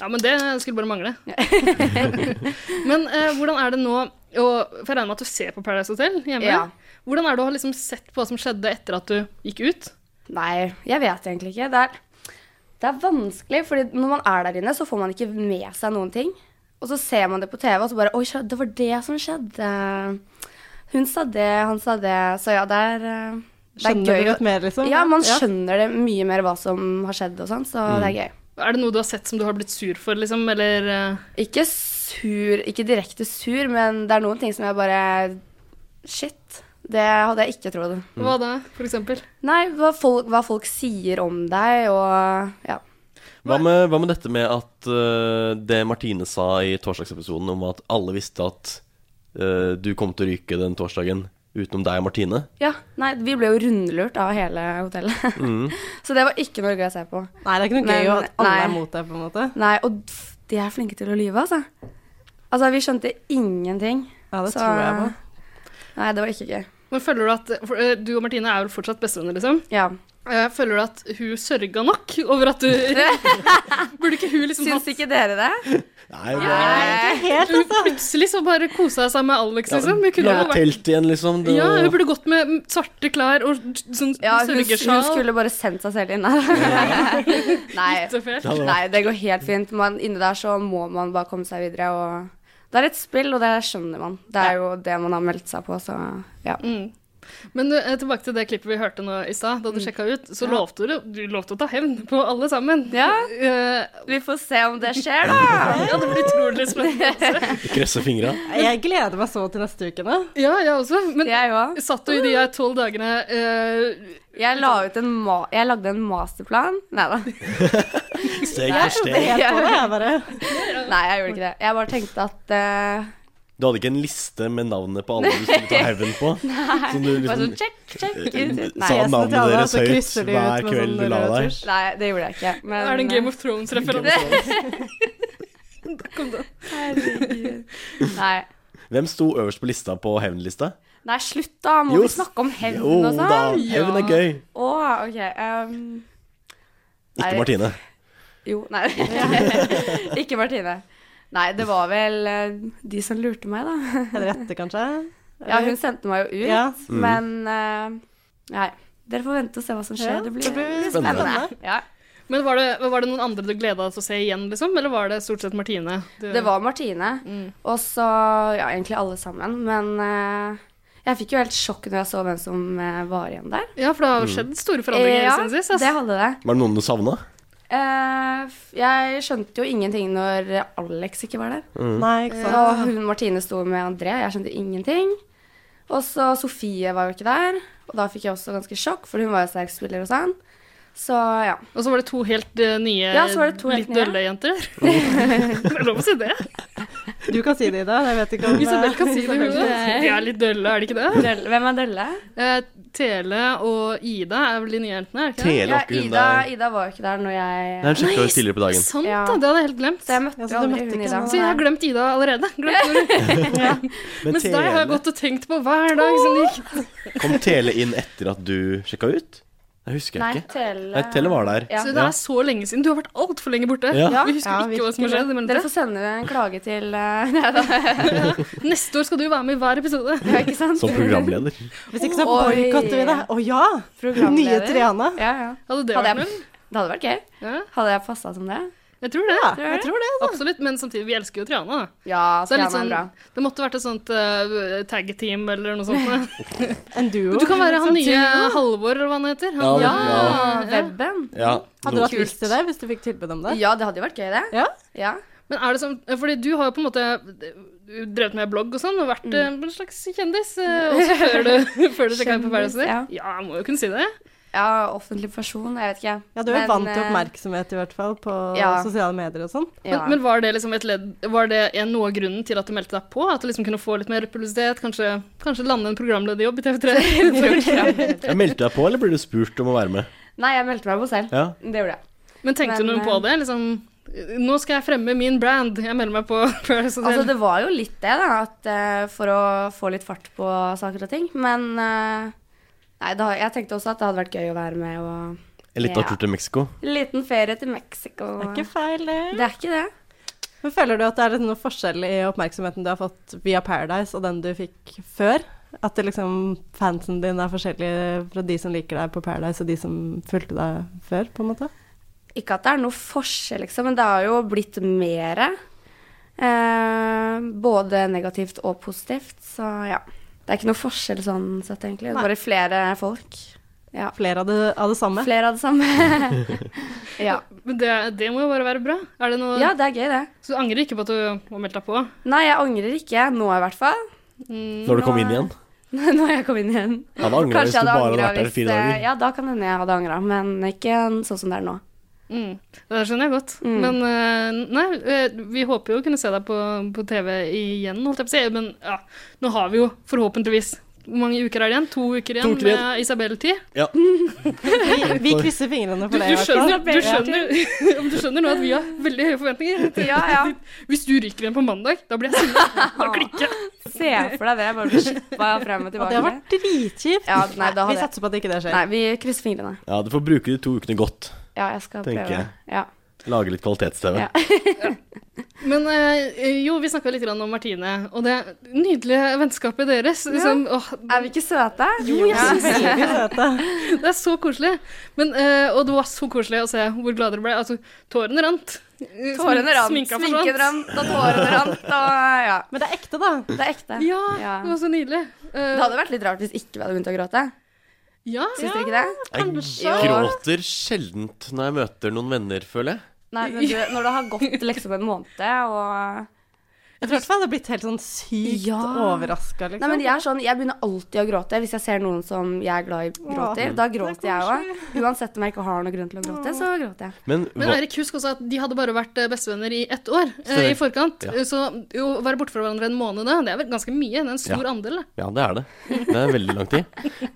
S2: Ja, men det skulle bare mangle. men eh, hvordan er det nå og, For jeg regner med at du ser på Paradise Hotel hjemme?
S14: Ja.
S2: Hvordan er det å ha liksom, sett på hva som skjedde etter at du gikk ut?
S14: Nei, jeg vet egentlig ikke. Det er, det er vanskelig, fordi når man er der inne, så får man ikke med seg noen ting. Og så ser man det på TV, og så bare Oi, skjø- det var det som skjedde. Hun sa det, han sa det. Så ja, det er, eh, det er
S4: Skjønner
S14: gøy.
S4: du litt mer, liksom?
S14: Ja, man skjønner det mye mer hva som har skjedd og sånn, så det er gøy.
S2: Er det noe du har sett som du har blitt sur for, liksom? Eller eh,
S14: Ikke sur, ikke direkte sur, men det er noen ting som jeg bare Shit. Det hadde jeg ikke trodd.
S2: hva da, for eksempel?
S14: Nei, hva folk, hva folk sier om deg, og ja.
S1: Hva med, hva med dette med at eh, det Martine sa i torsdagsepisoden om at alle visste at eh, du kom til å ryke den torsdagen utenom deg og Martine?
S14: Ja, nei, vi ble jo rundlurt av hele hotellet.
S1: Mm.
S14: Så det var ikke noe gøy å se på.
S4: Nei, det er ikke noe
S14: Men-
S4: gøy at alle
S14: nei.
S4: er mot deg, på en måte.
S14: Nei, og f- de er flinke til å lyve, altså. Altså, vi skjønte ingenting.
S4: Ja, det
S14: så-
S4: tror jeg på.
S14: Nei, det var ikke gøy.
S2: Men føler du at for, eh, Du og Martine er vel fortsatt bestevenner, liksom?
S14: Ja.
S2: Eh, Føler du at hun sørga nok over at du Burde ikke hun liksom
S14: Syns ikke dere det?
S1: Nei, det
S2: Nei, ikke helt, altså. Plutselig så bare kosa jeg seg med Alex,
S1: Ja,
S2: liksom. Hun kunne
S1: Lage
S2: jo vært
S1: telt igjen, liksom. Det,
S2: ja, hun burde gått med svarte klær og sånn
S14: Ja, hun, hun
S2: sørgesjal.
S14: skulle bare sendt seg selv inn der. Nei.
S2: Det hadde vært-
S14: Nei, det går helt fint. Man, inni der så må man bare komme seg videre. Og det er et spill, og det skjønner man. Det er jo det man har meldt seg på, så ja.
S2: Mm. Men eh, tilbake til det klippet vi hørte nå i stad,
S14: Mm.
S2: da du sjekka ut. Så lovte du, du lovte å ta hevn på alle sammen. Eh,
S14: Ja.
S2: vi
S14: får se om det skjer, da.
S2: ja, det blir utrolig spennende. altså.
S1: Krøsse fingra.
S4: Jeg gleder meg så til neste uke. nå.
S2: Ja, jeg også. Men satt du i de her tolv dagene eh,
S14: Jeg, la ut en ma jeg lagde en masterplan. Nei da.
S1: Steg
S14: Nei.
S1: for steg.
S14: Nei, jeg gjorde ikke det. Jeg bare tenkte at eh,
S1: Du hadde ikke en liste med navnet på alle du skulle ta hevn på?
S14: Nei.
S1: Som du
S14: Bare
S1: liksom
S14: sånn, check, check.
S1: eh,
S14: Nei,
S1: sa
S14: jeg
S1: navnet
S14: sa til alle,
S1: deres
S14: så
S1: høyt
S14: krysser de ut
S1: hver
S14: med
S1: kveld
S14: sånn
S1: du la
S14: rød
S1: deg?
S14: tusj. Nei, det gjorde jeg ikke. Men,
S2: Er det en Game of Thrones-referanse? Der kom den.
S14: Nei.
S1: Hvem sto øverst på lista på hevnlista?
S14: Nei, slutt, da. Må
S1: Jo,
S14: vi snakke om hevn
S1: jo
S14: og sånn?
S1: da, hevn er gøy.
S14: Å, OK. ehm,
S1: Ikke
S14: nei,
S1: Martine.
S14: Jo, nei. ikke Martine. Nei, det var vel eh, de som lurte meg, da.
S4: Henriette, kanskje?
S14: Ja, hun sendte meg jo ut,
S4: Ja.
S1: Mm.
S14: men eh, Nei. Dere får vente og se hva som skjer.
S2: Ja,
S14: det
S2: det
S14: blir
S2: blir
S14: spennende.
S2: spennende.
S14: Ja.
S2: Men var det, var det noen andre du gleda deg til å se igjen, liksom? Eller var det stort sett Martine? Du-
S14: Det var Martine, og så ja, egentlig alle sammen. Men eh, jeg fikk jo helt sjokk når jeg så hvem som eh, var igjen der. Eh,
S2: Ja, for det har jo
S1: Mm.
S2: skjedd store forandringer
S14: ja,
S2: siden sist. ass.
S14: det hadde det.
S1: Var det noen du savna?
S14: Eh, f- jeg skjønte jo ingenting når Alex ikke var der.
S1: Mhm.
S4: Nei, ikke sant.
S14: Og hun Martine sto med André, jeg skjønte ingenting. Og så Sofie var jo ikke der, og da fikk jeg også ganske sjokk, for hun var jo sterk spiller og sånn. Så ja.
S2: Og så var det to helt eh, nye,
S14: Ja, så var det to helt
S2: litt
S14: nye.
S2: dølle jenter. det er lov å si det.
S4: Du kan si det, Ida. Jeg vet ikke om eh,
S2: Isabel kan si det, hun også.
S14: Nei.
S2: De er litt dølle, er de ikke det?
S14: Hvem er Dølle?
S2: Eh, Tele og Ida er vel de nye jentene? er det ikke det?
S1: Tele var
S14: Ja,
S1: ikke hun
S14: Ida,
S1: der.
S14: Ida var jo ikke der når jeg
S1: Nei, hun sjekka ut tidligere på dagen.
S2: Sant
S14: Ja.
S2: da, det hadde jeg helt glemt.
S14: Så jeg møtte
S4: så du
S14: aldri
S4: møtte
S14: hun
S4: ikke
S14: Ida.
S4: henne.
S2: Så jeg har glemt Ida allerede. Glemt når hun- Mens deg har jeg gått og tenkt på hver dag som det gikk.
S1: Kom Tele inn etter at du sjekka ut? Jeg husker
S14: Nei,
S1: jeg ikke.
S14: Tele
S1: Nei, Tele var der.
S14: Ja.
S2: Så det er så lenge siden. Du har vært altfor lenge borte.
S1: Ja.
S2: Vi husker
S14: Ja,
S2: ikke hva som har skjedd. i
S14: Dere
S2: mellomtiden.
S14: får sende en klage til eh, Nei da.
S2: Neste år skal du være med i hver episode.
S14: Ja, ikke sant?
S1: Som programleder.
S4: Hvis ikke så
S14: Oi.
S4: boikotter vi det. Å ja! Nye
S14: Programleder.
S4: Triana.
S14: Ja, ja.
S2: Hadde det
S14: Hadde
S2: vært
S14: jeg-
S2: noe?
S14: Det hadde vært gøy.
S2: Ja.
S14: Hadde jeg passa som det?
S2: Jeg tror det.
S4: Jeg tror det.
S2: Absolutt. Men samtidig, vi elsker jo Triana. da.
S14: Ja,
S2: Så det, er litt
S14: Triana er
S2: sånn,
S14: bra.
S2: det måtte vært et sånt eh, tag team eller noe sånt.
S4: En duo.
S2: Du kan være han
S4: Som
S2: nye
S4: duo.
S2: Halvor, eller hva han heter.
S1: Ja,
S2: Han,
S1: det-
S14: Sånn Ja,
S1: Ja.
S14: webben.
S1: Ja,
S4: Hadde du hatt lyst til det hvis du fikk tilbud om det?
S14: Ja, det hadde jo vært gøy, det.
S4: Ja.
S14: Ja.
S2: Men er det sånn, fordi du har jo på en måte eh, drevet med blogg og sånn, og vært eh,
S14: Mm.
S2: en slags kjendis eh, også før du, før du sjekka inn på Paradise Hotel.
S14: ja.
S2: Ja, jeg må jo kunne si det.
S14: ja, offentlig person, jeg vet ikke.
S4: Ja, du er
S14: Men,
S4: vant til
S14: eh,
S4: oppmerksomhet i hvert fall på
S14: ja.
S4: sosiale medier og sånn.
S14: Ja.
S2: Men, men var det liksom et ledd Var det en, noe av grunnen til at du meldte deg på? At du liksom kunne få litt mer publisitet? Kanskje, kanskje lande en programlederjobb i TV3?
S1: Jeg meldte deg på, eller ble du spurt om å være med?
S14: Nei, jeg meldte meg på selv.
S1: Ja.
S14: Det gjorde jeg.
S2: Men tenkte
S14: Men, eh,
S2: du noe på det? Liksom, nå skal jeg fremme min brand. Jeg melder meg på Paradise Hotel.
S14: Altså, det var jo litt det, da, at, eh, for å få litt fart på saker og ting. Men eh, nei, da, jeg tenkte også at det hadde vært gøy å være med og
S1: En liten tur til Mexico?
S14: Liten ferie til Mexico.
S4: Det er ikke feil, det.
S14: Det er ikke det.
S4: Men føler du at det er litt noe forskjell i oppmerksomheten du har fått via Paradise og den du fikk før? At det liksom fansen din er forskjellig fra de som liker deg på Paradise og de som fulgte deg før, på en måte?
S14: Ikke at det er noe forskjell, liksom, men det har jo blitt mere. Eh, både negativt og positivt, så ja. Det er ikke noe forskjell sånn sett, egentlig. Det
S4: Nei.
S14: er bare flere folk. Ja.
S4: Flere av det, av det samme?
S14: Flere av det samme. ja.
S2: Men det, det må jo bare være bra. Er det noe,
S14: ja, det er gøy, det.
S2: Så du angrer ikke på at du har meldt deg på?
S14: Nei, jeg angrer ikke. Nå i hvert fall.
S1: Når du kom inn igjen?
S14: Nå har jeg kommet inn igjen.
S1: Ja, da angrer jeg hvis du bare hadde vært
S14: angret
S1: der i fire
S14: eh,
S1: dager.
S14: Ja, da kan hende jeg hadde angra, men ikke sånn som det er nå.
S2: Mm. Det skjønner jeg godt.
S14: Mm.
S2: Men eh, nei, eh, vi håper jo å kunne se deg på, på TV igjen, holdt jeg på å si. Men ja, nå har vi jo forhåpentligvis Hvor mange uker er det igjen? To uker igjen,
S1: To uker igjen.
S2: med Isabel-tid.
S1: Ja.
S4: Vi, vi krysser fingrene
S2: Du,
S4: for det. i
S2: du,
S4: hvert
S2: skjønner,
S4: fall.
S2: du, skjønner, om du skjønner nå at vi har veldig høye forventninger. til-
S4: Ja, ja.
S2: Hvis du ryker igjen på mandag, da blir jeg sinna. Da klikker jeg.
S14: Se for deg det, bare bli slippa frem og
S4: Ja,
S14: tilbake.
S4: det har vært dritkjipt.
S14: Ja, nei, da hadde
S4: vi
S14: jeg-
S4: satser på at ikke det skjer.
S14: Nei, vi krysser fingrene.
S1: Ja, du får bruke de to ukene godt,
S14: Ja, jeg skal
S1: tenker
S14: prøve.
S1: jeg.
S14: Ja.
S1: Lage litt kvalitets-TV.
S2: Men eh, jo, vi snakka litt grann om Martine og det nydelige vennskapet deres. Liksom, åh,
S14: Er vi ikke søte?
S2: Jo, jeg
S14: Ja.
S2: synes det. Det er så koselig. Men, eh, og det var så koselig å se hvor glade dere ble. Altså, tårene rant. Eh,
S14: Tårene rant,
S2: sminka forsvant.
S14: sminken rant, og tårene rant, og ja.
S4: Men det er ekte, da.
S14: Det er ekte.
S2: Ja, det var så nydelig. Eh,
S14: Det hadde vært litt rart hvis ikke vi hadde begynt å gråte.
S2: ja,
S14: Syns dere ikke det?
S1: Jeg gråter sjeldent når jeg møter noen venner, føler jeg.
S14: Nei, men du, når det har gått liksom en måned og
S4: Jeg tror i hvert fall jeg hadde blitt helt sånn sykt
S14: Ja.
S4: overraska, liksom.
S14: Nei, men jeg er sånn, jeg begynner alltid å gråte hvis jeg ser noen som jeg er glad i gråter.
S4: Åh, det
S14: Da
S4: er
S14: gråter jeg òg. Uansett om jeg ikke har noen grunn til å gråte, så gråter jeg.
S1: Men,
S2: Men
S1: hva-
S2: Eirik, husk også at de hadde bare vært eh, bestevenner i ett år eh,
S1: Stemmer.
S2: i forkant.
S1: Ja.
S2: Eh, Så å være borte fra hverandre en måned da, det er vel ganske mye? Det er en stor
S1: Ja.
S2: andel. da.
S1: Ja, det er det. Det er veldig lang tid.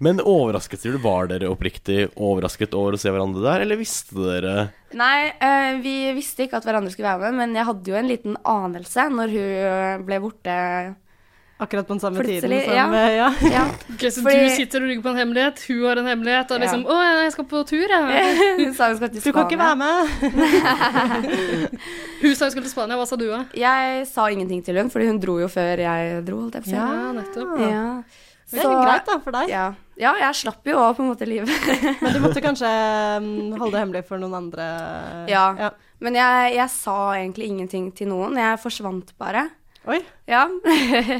S1: Men overrasket, sier du. Var dere oppriktig overrasket over å se hverandre der, eller visste dere
S14: Nei, eh, vi visste ikke at hverandre skulle være med, men jeg hadde jo en liten anelse når hun eh, ble borte
S4: Akkurat på den samme tiden
S14: plutselig.
S4: som
S14: Ja.
S4: eh, ja.
S14: Ja.
S2: Ok, så
S14: Fordi-
S2: du sitter og ruger på en hemmelighet, hun har en hemmelighet, og
S14: Ja.
S2: liksom 'Å, jeg skal på tur, jeg'.
S14: Hun sa hun skal til
S4: Du kan ikke være
S14: Spania.
S4: med!
S2: Hun sa hun skulle til Spania, hva sa du, da?
S14: Jeg sa ingenting til hun, fordi hun dro jo før jeg dro, holdt jeg på å si.
S2: Ja, nettopp.
S14: Ja.
S4: Det er greit, da, for deg.
S14: Ja. ja, jeg slapp jo òg på en måte livet.
S4: Men du måtte kanskje mm, holde det hemmelig for noen andre.
S14: ja. Men jeg, jeg sa egentlig ingenting til noen. Jeg forsvant bare.
S4: Oi.
S14: Ja.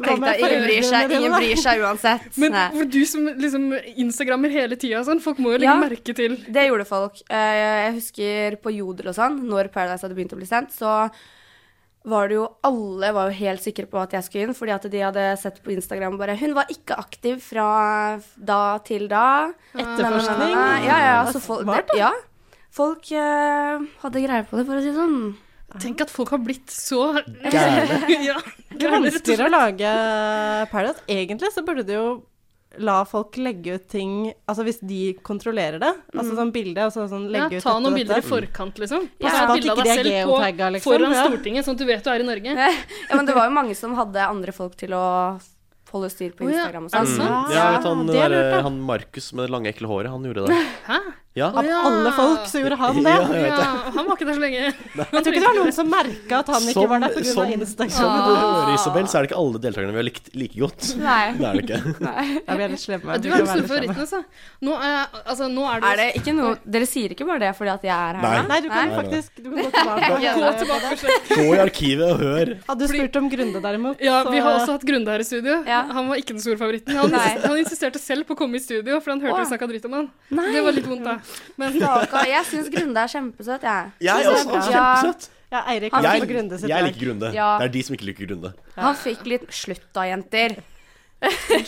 S14: Tenkte jeg, ingen bryr seg, ingen bryr seg uansett.
S2: Men
S14: Nei.
S2: for du som liksom instagrammer hele tida og sånn, folk må jo legge
S14: Ja.
S2: merke til
S14: Det gjorde folk. Eh, Jeg husker på Jodel og sånn, når Paradise hadde begynt å bli sendt, så var det jo Alle var jo helt sikre på at jeg skulle inn, fordi at de hadde sett på Instagram bare Hun var ikke aktiv fra da til da.
S4: Etterforskning.
S14: Na, na, na, na. Ja, ja.
S4: Det er
S14: Så folk,
S4: smart,
S14: det, ja. folk eh, hadde greier på det, for å si det sånn.
S2: Tenk at folk har blitt så
S1: Gærne.
S2: ja,
S4: Det er vanskeligere å lage Paradise. Egentlig så burde du jo la folk legge ut ting Altså hvis de kontrollerer det,
S14: Mm.
S4: altså sånn bilde og så sånn
S2: Ja,
S4: legge ut
S2: ta
S4: dette,
S2: noen bilder i
S4: dette.
S2: forkant, liksom.
S4: Ja,
S2: Ta
S4: så
S2: et
S4: at
S2: bilde av
S4: ikke
S2: deg
S4: de er
S2: selv på,
S4: geotagget, liksom,
S2: foran
S4: ja.
S2: Stortinget, sånn at du vet du er i Norge.
S14: Ja, men det var jo mange som hadde andre folk til å holde styr på
S2: Å, ja.
S14: Instagram og sånn.
S1: Mm. Ja, vet du, han,
S4: det er
S1: der,
S4: lurt, da.
S1: han Markus med det lange, ekle håret, han gjorde det.
S2: Hæ?
S1: Ja.
S4: Av alle folk så gjorde han det.
S1: Ja, jeg vet
S2: Ja, og han var ikke der så lenge.
S4: Jeg tror ikke det var noen som merka at han ikke
S1: Som,
S4: var der pga.
S1: som, som
S4: Instagram.
S1: du hører, Isabel, så er det ikke alle deltakerne vi har likt like godt.
S14: Nei.
S1: Det er det ikke.
S4: Ja, vi er liksom litt slemme.
S2: Du
S4: Vi
S2: er
S4: kan
S2: den
S4: være
S2: store favoritten,
S4: litt slemme.
S2: altså. Nå er, altså, nå er du
S14: Er det ikke noe Dere sier ikke bare det fordi at jeg er her?
S1: Nei.
S14: nå?
S4: Nei, du
S1: Nei,
S4: kan
S1: nei.
S4: faktisk du kan gå tilbake.
S2: Gå tilbake og sjekk.
S1: Gå i arkivet og hør.
S4: Hadde du spurt om Grunde, derimot,
S2: Ja,
S4: så-
S2: vi har også hatt Grunde her i studio.
S14: Ja.
S2: Han var ikke den store favoritten. Han,
S14: Nei.
S2: han insisterte selv på å komme i studio, for han hørte
S14: Å.
S2: vi snakka dritt om han.
S14: Nei.
S2: Det var litt vondt, da. Men
S14: Kaka, jeg syns Grunde er kjempesøt, jeg.
S1: Jeg er også kjempesøtt.
S4: Ja, Eirik
S14: Han
S4: har
S1: Jeg,
S4: også Grunde sitt
S1: jeg
S4: lag.
S1: liker Grunde.
S14: Ja.
S1: Det er de som ikke liker Grunde.
S14: Han fikk litt Slutt da, jenter.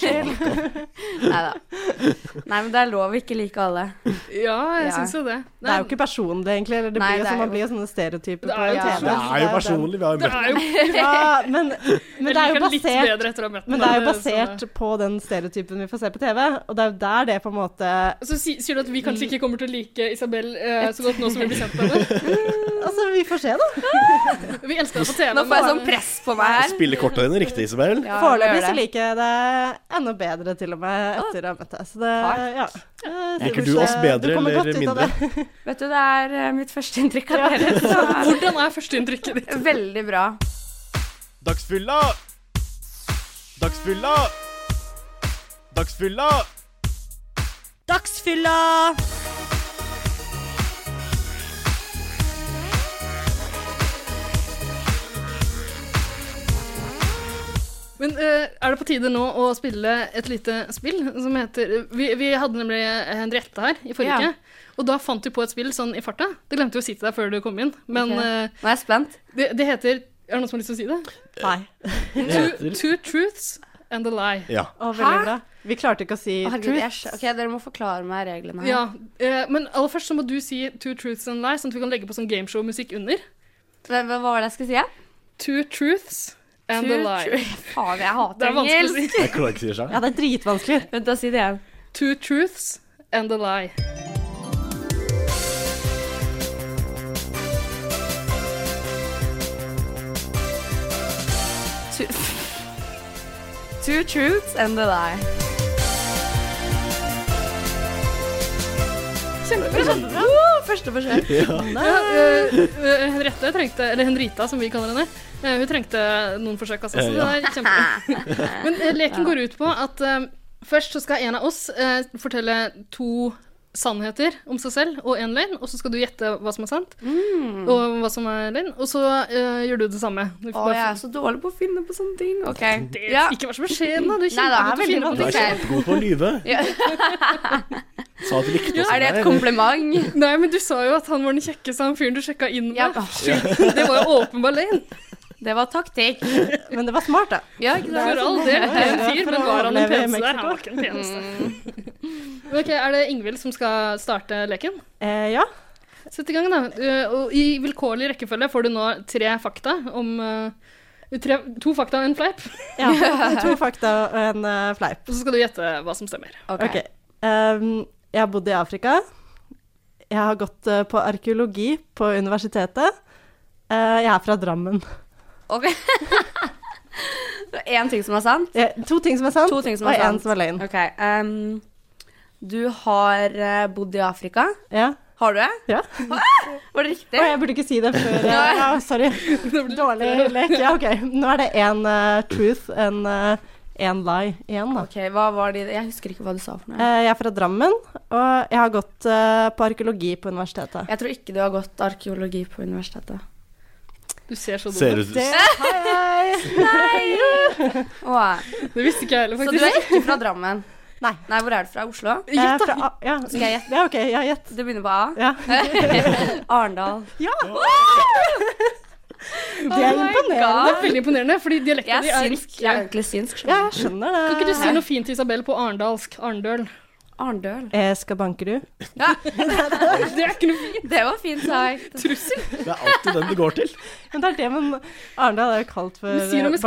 S14: Nei da. Nei, men det er lov å ikke like alle.
S2: ja, jeg
S14: Ja.
S2: syns jo det.
S4: Det er jo ikke personlig, egentlig. Eller det
S14: Nei,
S4: blir jo
S14: det er
S4: sånn, man
S14: jo-
S4: blir jo sånne stereotyper
S2: Det
S4: på
S2: er jo
S4: TV.
S2: personlig.
S1: Det er jo
S4: den-
S1: personlig. Vi har jo
S2: det
S1: møtt
S2: er jo
S4: Ja, men, men det er jo
S2: Jeg liker litt
S4: basert
S2: bedre etter å ha møtt
S4: Men det
S2: han,
S4: er jo
S2: så-
S4: basert på den stereotypen vi får se på TV, og det er jo der det på en måte
S2: Så si, sier du at vi
S4: Mm.
S2: kanskje ikke kommer til å like Isabel eh, så godt nå som vi blir kjent med henne?
S4: Altså, vi får se, da.
S2: Vi elsker deg på TV.
S14: Nå får jeg
S2: men-
S14: sånn press på meg her.
S1: Spille korta dine riktig, Isabel.
S14: Ja, jeg må
S4: Foreløpig
S14: gjøre
S4: så
S14: det.
S4: liker jeg det enda bedre, til og med, etter å ha møtt deg. Så det ja. Jeg
S1: Liker
S4: synes,
S1: du oss
S4: eh,
S1: bedre
S4: du kommer
S1: eller
S4: godt ut av
S1: mindre?
S4: det.
S14: Vet du, det er eh, mitt første inntrykk av dere.
S4: sånn
S14: Så
S2: Hvordan er førsteinntrykket ditt?
S14: det er veldig bra.
S1: Dagsfylla! Dagsfylla! Dagsfylla!
S11: Dagsfylla!
S2: Men eh, er det på tide nå å spille et lite spill som heter eh, Vi, vi hadde nemlig Henriette her i forrige
S14: Ja.
S2: uke. Og da fant vi på et spill sånn i farta. Det glemte vi å si til deg før du kom inn. Men
S14: Ok.
S2: eh,
S14: Nå er jeg spent.
S2: det, det heter Er det noen som har lyst til å si det?
S4: Nei.
S2: Two, two truths and a lie.
S1: Ja.
S4: Å, veldig bra. Vi klarte ikke å si
S14: Å, Herregud, jeg,
S4: truth.
S14: skj- ok, Dere må forklare meg reglene her.
S2: Ja, eh, Men aller først så må du si two truths and a lie, sånn at vi kan legge på sånn gameshow-musikk under.
S14: Hva hva var det jeg skulle si? Ja?
S2: Two truths And
S14: Two
S2: the lie.
S14: truth. Faen, jeg hater
S2: Det er vanskelig å si.
S14: engelsk.
S1: Jeg klarer ikke å si det selv.
S14: Ja, det er dritvanskelig. Vent, da si det igjen.
S2: Two truths and a lie.
S14: Two, two truths and a lie. Kjempebra. Woo, første forsøk.
S2: Ja. eh, eh, Henriette trengte, eller Henrita som vi kaller henne, eh, hun trengte noen forsøk, altså. Så
S3: Eh, ja.
S2: det er kjempe... Men eh, leken går ut på at eh, først så skal en av oss eh, fortelle to sannheter om seg selv og en løgn, og så skal du gjette hva som er sant og hva som er løgn, og så eh, gjør du det samme. Du får
S14: Mm. Å,
S2: bare
S14: jeg er
S2: fin-
S14: så dårlig på å finne på sånne ting. Ok.
S2: Det- Ikke vær så beskjeden, da. Du er
S14: Nei, det
S2: kjempegod til å
S14: er veldig
S2: finne på
S1: Du er
S2: ting selv.
S1: kjempegod på å lyve.
S14: Ja.
S1: Sa at du likte oss.
S14: Er det
S1: der.
S14: et kompliment?
S2: Nei, men du sa jo at han var den kjekkeste han fyren du sjekka inn med.
S1: Ja.
S2: Det var jo åpenbar løgn.
S14: Det var taktikk.
S4: Men det var smart, da.
S14: Ja, ikke sant?
S2: For all del, pen fyr,
S4: For
S2: men
S4: å
S2: var han den
S4: overleve i
S2: peneste der?
S4: Mexico.
S2: Han var ikke den peneste. Mm. Ok, Er det Ingvild som skal starte leken?
S4: Eh, ja.
S2: Sett i gang, da. Uh, Og I vilkårlig rekkefølge får du nå tre fakta om uh, tre, To fakta og en fleip.
S4: ja. To fakta og en eh, fleip.
S2: Og så skal du gjette hva som stemmer.
S4: Ok. Ehm, jeg har bodd i Afrika. Jeg har gått eh, på arkeologi på universitetet. Eh, jeg er fra Drammen.
S14: Ok. Én ting som er sant?
S4: to ting som er sant,
S14: to ting som
S4: og
S14: er
S4: en
S14: sant.
S4: som er løgn.
S14: Ok, ehm, du har eh, bodd i Afrika.
S4: Ja.
S14: Har du det?
S4: Ja.
S14: Var det riktig?
S4: Å, jeg burde ikke si det før eh, ja, Sorry. Dårlig lek. Ja, OK. Nå er det én eh, truth, en, eh, en lie igjen, da.
S14: Ok, hva var det? Jeg husker ikke hva du sa for noe.
S4: Eh, jeg er fra Drammen, og jeg har gått eh, på arkeologi på universitetet.
S14: Jeg tror ikke du har gått arkeologi på universitetet.
S2: Du ser så
S1: Ser
S2: dum
S1: ut-
S2: ut.
S1: Det-
S14: Hei! Nei! Åh.
S2: Det visste ikke jeg heller,
S14: Så du er
S2: faktisk.
S14: ikke fra Drammen?
S4: Nei.
S14: hvor er du fra? Oslo?
S4: Eh, fra A- ja.
S14: Skal jeg gjette?
S4: Ja, OK, ja, gjett.
S14: Du begynner på A?
S4: Ja.
S14: Arendal.
S4: Ja!
S2: Det er imponerende. Det er veldig imponerende, fordi
S14: Jeg
S2: dialekten
S14: er
S2: din er
S14: synsk. Jeg er egentlig synsk.
S4: Ja, jeg skjønner det.
S2: Kan ikke du si noe fint til Isabel på arendalsk? Arendøl.
S14: Arendøl.
S4: Jeg Eh, skal banke du.
S2: Det er ikke noe fint.
S14: Det var fint sagt.
S2: Trussel.
S1: Det er alltid den du går til.
S4: Men det er det, men Arendal er jo kalt for
S2: Men si noe med
S4: eh,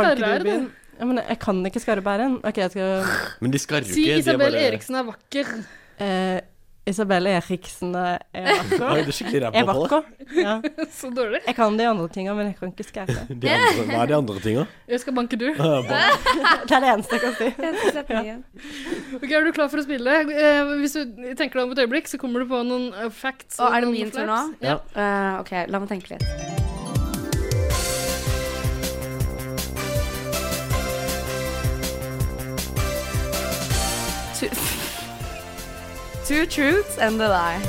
S2: Skarre-r,
S4: Bankerudbyen.
S2: da.
S4: Ja, men jeg kan ikke skarrebæren. OK, jeg skal
S1: Men de skarrer
S2: Si
S1: ikke. de er
S2: Isabel
S1: bare-
S2: Eriksen er vakker.
S4: eh, Isabelle Eriksen er vakker.
S1: Oi, du er skikkelig ræva
S4: Er
S1: på det.
S4: vakker. Ja.
S2: Så dårlig.
S4: Jeg kan de andre tinga, men jeg kan ikke skarre.
S1: De andre, hva er de andre tinga? Eh,
S2: Jeg skal banke du.
S1: Ja, bare-
S4: Det er det eneste jeg kan si.
S2: Ok, Er du klar for å spille? Eh, hvis du tenker deg om et øyeblikk, så kommer du på noen eh, facts.
S14: Og er det
S2: noen
S14: min tur nå?
S1: Ja.
S2: flaps.
S14: Eh, ok, la meg tenke litt. Two, two truths and a lie.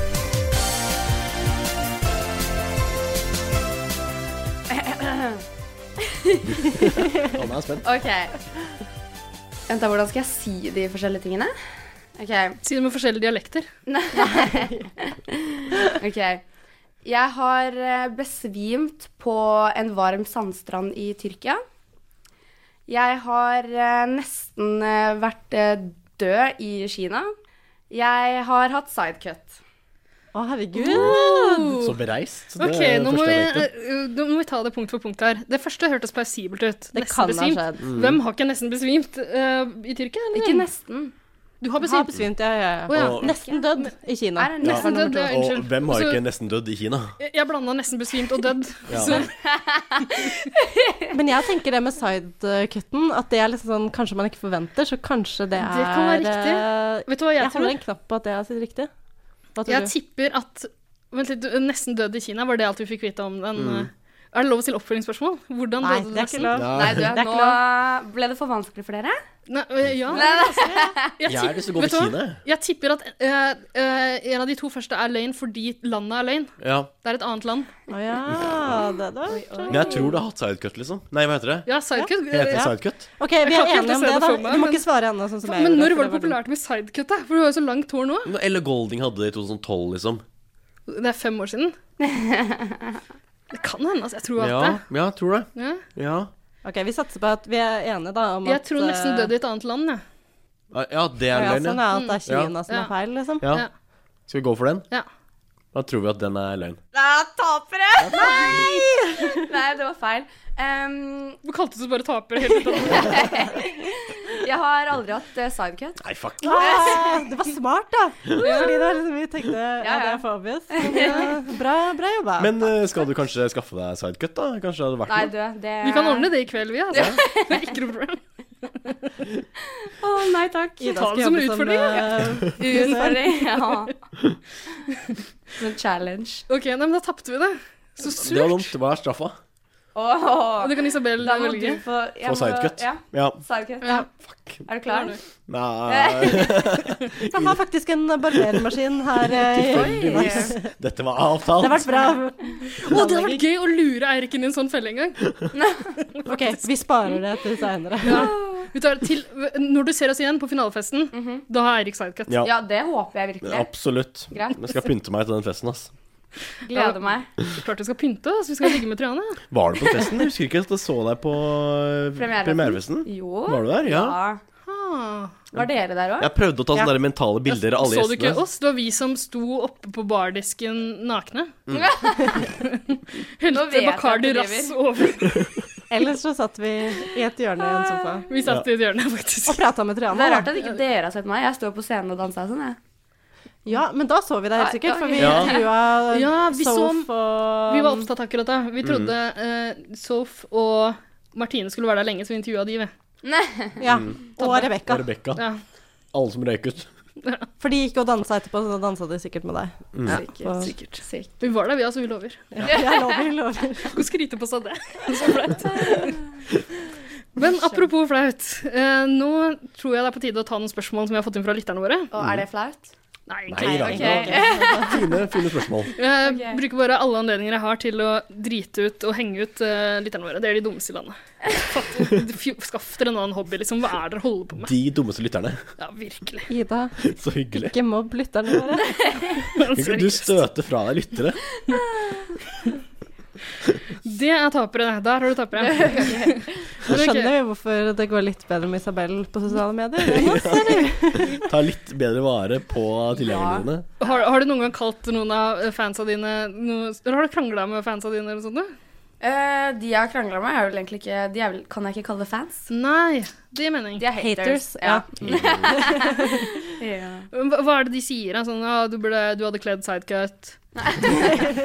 S1: Han er spent.
S14: Ok. Vent da, hvordan skal jeg si de forskjellige tingene? Ok.
S2: Si det med forskjellige dialekter.
S14: ok. Jeg har eh, besvimt på en varm sandstrand i Tyrkia. Jeg har eh, nesten eh, vært eh, død i Kina. Jeg har hatt sidecut.
S4: Å, herregud.
S1: Så bereist. Det
S2: Ok,
S1: er
S2: nå må,
S1: første
S2: vi,
S1: jeg vet.
S2: eh, nå må vi ta det punkt for punkt her. Det første hørtes plausibelt ut.
S4: Det
S2: nesten
S4: kan ha
S2: besvimt.
S4: skjedd.
S1: Mm.
S2: Hvem har ikke nesten besvimt eh, i Tyrkia? eller?
S14: Ikke nesten.
S2: Du har
S4: Har
S2: besvimt.
S4: besvimt, ja, ja.
S2: Å,
S4: ja.
S2: ja.
S1: Og-
S4: Nesten dødd i Kina.
S14: Er det nesten
S2: Nesten dødd, ja,
S1: Og
S2: unnskyld.
S1: hvem har
S2: Så-
S1: ikke nesten dødd i Kina?
S2: Jeg- Jeg blanda nesten besvimt og dødd.
S1: Ja.
S2: Så
S4: Men jeg tenker det med sidecutten, at det er liksom sånn kanskje man ikke forventer, så kanskje det er
S2: Det kan være riktig.
S4: eh,
S2: vet du hva jeg,
S4: Jeg holder
S2: tror?
S4: en knapp på at det er sitt riktig. Hva tror
S2: Jeg
S4: du?
S2: tipper at Vent litt, du- nesten død i Kina, var det alt vi fikk vite om den?
S1: Mm.
S2: eh, Er det lov å stille oppfølgingsspørsmål? Hvordan
S4: Nei,
S2: døde du
S4: det er ikke
S2: nesten?
S4: lov.
S14: Nei, du,
S4: Det er ikke
S14: nå ble det for vanskelig for dere.
S2: Nei, øh, ja. Jeg,
S1: Jeg har lyst til å gå
S2: vet
S1: til
S2: du
S1: Kina,
S2: hva?
S1: jeg.
S2: jeg tipper at øh, øh, en av de to første er løgn fordi landet er løgn.
S1: Ja.
S2: Det er et annet land.
S4: Å ja, det da.
S1: Men jeg tror du har hatt sidecut, liksom. Nei, hva heter det?
S2: Ja, sidecut.
S1: Heter det
S2: Ja.
S1: sidecut?
S4: OK, vi
S2: Jeg kan
S4: er
S2: ikke
S4: enige om
S2: se
S4: det,
S2: det
S4: da.
S2: for meg,
S4: Du må
S2: men-
S4: ikke svare ennå, sånn som jeg
S2: Men
S4: gjorde,
S2: når
S4: for
S2: var det
S4: dumt.
S2: populært med sidecut, da? For du har jo så langt hår nå.
S1: Eller Golding hadde det i 2012, liksom.
S2: Det er fem år siden. Det kan hende, altså. Jeg tror alt
S1: Ja,
S2: det.
S1: ja, tror det.
S2: Ja.
S1: Ja.
S4: OK, vi satser på at vi er enige, da, om
S2: Jeg
S4: at eh,
S2: tror
S1: eh,
S2: nesten døde i et annet land, jeg.
S1: ja, det
S4: Ja,
S1: er løgn,
S4: sånn
S1: ja.
S4: er at det er
S1: Ja.
S4: Kina som
S2: Ja.
S4: er feil, liksom.
S1: ja. Skal vi gå for den?
S2: Ja.
S1: Da tror vi at den er løgn.
S14: Nei, tapere! Nei! Nei, det var feil. Ehm,
S2: Du kalte oss bare tapere hele tiden.
S14: jeg har aldri hatt eh, sidecut.
S1: Nei, fuck.
S4: Ah, det var smart, da!
S2: Ja.
S4: Fordi det var liksom, vi tenkte ja, det er for obvious. Men, eh, bra, bra jobba.
S1: Men eh, skal du kanskje skaffe deg sidecut, da? Kanskje det hadde vært
S14: Nei,
S1: noe?
S14: du, det
S2: Vi kan ordne det i kveld, vi. altså. Det er ikke noe problem.
S14: Å, nei takk.
S2: Ta det
S4: Ida skal
S2: som
S4: jobbe
S2: utfordring,
S4: eh,
S14: Utfordring. Ja. Som en challenge.
S2: Ok, nei, men Da tapte vi det. Så
S1: Det var
S2: surt.
S1: dumt. Hva er straffa?
S14: Åh,
S2: Og det kan Isabel
S14: da må du
S2: velge.
S14: få jeg
S1: Få
S14: må-
S1: sidecut?
S14: Ja,
S1: Ja.
S14: sidecut.
S2: Ja.
S14: Er du klar?
S1: Nei
S4: Jeg har faktisk en barbermaskin her. eh, i-
S1: Tilfeldigvis. Dette var
S4: Det har
S1: avtalt.
S4: vært bra.
S2: Å, det hadde vært gøy å lure Eirik inn i en sånn felle en gang.
S4: Ok, vi sparer det til seinere.
S2: Ja. Vi tar det til, når du ser oss igjen på finalefesten,
S14: Mhm.
S2: da har Eirik sidecut.
S1: Ja,
S14: Ja, det håper jeg virkelig.
S1: absolutt.
S14: Greit.
S1: Jeg skal pynte meg til den festen, ass.
S14: Gleder meg.
S2: Klart vi skal pynte oss. Vi skal ligge med Triane.
S1: Var du på festen? Jeg husker ikke at jeg så deg på eh,
S14: Premierefesten.
S1: premierefesten.
S14: Jo.
S1: Var du der? Ja.
S14: Ja.
S2: Ah.
S14: Var dere der òg?
S1: Jeg prøvde å ta sånne der mentale bilder av alle
S2: Så du ikke
S1: gjestene.
S2: oss? Det var vi som sto oppe på bardisken nakne.
S1: Mm.
S14: Nå vet
S2: Helte
S14: jeg at
S2: Bacardi
S14: du driver.
S2: rass over.
S4: Ellers så satt vi i et hjørne i en sofa
S2: Vi satt i et hjørne, faktisk.
S4: og prata med
S14: Det er
S4: Triana.
S14: rart at ikke dere har sett meg. Jeg står på scenen og danser sånn, jeg.
S4: Ja, men da så vi deg helt
S14: Nei,
S4: sikkert,
S14: da-
S4: for vi
S1: Ja.
S4: intervjua
S2: Ja, vi så-
S4: Soph
S14: Ah.
S4: og
S2: Vi var opptatt akkurat da. Vi
S1: Mm.
S2: trodde eh, Soph og Martine skulle være der lenge, så vi intervjua de. vi.
S4: ja, og Rebekka.
S1: Og Rebekka.
S2: Ja.
S1: Alle som røyk ut.
S4: For de gikk og dansa etterpå, så da dansa de sikkert med deg.
S14: Sikkert.
S4: Og-
S14: Sikkert. Sikkert.
S2: Vi var der, vi, altså. Vi lover.
S4: Ja, lover, lover.
S2: Skal skryte på sånn, seg det. Så flaut. Men apropos flaut. Eh, nå tror jeg det er på tide å ta noen spørsmål som vi har fått inn fra lytterne våre.
S14: Og er det flaut?
S2: Nei,
S1: Nei da. Fine, fine spørsmål.
S2: Jeg
S14: Ok.
S2: Eh, bruker bare alle anledninger jeg har til å drite ut og henge ut eh, lytterne våre. Det er de dummeste i landet. Fatt- fy- Skaff dere en annen hobby, liksom. Hva er det dere holder på med?
S1: De dummeste lytterne.
S2: Ja, virkelig.
S4: Ida,
S1: Så hyggelig.
S4: ikke mobb lytterne våre.
S1: Du støter fra deg lyttere.
S2: Det er tapere, det. Der har du tapere.
S4: Nå skjønner vi hvorfor det går litt bedre med Isabel på sosiale medier. Det er masse.
S1: Ta litt bedre vare på tilgjengerne dine.
S2: Har, har du noen gang kalt noen av fansa dine noe, Eller har du krangla med fansa dine eller noe sånt? da?
S14: Eh, de jeg har krangla med, er vel egentlig ikke De er vel, kan jeg ikke kalle det fans.
S2: Nei, det gir mening.
S14: De er haters.
S4: Haters, ja.
S14: ja.
S2: Hva, hva er det de sier? da? Sånn, ah, du, burde, du hadde kledd sidecut.
S14: Det har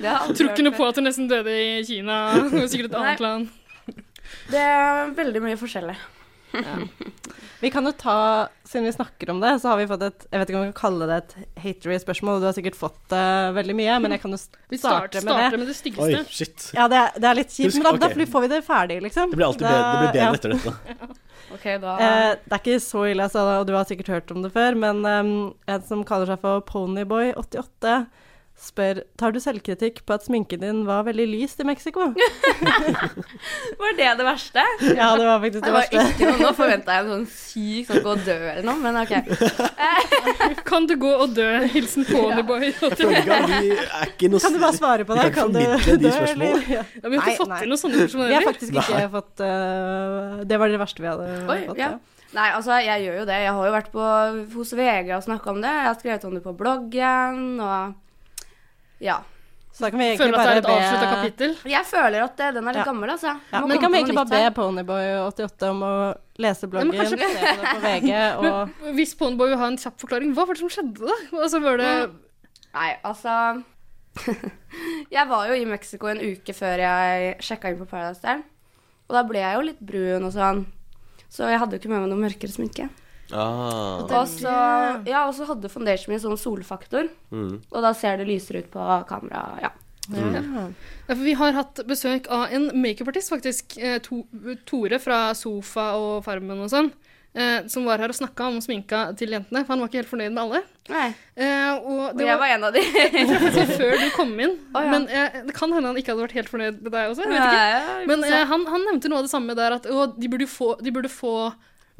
S14: jeg aldri
S2: Tror ikke
S14: hørt
S2: noe
S14: før.
S2: på at du nesten døde i Kina. Det var Sikkert et annet land.
S14: Det er veldig mye forskjellig.
S4: Vi kan jo ta, siden vi snakker om det, så har vi fått et Jeg vet ikke om vi kan kalle det et hatery spørsmål, og du har sikkert fått det veldig mye, men jeg kan jo
S2: Vi
S4: starte,
S2: starter,
S4: med det.
S2: starter med det
S1: Oi,
S2: styggeste.
S1: shit.
S4: Ja, det er, det er litt kjipt,
S1: Husk-
S4: men da,
S1: ok.
S4: da får vi det ferdig, liksom.
S1: Det blir alltid
S4: Da-
S1: bedre, det blir
S4: ja.
S1: bedre etter dette.
S14: Ok, da
S4: Eh, det er ikke så ille, altså, og du har sikkert hørt om det før, men eh, en som kaller seg for Ponyboy88 spør Tar du selvkritikk på at sminken din var veldig lyst i Mexico?
S14: Var det det verste?
S4: ja, det var faktisk
S14: Det
S4: det
S14: var
S4: verste.
S14: ikke noe, Nå forventa jeg en sånn syk sånn gå og dø eller noe, men OK.
S2: Kan du gå og dø? Hilsen Ponyboy.
S1: Følga, vi er ikke noe
S4: Kan du bare svare på det?
S1: Vi kan formidle de spørsmål.
S4: Ja.
S2: Ja, vi har ikke
S4: Nei,
S2: fått
S4: nei.
S2: inn noen sånne spørsmål
S4: Vi har
S2: heller.
S4: faktisk ikke fått eh, Det var det verste vi hadde
S14: Oi,
S4: fått.
S14: ja. Nei, altså, jeg gjør jo det. Jeg har jo vært på, hos VG og snakka om det. Jeg har skrevet om det på bloggen og Ja.
S4: Så da kan vi egentlig
S2: Føler at det
S4: bare
S2: er et avslutta kapittel.
S14: Jeg føler at eh, den er litt
S4: Ja.
S14: gammel, altså.
S4: Ja,
S14: Må
S4: men kan vi
S14: komme på
S4: egentlig
S14: noe
S4: bare
S14: nytt
S4: be
S14: her.
S4: Ponyboy88 om å lese
S2: men
S4: bloggen,
S2: kanskje-
S4: se på det på VG og
S2: Hvis Ponyboy vil ha en kjapp forklaring, hva var det som skjedde da? Altså, var det
S14: Mm. Nei, altså Jeg var jo i Mexico en uke før jeg sjekka inn på Paradise der. Og da ble jeg jo litt brun og sånn. Så jeg hadde jo ikke med meg noe mørkere sminke.
S1: Ah.
S14: Og så, ja, og så hadde foundation min sånn solfaktor,
S1: Mm.
S14: og da ser det lysere ut på kamera. Ja.
S2: Ja, for Vi har hatt besøk av en makeupartist, faktisk. eh, To, Tore fra Sofa og Farmen og sånn. eh, Som var her og snakka om sminka til jentene, for han var ikke helt fornøyd med alle.
S14: Nei.
S2: Eh, Og
S14: Og
S2: det
S14: jeg
S2: var
S14: var en av de.
S2: altså før du kom inn.
S14: Å, ja.
S2: Men eh, det kan hende han ikke hadde vært helt fornøyd med deg også. Jeg vet ikke.
S14: Nei,
S2: Men
S14: så-
S2: eh, han, han nevnte noe av det samme der, at å, de, burde jo få, de burde få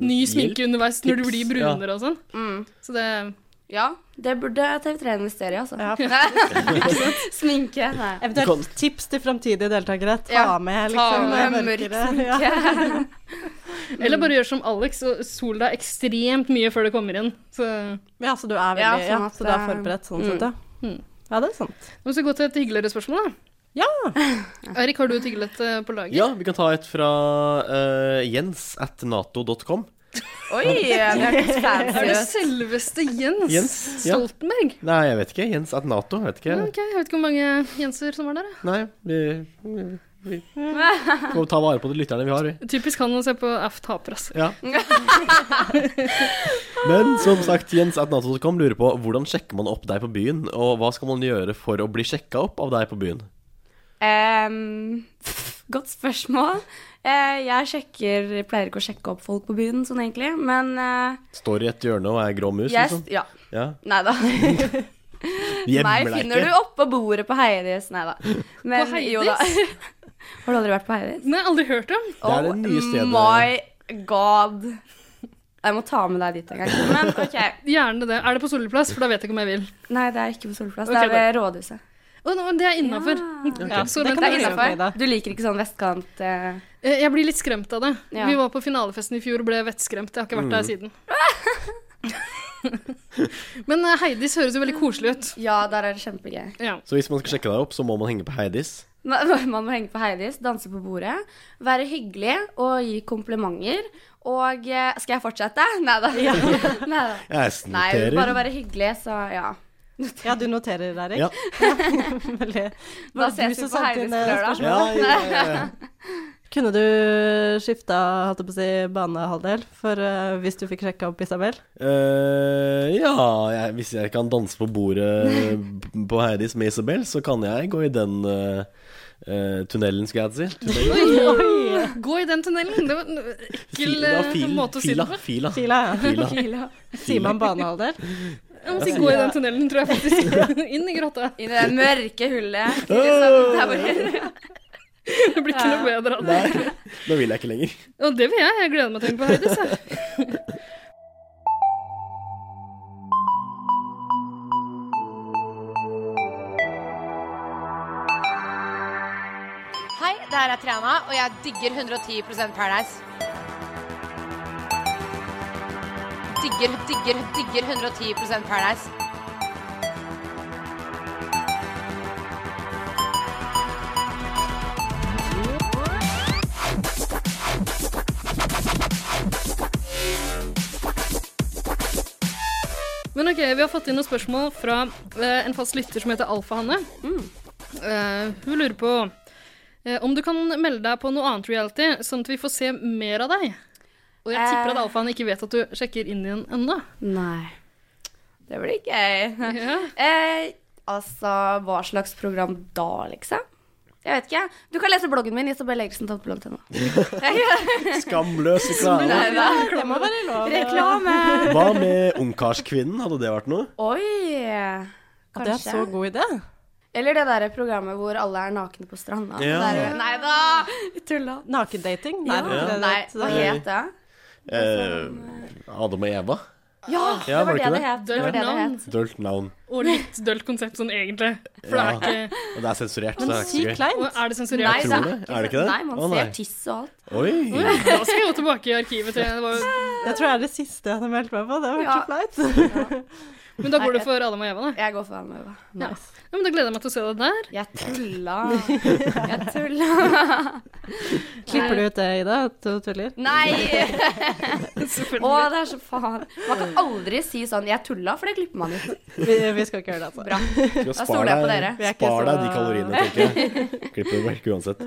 S2: ny
S1: Hjelp,
S2: sminke underveis når du
S1: tips,
S2: blir brunere og sånn.
S14: mm.
S2: Så det
S14: Ja, det burde TV3 investere i, altså.
S4: Ja.
S14: Sminke. Nei.
S4: Eventuelt
S1: Kan-
S4: tips til framtidige deltakere. Ta
S14: Ja,
S4: med
S14: Ta
S4: liksom
S14: med mørk
S4: mørkere. Ja.
S14: sminke.
S2: Eller bare gjør som Alex og sol deg ekstremt mye før du kommer inn. Så
S4: ja, så du er
S14: Ja,
S4: veldig ja,
S14: sånn at,
S4: Så du er
S14: eh,
S4: forberedt sånn
S14: mm.
S4: sett, ja.
S2: Mm.
S4: Ja, det er sant.
S2: nå skal vi gå til et hyggeligere spørsmål, da.
S4: Ja!
S2: Erik, har du et hyggelett eh, på lager?
S1: Ja, vi kan ta et fra eh, jens at nato.com.
S2: Oi,
S14: det hørtes fancy
S2: Er det
S14: ut.
S2: selveste Jens,
S1: Jens, ja.
S2: Stoltenberg?
S1: Nei, jeg vet ikke. Jens at nato. Jeg vet ikke.
S2: Ok, jeg vet ikke hvor mange Jenser som var der.
S1: Nei, vi, vi, vi får ta vare på de lytterne vi har, vi.
S2: jeg. Typisk han å se på Aft taper, altså.
S1: Ja. Men som sagt, Jens at nato.com lurer på hvordan sjekker man opp deg på byen, og hva skal man gjøre for å bli sjekka opp av deg på byen?
S14: Ehm, godt spørsmål. Eh, jeg sjekker, pleier ikke å sjekke opp folk på byen sånn egentlig, men eh,
S1: Står i et hjørne og er grå mus,
S14: jeg,
S1: liksom?
S14: ja.
S1: Ja.
S14: Nei da.
S1: Gjemmer
S14: Meg
S1: deg
S14: finner
S1: ikke.
S14: du oppå bordet på Heidis. Nei da. Men
S2: Heidis?
S14: jo da. Har du aldri vært på Heidis?
S2: Nei, aldri hørt om.
S1: Det er det nye stedet.
S14: Oh My god. Jeg må ta med deg dit en gang. Men OK.
S2: Gjerne det. Er det på Solplass? For da vet jeg ikke om jeg vil.
S14: Nei, det er ikke på Solplass.
S2: Ok,
S14: Det er ved
S2: da.
S14: Rådhuset.
S2: Å, nå, det er innafor. Mm.
S14: Ja, det kan jeg innenfor. Du liker ikke sånn vestkant eh,
S2: Jeg blir litt skremt av det.
S14: Ja.
S2: Vi var på finalefesten i fjor og ble vettskremt. Jeg har ikke vært der siden. Men eh, Heidis høres jo veldig koselig ut.
S14: Ja, der er det kjempegøy.
S2: Ja.
S1: Så hvis man skal sjekke deg opp, så må man henge på Heidis.
S14: Man man må henge på Heidis, danse på bordet, være hyggelig og gi komplimenter. Og eh, Skal jeg fortsette? Nei da.
S1: Jeg
S14: Nei,
S1: noterer.
S14: bare å være hyggelig, så ja.
S4: Ja, du noterer, Erik.
S1: Ja.
S4: Veldig.
S14: Da
S4: Var det du
S14: ses vi
S4: som
S14: på
S4: sendte
S14: Heidis
S4: inn,
S14: på
S4: eh,
S14: lørdag.
S4: spørsmålet?
S14: Nei.
S4: Kunne du skifta holdt jeg på å si, banehalvdel for eh, hvis du fikk sjekka opp Isabel?
S1: Eh, ja, jeg, hvis jeg kan danse på bordet på Heidis med Isabel, så kan jeg gå i den eh, eh, tunnelen, skal jeg si. Tunnelen.
S2: Oi! Gå i den tunnelen. Det var en ekkel
S1: Fila,
S2: eh,
S1: fil,
S2: måte å si det
S1: fila,
S2: på.
S1: fila.
S4: Fila, ja.
S1: Fila.
S4: Sier man banehalvdel?
S2: Jeg må si gå i den tunnelen, tror jeg faktisk. Inn i grotta.
S14: I det mørke hullet. ikke sant? Der hvor-
S2: Det blir ikke noe bedre av det.
S1: Nå vil jeg ikke lenger.
S2: Og det vil jeg. Jeg gleder meg til å henge på Heidis. jeg.
S3: Hei, det her er Triana, og jeg digger 110 Paradise. Digger, digger, digger 110 Paradise.
S2: Men ok, vi har fått inn noen spørsmål fra eh, en fast lytter som heter Alfa-Hanne.
S14: Mm.
S2: Eh, hun lurer på eh, om du kan melde deg på noe annet reality, sånn at vi får se mer av deg. Og jeg tipper
S14: Eh.
S2: at Alfa-Hanne ikke vet at du sjekker inn igjen ennå.
S14: Nei. Det blir gøy.
S2: Ja.
S14: Eh, altså, hva slags program da, liksom? Jeg vet ikke. Du kan lese bloggen min, isabellegersen.blogg.no.
S1: Skamløs reklame.
S4: det må være lov.
S14: Reklame!
S1: Hva med Ungkarskvinnen, hadde det vært noe?
S14: Oi!
S4: Ja, Det er
S14: Kanskje.
S4: så god idé.
S14: Eller det der programmet hvor alle er nakne på stranda.
S1: Ja.
S14: Der, nei da! Tulla.
S4: Nakendating? Nei, det
S1: Ja.
S4: er
S14: Nei,
S4: ikke
S14: hva
S4: det det.
S14: het det? sånn,
S1: Eh, Adam og Eva?
S14: Ja,
S1: Ja,
S14: det var det det het. Det var det det
S2: Navn.
S14: het.
S1: Dølt navn.
S2: Og litt dølt konsept sånn egentlig. For
S1: Ja.
S2: det er ikke
S1: Og det er sensurert, så
S4: Men
S1: det er
S4: sykt
S1: ikke så gøy.
S2: og Er det
S14: Nei,
S2: sensurert?
S1: tror det. Er det ikke det?
S14: Nei, man
S1: Å, nei.
S14: ser tiss og alt.
S1: Oi!
S2: Oi, Da skal jeg gå tilbake i arkivet. Til. Det var, jo-
S4: Jeg tror det er det siste jeg hadde meldt meg på. Det har vært så flaut.
S2: men da går du for Adam og Eva, da.
S14: Jeg går for Amøva.
S4: Nice.
S2: Ja, men da gleder jeg meg til å se deg der.
S14: Jeg tulla. Jeg tulla.
S4: Klipper du ut det, Ida? At du tuller?
S14: Nei! Å,
S2: Selvfølgelig.
S14: det er så faen. Man kan aldri si sånn 'jeg tulla', for det klipper man ut.
S4: Vi, vi skal ikke gjøre det, altså.
S14: Bra.
S1: Skal
S14: Da
S1: spar
S14: stoler jeg på
S1: deg-
S14: dere.
S4: Vi er ikke
S1: Spar deg de
S4: så-
S1: kaloriene, tenker jeg. Klipper det vekk uansett.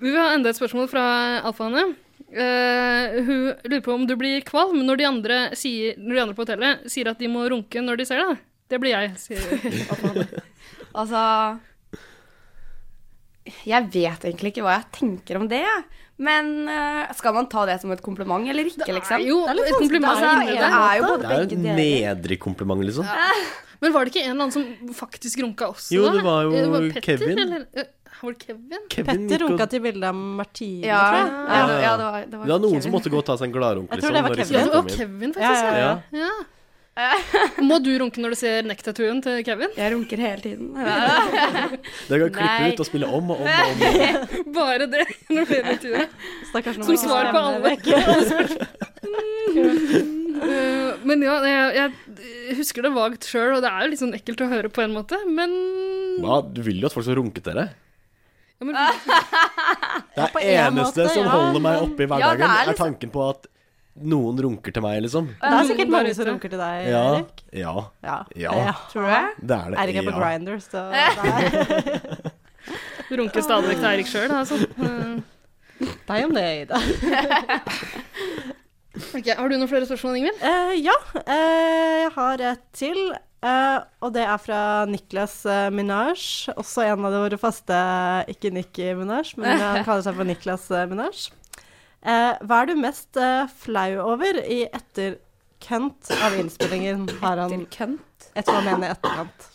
S2: Vi vil ha enda et spørsmål fra Alfa-Hanne. Eh, hun lurer på om du blir kvalm når de, andre sier, når de andre på hotellet sier at de må runke når de ser deg. Det blir jeg, sier Alfa-Hanne.
S14: Altså Jeg vet egentlig ikke hva jeg tenker om det. jeg. Men eh, skal man ta det som et kompliment eller ikke, liksom?
S2: Jo,
S4: Det er litt
S2: et
S4: vanskelig.
S2: kompliment.
S14: Altså,
S2: inni
S14: det
S2: det.
S14: er jo
S1: Det er
S14: både
S1: jo
S14: begge
S1: en
S14: deler.
S1: nedrig kompliment, liksom.
S2: Men var det ikke en eller annen som faktisk runka også?
S1: Jo,
S2: da?
S1: det var jo
S2: Eh,
S1: Kevin.
S2: Eller? eh, Var det Kevin?
S1: Kevin
S4: Petter
S1: gikk og-
S4: runka til bildet av Martine,
S14: Ja,
S4: tror jeg.
S14: ja, det- ja, det var, det var
S1: Det var noen
S14: Kevin.
S1: som måtte gå og ta seg en gladrunk, liksom,
S4: Jeg tror det var
S1: når de
S2: Ja,
S4: Kevin.
S1: skulle
S2: det var
S1: komme inn.
S2: Kevin,
S4: Ja,
S2: faktisk.
S4: ja,
S2: Ja,
S4: ja.
S1: Ja.
S2: ja. Må du runke når du ser neck-tattooen til Kevin?
S14: Jeg runker hele tiden.
S1: Dere kan klippe
S14: Nei.
S1: ut og spille om og om og om. igjen.
S2: Bare det. Når det blir intervjuet.
S4: Stakkars noen
S2: Som
S4: som
S2: svar på
S4: stemmer
S2: alle.
S4: vekk.
S2: alle spørsmål. Eh, Men ja, jeg, jeg husker det vagt sjøl, og det er jo litt sånn ekkelt å høre på en måte, men
S1: Hva? Du vil jo at folk skal runke til deg.
S2: men-
S1: Det
S2: på
S1: er
S2: en
S1: eneste
S2: måte,
S1: som
S2: ja,
S1: holder meg
S2: men-
S1: oppe i
S2: Ja,
S1: hverdagen,
S2: det er
S1: er,
S2: liksom-
S1: tanken på at noen runker til meg, liksom.
S4: Det er sikkert mange som
S2: sånn
S4: runker til deg,
S1: Ja.
S4: Erik.
S1: Ja.
S4: Ja.
S1: ja.
S4: Ja. Tror du det?
S1: Det er det.
S4: Erik er
S1: ja.
S4: på Grindr, så der.
S2: Du runker stadig vekk til Eirik sjøl, altså. Eh,
S4: Deg om det, Ida.
S2: ok, Har du noen flere spørsmål, Ingvild?
S4: Eh, ja, eh, jeg har et til. eh, og det er fra Niklas eh, Minaj, også en av våre faste Ikke Nikki Minaj, men han kaller seg for Niklas eh, Minaj. Eh, hva er du mest eh, flau over i etterkant av innspillingen? Har han Etterkant? Etter hva mener jeg etterkant?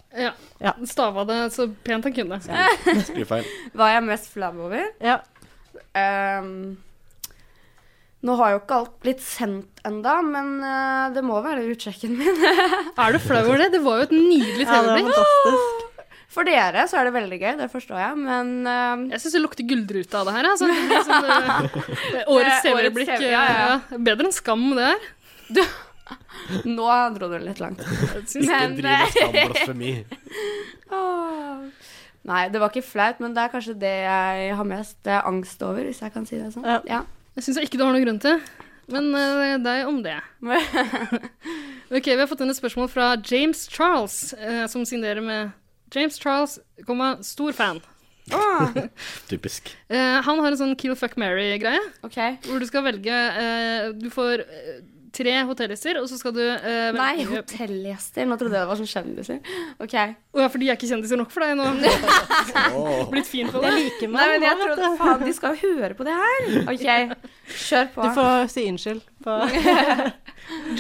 S2: Ja. Stava det så pent han kunne.
S1: Skrivefeil.
S14: Hva er jeg mest flau over? Ehm,
S4: Ja.
S14: nå har jo ikke alt blitt sendt enda, men eh, det må være utsjekken min.
S2: er du flau over det? Det var jo et nydelig
S14: Ja, det var
S2: TV-blikk.
S14: For dere så er det veldig gøy, det forstår jeg, men ehm,
S2: Jeg syns det lukter gullrute av det her. Altså. Det er sånn, eh, årets
S14: Det er årets
S2: TV-blikk.
S14: TV,
S2: Ja,
S14: ja, ja.
S2: ja. Bedre enn skam, det her.
S14: Nå dro du litt langt.
S1: Ikke driv med skamblasfemi.
S14: Åh. Nei, det var ikke flaut, men det er kanskje det jeg har mest eh, angst over, hvis jeg kan si det sånn. Ja.
S2: Jeg syns ikke du har noen grunn til. Men eh, deg om det. ok, Vi har fått inn et spørsmål fra James Charles, eh, som signerer med James Charles, komma, stor fan.
S14: Ah,
S1: Typisk.
S2: Eh, han har en sånn Kill Fuck Mary-greie. Hvor du skal velge eh, Du får eh, tre hotellgjester, og så skal du eh, velge
S14: Nei, hotellgjester. Nå trodde jeg det var sånn kjendiser. OK.
S2: Å ja, for de er ikke kjendiser nok for deg nå. Blitt fin på det.
S14: Det liker man Nei, men jeg nå, vet trodde- du. faen, de skal jo høre på det her. OK, kjør på.
S4: Du får si unnskyld. På.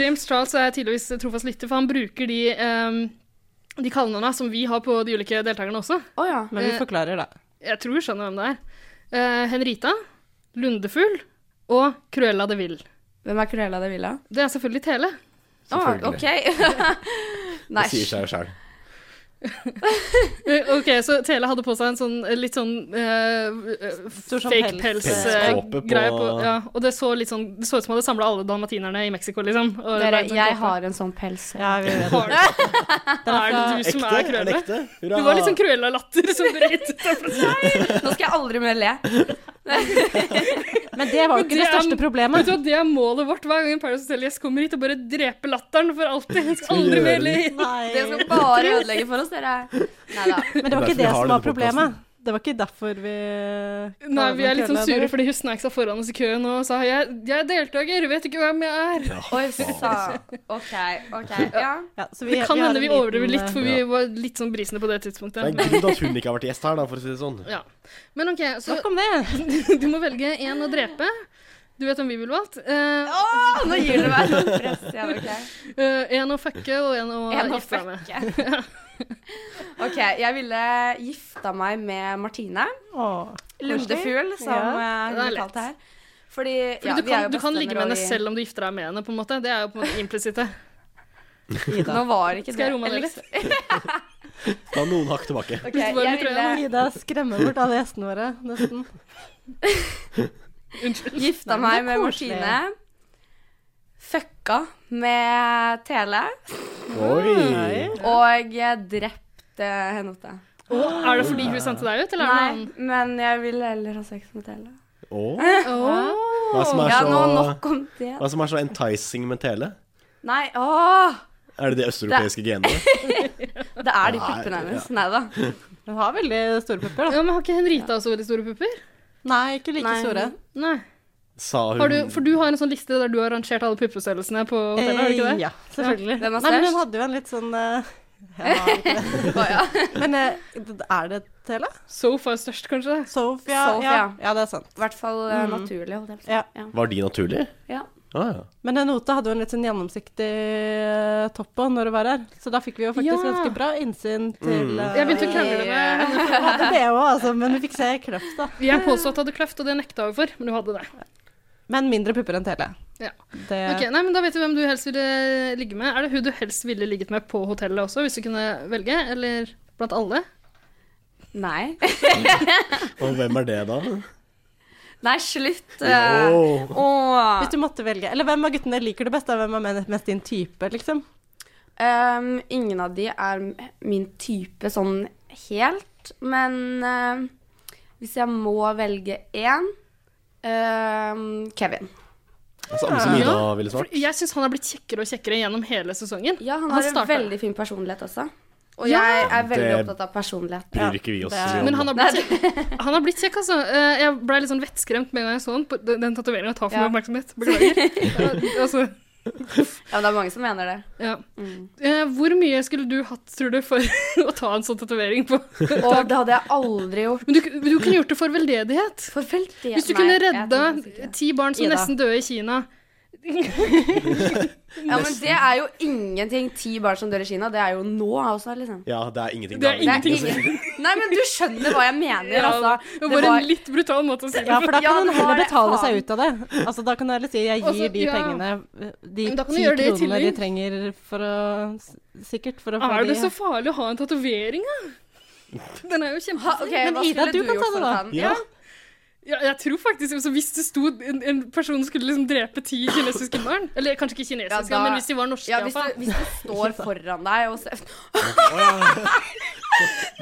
S2: James Charles er tydeligvis trofast lytter, for han bruker de um, de kallenavna som vi har på de ulike deltakerne også.
S4: Men vi
S2: Eh,
S4: forklarer, da.
S2: Jeg tror jeg skjønner hvem det er. Eh, Henrita, Lundefugl og Cruella de Vil.
S14: Hvem er Cruella de Villa?
S2: Det er selvfølgelig Tele.
S14: Selvfølgelig.
S2: Nei.
S1: Det sier seg jo sjøl.
S2: Eh, ok, så Tele hadde på seg en sånn eh, litt sånn eh, eh,
S4: Stor sånn
S2: fake
S4: pels.
S1: Pelskåpe på-
S2: pels-greie på ja, Og det så litt sånn Det så ut som han hadde samla alle dalmatinerne i Mexico, liksom. Og
S14: Dere,
S2: lagd en
S14: jeg
S2: kåpe.
S14: har en sånn pels.
S4: Ja, vi vet
S2: Har
S4: det.
S2: Er det du
S1: Ekte?
S2: som er
S1: Er
S2: Cruella?
S1: det ekte? Hurra.
S2: Du var litt sånn Cruella-latter som brøt ut av
S14: Nå skal jeg aldri mer le.
S4: Men det var jo ikke det største
S2: Vet
S4: problemet.
S2: du hva, Det er målet vårt hver gang en Paradise Hotel-gjest kommer hit og bare drepe latteren for alltid. Jeg skal
S1: Skal vi
S2: aldri
S1: gjøre
S2: mer le.
S1: det?
S14: Dere skal bare ødelegge for oss, dere. Nei da.
S4: Men det var
S1: Derfor
S4: ikke
S1: vi
S4: det
S1: har
S4: som
S1: denne
S4: var problemet. Det var ikke derfor vi
S2: Nei, vi er litt sånn sure fordi hun snek seg foran oss i køen og sa jeg, 'jeg er deltaker, vet ikke hvem jeg er'.
S14: Oi, sa. OK, OK. Ja.
S4: Ja, så
S2: det kan
S4: har
S2: hende
S4: en
S2: vi
S4: liten, eh,
S2: overdriver litt, for vi
S1: Ja.
S2: var litt sånn brisende på det
S1: Det
S2: tidspunktet.
S1: er
S2: Men,
S1: gud at hun ikke har vært gjest her, da, for å si det sånn.
S2: ja. men OK, så
S4: Snakk om det!
S2: du må velge én å drepe. Du vet om vi ville valgt. Eh,
S14: Åh, nå gir du meg noe press igjen. OK,
S2: eh, en å fucke og en å
S14: En å
S2: gifte deg med.
S14: Ok, jeg ville gifta meg med Martine.
S4: Åh,
S14: Lundefugl, som
S4: Ja.
S14: eh,
S2: Det er
S14: hun
S2: lett.
S14: kalte her. Fordi,
S2: Fordi
S14: ja,
S2: du
S14: vi er
S2: kan,
S14: jo
S2: du kan
S14: bestevenner,
S2: ligge med
S14: og
S2: henne
S14: vi-
S2: selv om du gifter deg med henne, på en måte. Det er jo på en måte implisitt, det.
S4: Ida.
S14: Nå var ikke det
S2: Skal jeg roe meg ned litt?
S1: Da noen hakk tilbake.
S14: Ok,
S2: Litt varm i
S14: jeg ville
S2: trøya
S4: Ida skremmer bort alle gjestene våre, nesten.
S14: gifta
S4: Nei, men det
S14: meg med
S4: er koselig.
S14: Martine. Fucka med Tele.
S1: Oi.
S14: Og eh, jeg drepte Henote.
S2: Og er det fordi hun sendte deg ut, eller er det noe
S14: Nei,
S2: annet?
S14: men jeg ville heller ha sex med Tele.
S1: Åh.
S2: Åh.
S1: Hva som er
S14: Ja, nå
S1: så
S14: nok om det.
S1: Hva som er så enticing med tele?
S14: Nei, åh!
S1: Er det de østeuropeiske genene?
S14: Det er de
S1: Nei,
S14: puppene hennes. Nei da.
S4: Hun har veldig store pupper, da.
S2: Ja, men Har ikke Henrita også veldig store pupper?
S4: Nei, ikke like
S14: Nei.
S4: store.
S2: Nei.
S1: Sa hun
S2: Har du, for du har en sånn liste der du har rangert alle puppestørrelsene på hotellet? har du ikke
S4: Eh,
S2: det?
S4: Ja, selvfølgelig. Nei,
S14: Hvem er
S4: men
S14: størst?
S4: hun hadde jo en litt sånn eh, jeg har ikke det.
S14: Å, ja.
S4: Men eh, er det Tele?
S2: Sofa er størst, kanskje?
S4: Sofia?
S14: Sofia.
S4: Ja. ja, det er sant.
S14: I hvert fall eh, naturlig, holdt jeg på å si.
S4: Ja.
S1: Var de naturlige?
S14: Ja.
S1: Ah, ja.
S4: Men eh, Nota hadde jo en litt sånn gjennomsiktig eh, topp på når hun var her, så da fikk vi jo faktisk
S2: Ja.
S4: ganske bra innsyn til eh,
S2: Jeg begynte å krangle med henne.
S4: Hun hadde det òg, altså, men vi fikk se kløft, da.
S2: Jeg påstod at du hadde kløft, og det nekta hun for, men du hadde det.
S4: Men mindre pupper enn Tele.
S2: Ja.
S4: Det,
S2: Ok, nei, men Da vet du hvem du helst ville ligge med. Er det hun du helst ville ligget med på hotellet også, hvis du kunne velge? Eller blant alle?
S14: Nei.
S1: Og hvem er det, da?
S14: Nei, slutt. eh.
S1: Åh.
S14: Åh.
S4: Hvis du måtte velge Eller hvem av guttene liker du best? Da? Hvem er men- mest din type, liksom?
S14: Ehm, ingen av de er m- min type sånn helt, men ehm, Hvis jeg må velge én øhm, Kevin.
S1: Det er samme som Ida ville
S2: For
S1: svart.
S2: jeg syns han er blitt kjekkere og kjekkere gjennom hele sesongen.
S14: Ja, han har
S2: Han
S14: en
S2: startet-
S14: veldig fin personlighet også. Og
S2: Ja.
S14: jeg er veldig
S1: Det
S14: opptatt av personlighet.
S1: bryr ikke vi oss
S14: det-
S1: så mye om.
S2: Men han har blitt kjekk. Han har blitt kjekk altså. Eh, Jeg ble litt sånn vettskremt med en gang jeg så han. på- Den den tatoveringen tar for mye
S14: Ja.
S2: oppmerksomhet. Beklager. Ja, altså,
S14: Ja, men det er mange som mener det.
S2: ja.
S14: Mm.
S2: Eh, Hvor mye skulle du hatt, tror du, for å ta en sånn tatovering på?
S14: Og det hadde jeg aldri gjort.
S2: Men du, du kunne gjort det for veldedighet.
S14: For veldig-
S2: Hvis du
S14: Nei,
S2: kunne
S14: jeg tror faktisk
S2: redda
S14: ikke det.
S2: ti barn som
S14: Ida.
S2: nesten døde i Kina.
S14: Ja, men det er jo ingenting. Ti barn som dør i Kina, det er jo nå også, liksom.
S1: Ja, det er ingenting.
S2: Det er ingenting.
S1: å si.
S14: Nei, men du skjønner hva jeg mener, altså.
S2: det var
S14: var-
S2: en litt brutal måte å si det
S4: Ja,
S2: på.
S4: for da kan
S14: Ja,
S4: han
S14: det
S4: heller
S14: var-
S4: betale
S14: faen.
S4: seg ut av det. Altså, da kan du heller si 'jeg gir
S2: Altså,
S4: de
S2: ja.
S4: pengene, de
S2: Men
S4: ti
S2: da kan du gjøre det i
S4: kronene de
S2: tillegg.
S4: trenger for å Sikkert for å få
S2: Er det
S4: de
S2: så farlig å ha en tatovering, da? Den er jo
S14: Ha,
S2: kjempefin.
S14: ok,
S4: Men
S14: hva
S4: Ida, du
S14: skulle du
S4: kan ta
S14: gjort
S4: det
S14: for
S4: da.
S14: å ta den?
S1: Ja.
S2: Ja, jeg tror faktisk altså, Hvis det sto en, en person skulle liksom drepe ti kinesiske barn Eller kanskje ikke kinesiske,
S14: Ja, da-
S2: men hvis de var norske,
S14: Ja, hvis
S2: iallfall.
S14: du, hvis du står foran deg og ser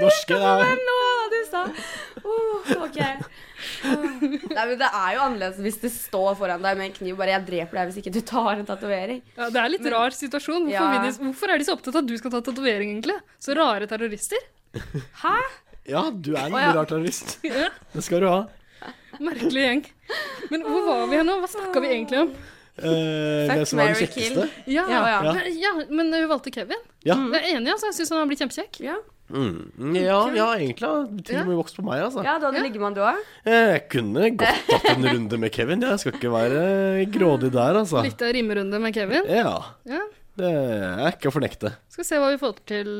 S1: Norske, det er
S14: Nå, du sa oh,
S4: Uh,
S14: OK. Åh. Nei, men det er jo annerledes hvis det står foran deg med en kniv bare 'Jeg dreper deg hvis ikke du tar en tatovering'.
S2: Ja, det er en litt
S14: Men-
S2: rar situasjon. Hvorfor,
S14: Ja.
S2: vil de, hvorfor er de så opptatt av at du skal ta tatovering, egentlig? Så rare terrorister.
S1: Ja, du er en
S14: ja.
S1: rar terrorist.
S2: Ja,
S1: Det skal du ha.
S2: merkelig gjeng. Men hvor var vi nå? Hva snakka vi egentlig om?
S1: Eh,
S14: Fuck,
S1: hvem som var den
S14: marry,
S1: kjekkeste?
S2: Ja, ja,
S14: Ja,
S1: ja.
S2: Men, ja, men hun valgte Kevin.
S1: Ja.
S2: Jeg er enig, altså. Jeg syns han har blitt kjempekjekk.
S14: Ja,
S1: Mm, ja, ja, egentlig. ja. Til og med vokst på meg, altså.
S14: ja da hadde liggemann du òg.
S1: Eh, Jeg kunne godt tatt en runde med Kevin. Jeg skal ikke være grådig der, altså.
S2: Litt av rimerunde med Kevin.
S1: Ja.
S2: Ja.
S1: Det er ikke å fornekte.
S2: Skal se hva vi får til.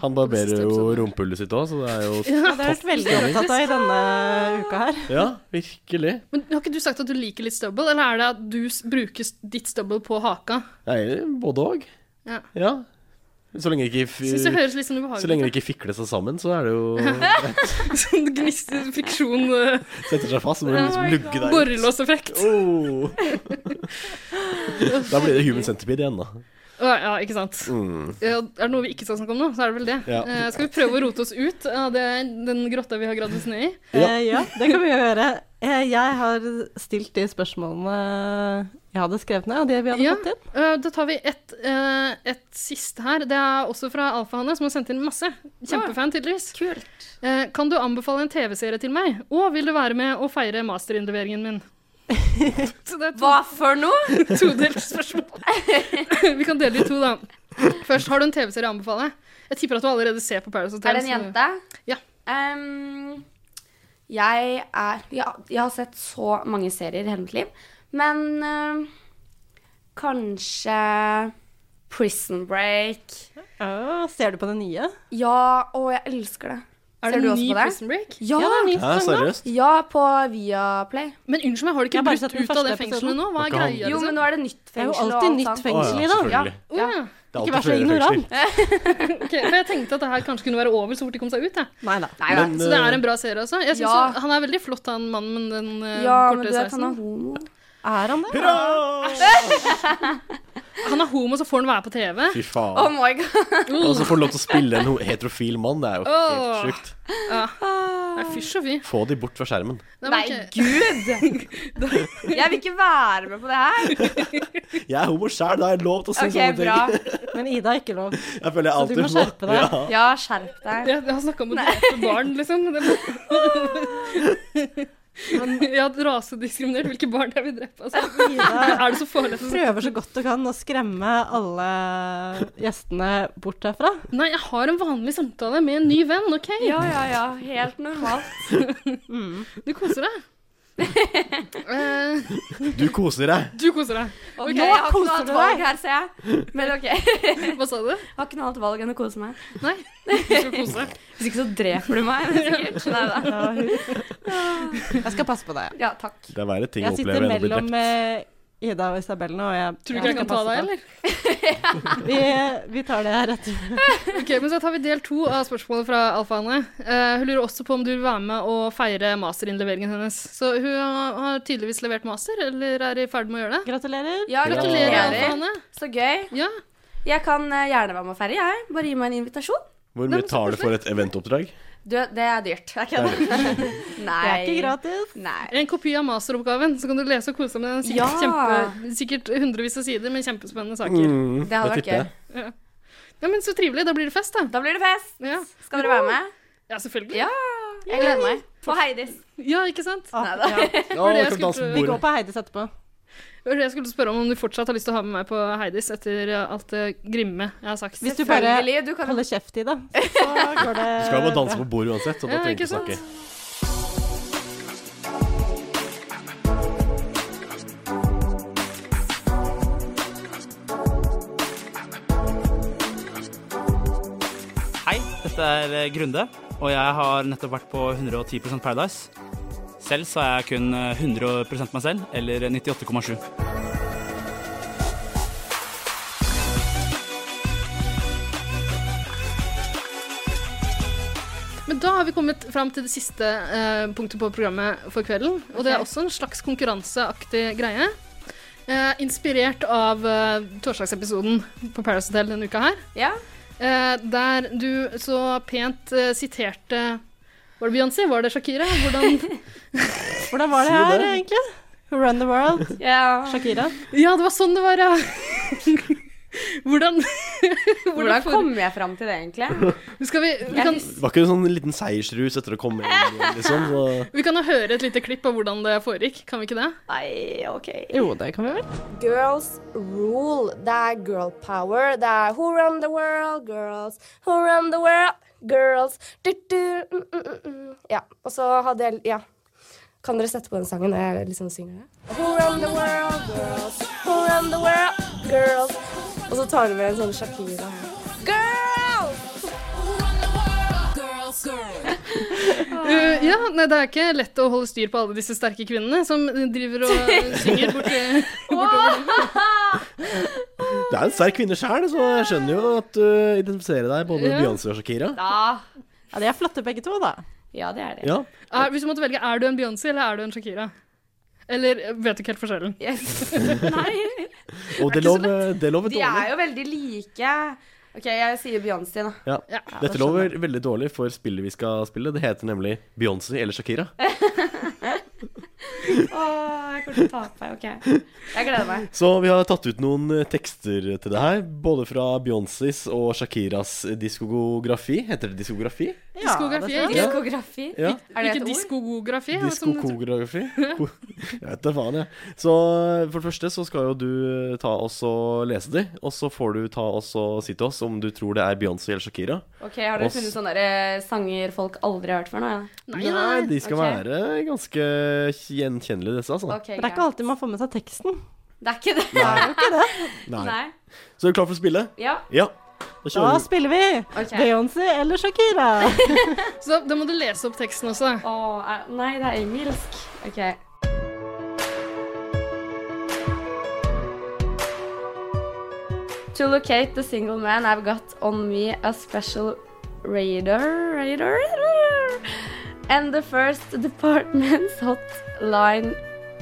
S1: Han
S2: neste
S1: barberer jo
S2: episode.
S1: rumpehullet sitt òg, så det er jo
S4: Ja, det har jeg vært veldig opptatt av i denne uka her.
S1: Ja, virkelig.
S2: Men har ikke du sagt at du liker litt stubble, eller er det at du s- bruker s- ditt stubble på haka?
S1: Nei, både òg.
S2: Ja.
S1: Ja. Så lenge det ikke
S2: Syns det
S1: fi-
S2: høres litt sånn
S1: så lenge det
S2: ubehagelig ut.
S1: ikke fikler seg sammen, så er det jo
S2: da. Sånn gnister, friksjon, eh,
S1: Setter seg fast, så må du liksom lugge deg ut.
S2: borrelåseffekt.
S1: Oh. Da blir det human centipede igjen, da.
S2: Ja, ja, ikke sant.
S1: Mm.
S2: Ja, er det noe vi ikke skal snakke om nå, så er det vel det.
S1: Ja.
S2: Eh, skal vi prøve å rote oss ut av det, den grotta vi har gravd oss ned i?
S1: Ja.
S4: Eh, ja, det kan vi jo gjøre. Eh, jeg har stilt de spørsmålene jeg hadde skrevet ned, og de vi hadde
S2: Ja.
S4: fått inn.
S2: Eh, da tar vi et, eh, et siste her. Det er også fra Alfahanne, som har sendt inn masse. Kjempefan, tydeligvis.
S14: Kult.
S2: Eh, kan du anbefale en TV-serie til meg? Og vil du være med å feire masterinnleveringen min? Så det er to
S14: Hva for noe?
S2: Todelt spørsmål. Vi kan dele det i to, da. Først, har du en TV-serie å anbefale? Jeg tipper at du allerede ser på Paradise Hotel.
S14: Er det en
S2: så-
S14: jente?
S2: Ja.
S14: Ehm, jeg er ja, Jeg har sett så mange serier i hele mitt liv, men øhm, kanskje Prison Break.
S4: Å, ser du på det nye?
S14: Ja, å, jeg elsker det.
S2: Er det
S14: Ser du
S2: en
S14: også
S2: ny
S14: på det?
S2: Prison Break?
S14: Ja,
S4: Ja, det er ny
S1: Ja,
S4: sesong nå.
S1: seriøst?
S14: ja på Viaplay.
S2: Men unnskyld meg, har du
S4: Jeg
S2: ikke
S4: har bare sett
S2: brutt
S4: den
S2: ut av det
S4: første episoden.
S2: fengselet nå? Hva er
S1: Har ikke
S2: greia?
S1: han-
S14: Jo, men nå er det nytt
S4: Det er jo
S14: fengsel. og
S4: alltid
S14: alt
S4: nytt
S14: sånt.
S4: fengsel i
S1: Å, ja,
S4: dag.
S1: selvfølgelig.
S2: Å,
S1: Det
S2: ja.
S1: er
S4: Ikke
S1: alltid
S4: vær så
S1: flere
S4: ignorant.
S1: fengsler.
S2: Ok, for jeg tenkte at det her kanskje kunne være over så fort de kom seg ut. Jeg.
S4: Nei da.
S14: Nei, da.
S1: Men, eh,
S2: Så det er en bra serie, altså. Jeg synes
S14: Ja.
S2: han- Han er veldig flott, han mannen med den eh,
S14: Ja, men
S2: korte
S14: du vet, han er
S2: sveisen.
S14: homo.
S4: Er
S1: eh,
S4: han det?
S2: Han er homo, så får han være på TV.
S1: Fy
S14: Oh
S1: faen.
S14: my god.
S1: Og så får du lov til å spille en ho- heterofil mann. Det er jo
S2: Åh.
S1: helt sjukt.
S2: Ja. Nei, fysj og fy.
S1: Få de bort fra skjermen.
S2: Nei,
S14: Nei,
S2: men ok.
S14: gud! Jeg vil ikke være med på det her.
S1: Jeg er homo sjæl, det er lov til
S4: sånn
S1: å si
S14: OK,
S1: sånne ting.
S14: bra.
S4: Men Ida er ikke lov.
S1: Jeg føler jeg
S4: Så du
S1: alltid
S4: må skjerpe deg.
S1: Ja.
S14: Ja, skjerp deg.
S2: Jeg, jeg har snakka om å drepe barn, liksom. Men jeg har rasediskriminert hvilke barn jeg vil drepe. Altså.
S4: Ida
S2: Er det så farlig? at det-
S4: prøver så godt hun kan å skremme alle gjestene bort herfra.
S2: Nei, jeg har en vanlig samtale med en ny venn, OK?
S14: Ja, ja, ja. Helt normalt.
S2: Du koser deg. Eh,
S1: Du koser deg.
S2: du koser deg.
S14: Ok,
S2: Ok,
S14: jeg har ikke noe
S4: koser
S14: annet
S4: du
S14: valg
S4: deg.
S14: her, ser jeg. Men OK. Jeg
S2: Hva sa du?
S14: har ikke noe annet valg enn å kose meg.
S2: Nei, du skal kose deg.
S14: Hvis ikke så dreper du meg. men sikkert. Nei da.
S4: Ja, hun- Jeg skal passe på deg.
S14: Ja, takk.
S1: Det er verre ting å
S4: Jeg sitter
S1: oppleve enn å bli
S4: mellom
S1: drept.
S4: eh, Ida og Isabel nå, og jeg
S2: Tror du ikke jeg
S4: skal
S2: kan ta
S4: passe
S2: deg,
S4: på.
S2: eller?
S4: Vi, eh, vi tar det her etter.
S2: Ok, men Så tar vi del to av spørsmålet fra Alfa-Anne. Eh, hun lurer også på om du vil være med og feire masterinnleveringen hennes. Så hun har har tydeligvis levert master, eller er i ferd med å gjøre det.
S4: Gratulerer.
S14: Ja,
S2: Gratulerer,
S14: gratulerer.
S2: Alfa-Anne.
S14: Så gøy.
S2: Ja.
S14: Jeg kan eh, gjerne være med og feire, jeg. Bare gi meg en invitasjon.
S1: Hvor mye tar det for et eventoppdrag?
S14: Du, det er dyrt. Jeg kødder. Nei.
S2: Det er ikke
S14: gratis. Nei.
S2: En kopi av masteroppgaven, så kan du lese og kose deg med den. Sikkert,
S14: Ja.
S2: kjempe, sikkert hundrevis av sider med kjempespennende saker.
S1: Mm, Det hadde det vært tipper jeg.
S2: Ja. ja, men så trivelig. Da blir det fest, da.
S14: Da blir det fest.
S2: Ja.
S14: Skal dere være med?
S2: Ja, selvfølgelig.
S14: Ja, jeg gleder meg. På Heidis.
S2: Ja, ikke sant?
S14: Neida.
S2: Ah, Ja. Det var det jeg skulle prøve-
S4: Vi går på Heidis etterpå.
S2: Det var det jeg skulle spørre om om du fortsatt har lyst til å ha med meg på Heidis etter alt det grimme jeg har sagt.
S4: Hvis du bare holder kjeft i det, så går det
S1: Du skal jo bare danse på bordet uansett, så da
S2: Ja,
S1: trenger du
S2: ikke
S1: ikke snakke.
S15: Hei, dette er eh, Grunde, og jeg har nettopp vært på 110 Paradise. Selv så er jeg kun eh, 100 meg selv, eller 98,7.
S2: Men da har vi kommet fram til det siste eh, punktet på programmet for kvelden. Og det er også en slags konkurranseaktig greie. Eh, inspirert av eh, torsdagsepisoden på Paradise Hotel denne uka her. Eh, der du så pent eh, siterte Var det Beyoncé? Var det Shakira? Hvordan,
S4: Hvordan var det
S2: Si
S4: her,
S2: det.
S4: egentlig? Who run the world? Shakira.
S2: Ja, det var sånn det var, ja. Hvordan
S14: Hvordan
S2: for-
S14: kom jeg fram til det, egentlig?
S2: Skal vi, vi, kan,
S1: Var ikke det sånn en liten seiersrus etter å komme inn, liksom? Så
S2: vi kan jo høre et lite klipp av hvordan det foregikk, kan vi ikke det?
S14: Nei, ok.
S4: Jo, det kan vi vel.
S16: Girls rule. Det er girl power. Det er who run the world, girls. Who run the world, girls. Du, du, mm, mm, mm, mm. Ja, og så hadde jeg Ja. Kan dere sette på den sangen når jeg liksom synger det? Who run the world, girls. Who run the world, girls. Og så tar du med en sånn Shakira. Girls!
S2: Uh, ja, nei, det er ikke lett å holde styr på alle disse sterke kvinnene som driver og eh, synger borti
S1: det er en sterk kvinne sjæl, så jeg skjønner jo at du identifiserer deg både med
S2: Ja.
S1: Beyoncé og Shakira.
S4: Ja, de er flotte begge to, da.
S14: Ja, det er det.
S1: Ja.
S2: er, Hvis du måtte velge, er du en Beyoncé eller er du en Shakira? Eller eh, vet du ikke helt forskjellen?
S14: Nei.
S1: Og det lover, det lover
S14: De
S1: dårlig.
S14: er jo veldig like. OK, jeg sier Beyoncé, da.
S1: Ja. Dette lover veldig dårlig for spillet vi skal spille. Det heter nemlig Beyoncé eller Shakira.
S14: Åh, jeg kommer til å tape. OK. Jeg gleder meg.
S1: Så vi har tatt ut noen eh, tekster til det her. Både fra Beyoncés og Shakiras diskografi. Heter det diskografi?
S2: Diskografi?
S1: det er sant.
S2: ikke-
S14: Diskografi?
S1: Ja.
S14: Er det et
S2: ikke
S14: ord?
S2: diskografi? ja, som-
S1: Diskokografi? Ko- Jeg vet da faen, jeg. Så eh, for det første så skal jo du eh, ta oss og lese de, og så får du ta oss og si til oss om du tror det er Beyoncé eller Shakira.
S14: OK, har
S1: Og
S14: dere
S1: s-
S14: funnet sånne der, eh, sanger folk aldri har hørt før nå? Ja?
S1: Nei, de skal være ganske gjenkjennelige, disse, altså.
S14: Ok,
S4: Men det er ikke alltid man får med seg teksten.
S14: Det er ikke det.
S1: Nei.
S14: jo ikke det.
S1: Nei.
S14: Nei.
S1: Så er du klar for å spille?
S14: Ja.
S1: Ja. Da
S4: Da
S1: kjører vi.
S4: spiller vi Beyoncé eller Shakira.
S2: Så da må du lese opp teksten også.
S14: Åh, er- nei, det er engelsk. OK. To locate the single man I've got on me a special radar, radar, radar. and the first department's hotline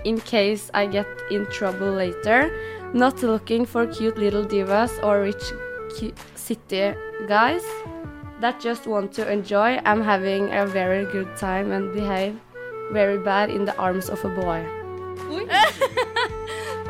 S14: in case I get in trouble later. Not looking for cute little divas or rich cu- city guys that just want to enjoy. I'm having a very good time and behave very bad in the arms of a boy.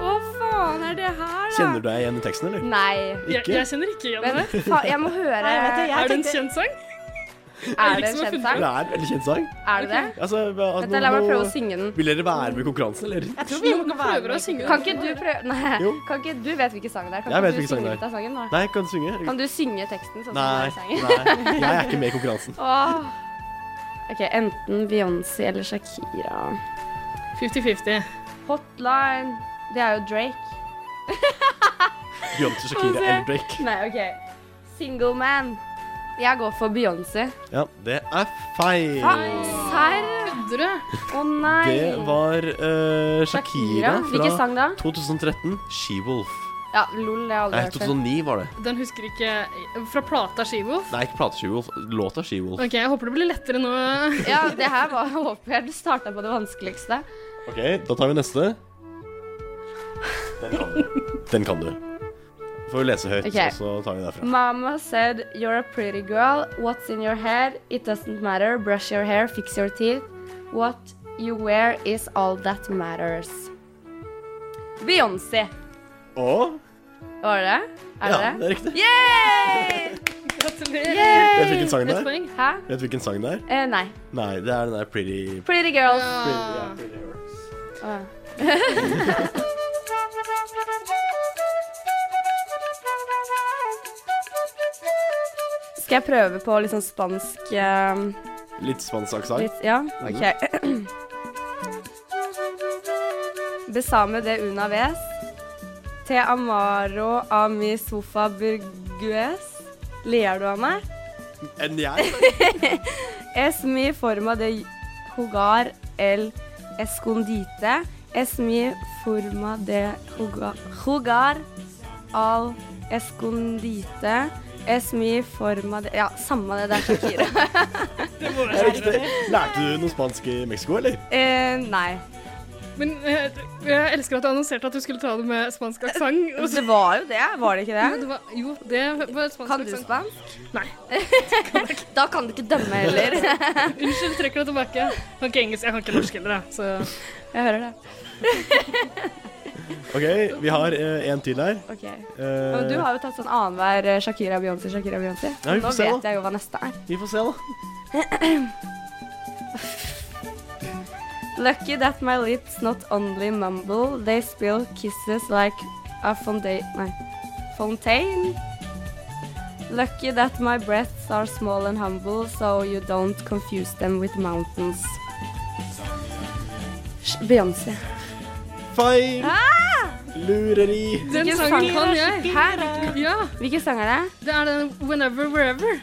S14: Hva faen er det her, da?
S1: Kjenner du deg igjen i teksten, eller?
S14: Nei.
S1: Ikke? Jeg- jeg
S2: kjenner ikke igjen
S14: Men,
S2: det.
S14: Faen, jeg må høre
S2: Nei, vet du, liksom jeg Er det en tenkte-
S14: kjent
S2: sang?
S14: Er det en kjent sang?
S1: Det er en veldig kjent sang.
S14: Er det det?
S1: Altså, altså,
S14: Vent, da, la meg
S1: nå-
S14: prøve å synge den.
S1: Vil dere være med i konkurransen, eller?
S4: tror vi må være med.
S14: Kan ikke du prøve Nei.
S1: Jo.
S14: Kan ikke, du vet hvilken sang det er. Kan
S1: Jeg vet
S14: du
S1: hvilken sang
S14: synge
S1: det er.
S14: litt av sangen nå?
S1: Nei, kan du synge?
S14: Kan du synge teksten sånn
S1: Nei,
S14: som
S1: nei,
S14: det er i sangen?
S1: jeg er ikke med i konkurransen.
S14: Åh. OK, enten Beyoncé eller Shakira.
S2: 50-50.
S14: Hotline Det er jo Drake.
S1: Beyoncé, Shakira
S14: Altså,
S1: eller Drake?
S14: Nei, OK. Single man. Jeg går for Beyoncé.
S1: Ja, det er feil.
S14: Faen, Serr?
S2: Kødder du?
S14: Å nei.
S1: Det var eh, Shakira
S14: Shakira. Hvilken sang
S1: fra
S14: da?
S1: 2013. She-Wolf.
S14: Ja, lol, det har
S1: Nei,
S14: jeg aldri hørt før.
S1: 2009 var det.
S2: Den husker ikke Fra plata Skivo.
S1: Nei, ikke plate She-Wolf. Låta She-Wolf.
S2: Ok, jeg håper det blir lettere nå.
S14: Ja, det her var jeg håper jeg starta på det vanskeligste.
S1: OK, da tar vi neste. Den kan du. Den kan du. får vi lese høyt,
S14: Ok.
S1: og så tar vi derfra.
S14: Mama said, You're a pretty girl. What's in your head? It doesn't matter. Brush your hair, fix your teeth. What you wear is all that matters. Beyoncé.
S1: Og
S14: Var det det? Er
S1: Ja,
S14: det det?
S1: det er riktig.
S14: Yay!
S2: Gratulerer.
S14: Yay!
S1: Vet du hvilken sang det
S2: Ett
S1: er?
S2: poeng.
S14: Hæ?
S1: Vet du hvilken sang det er?
S14: Eh, nei.
S1: Nei, det er den der Pretty
S14: Pretty girls. Ah.
S1: Pretty- ja, pretty girls.
S14: Åh. Skal jeg prøve på litt sånn spansk eh,
S1: Litt spansk aksent.
S14: Litt, ja, ok. Besame de una vez. Te amaro a mi sofa burgues. Ler du av meg?
S1: Enn jeg?
S14: Es mi forma de jugar el escondite. Es mi forma de juga- jugar al escondite. Es mi forma de Ja, samme det, det er Shakira.
S1: Det er riktig. Lærte du noe spansk i Mexico, eller?
S14: eh, nei.
S2: Men eh, jeg elsker at du annonserte at du skulle ta det med spansk aksent. og så-
S14: Det var jo det, var det ikke
S2: Jo,
S14: det?
S2: det var, jo, det var spansk
S14: Kan du
S2: aksent.
S14: spansk?
S2: Nei.
S14: Da kan du ikke dømme heller.
S2: Unnskyld, trekker det tilbake. Jeg kan ikke engelsk, jeg kan ikke norsk heller, jeg. Så
S14: Jeg hører det.
S1: OK, vi har eh, en til her.
S14: Ok.
S1: Eh,
S14: Men du har jo tatt sånn annenhver eh, Shakira Beyoncé, Shakira Beyoncé.
S1: Ja, vi får
S14: Nå
S1: se,
S14: vet
S1: da.
S14: jeg jo hva neste er.
S1: Eh, Vi får se, da.
S14: Lucky that my lips not only mumble, they spill kisses like a fonda- nei, fontaine. Lucky that my breaths are small and humble, so you don't confuse them with mountains. Sh- Beyoncé.
S1: Feil! Lureri.
S2: den
S14: Hvilken
S2: sangen
S14: sang-
S2: kan jeg.
S14: Hæ? Hvilken-
S2: Ja,
S14: Hvilken sang er det?
S2: det er den Whenever, Wherever.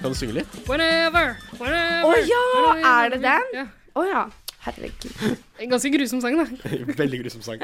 S1: Kan du synge litt?
S2: Whenever, whenever.
S14: Å ja!
S2: whenever.
S14: Er det den?
S2: Ja.
S14: Å ja. Herregud.
S2: En ganske grusom sang, da.
S1: Veldig grusom sang.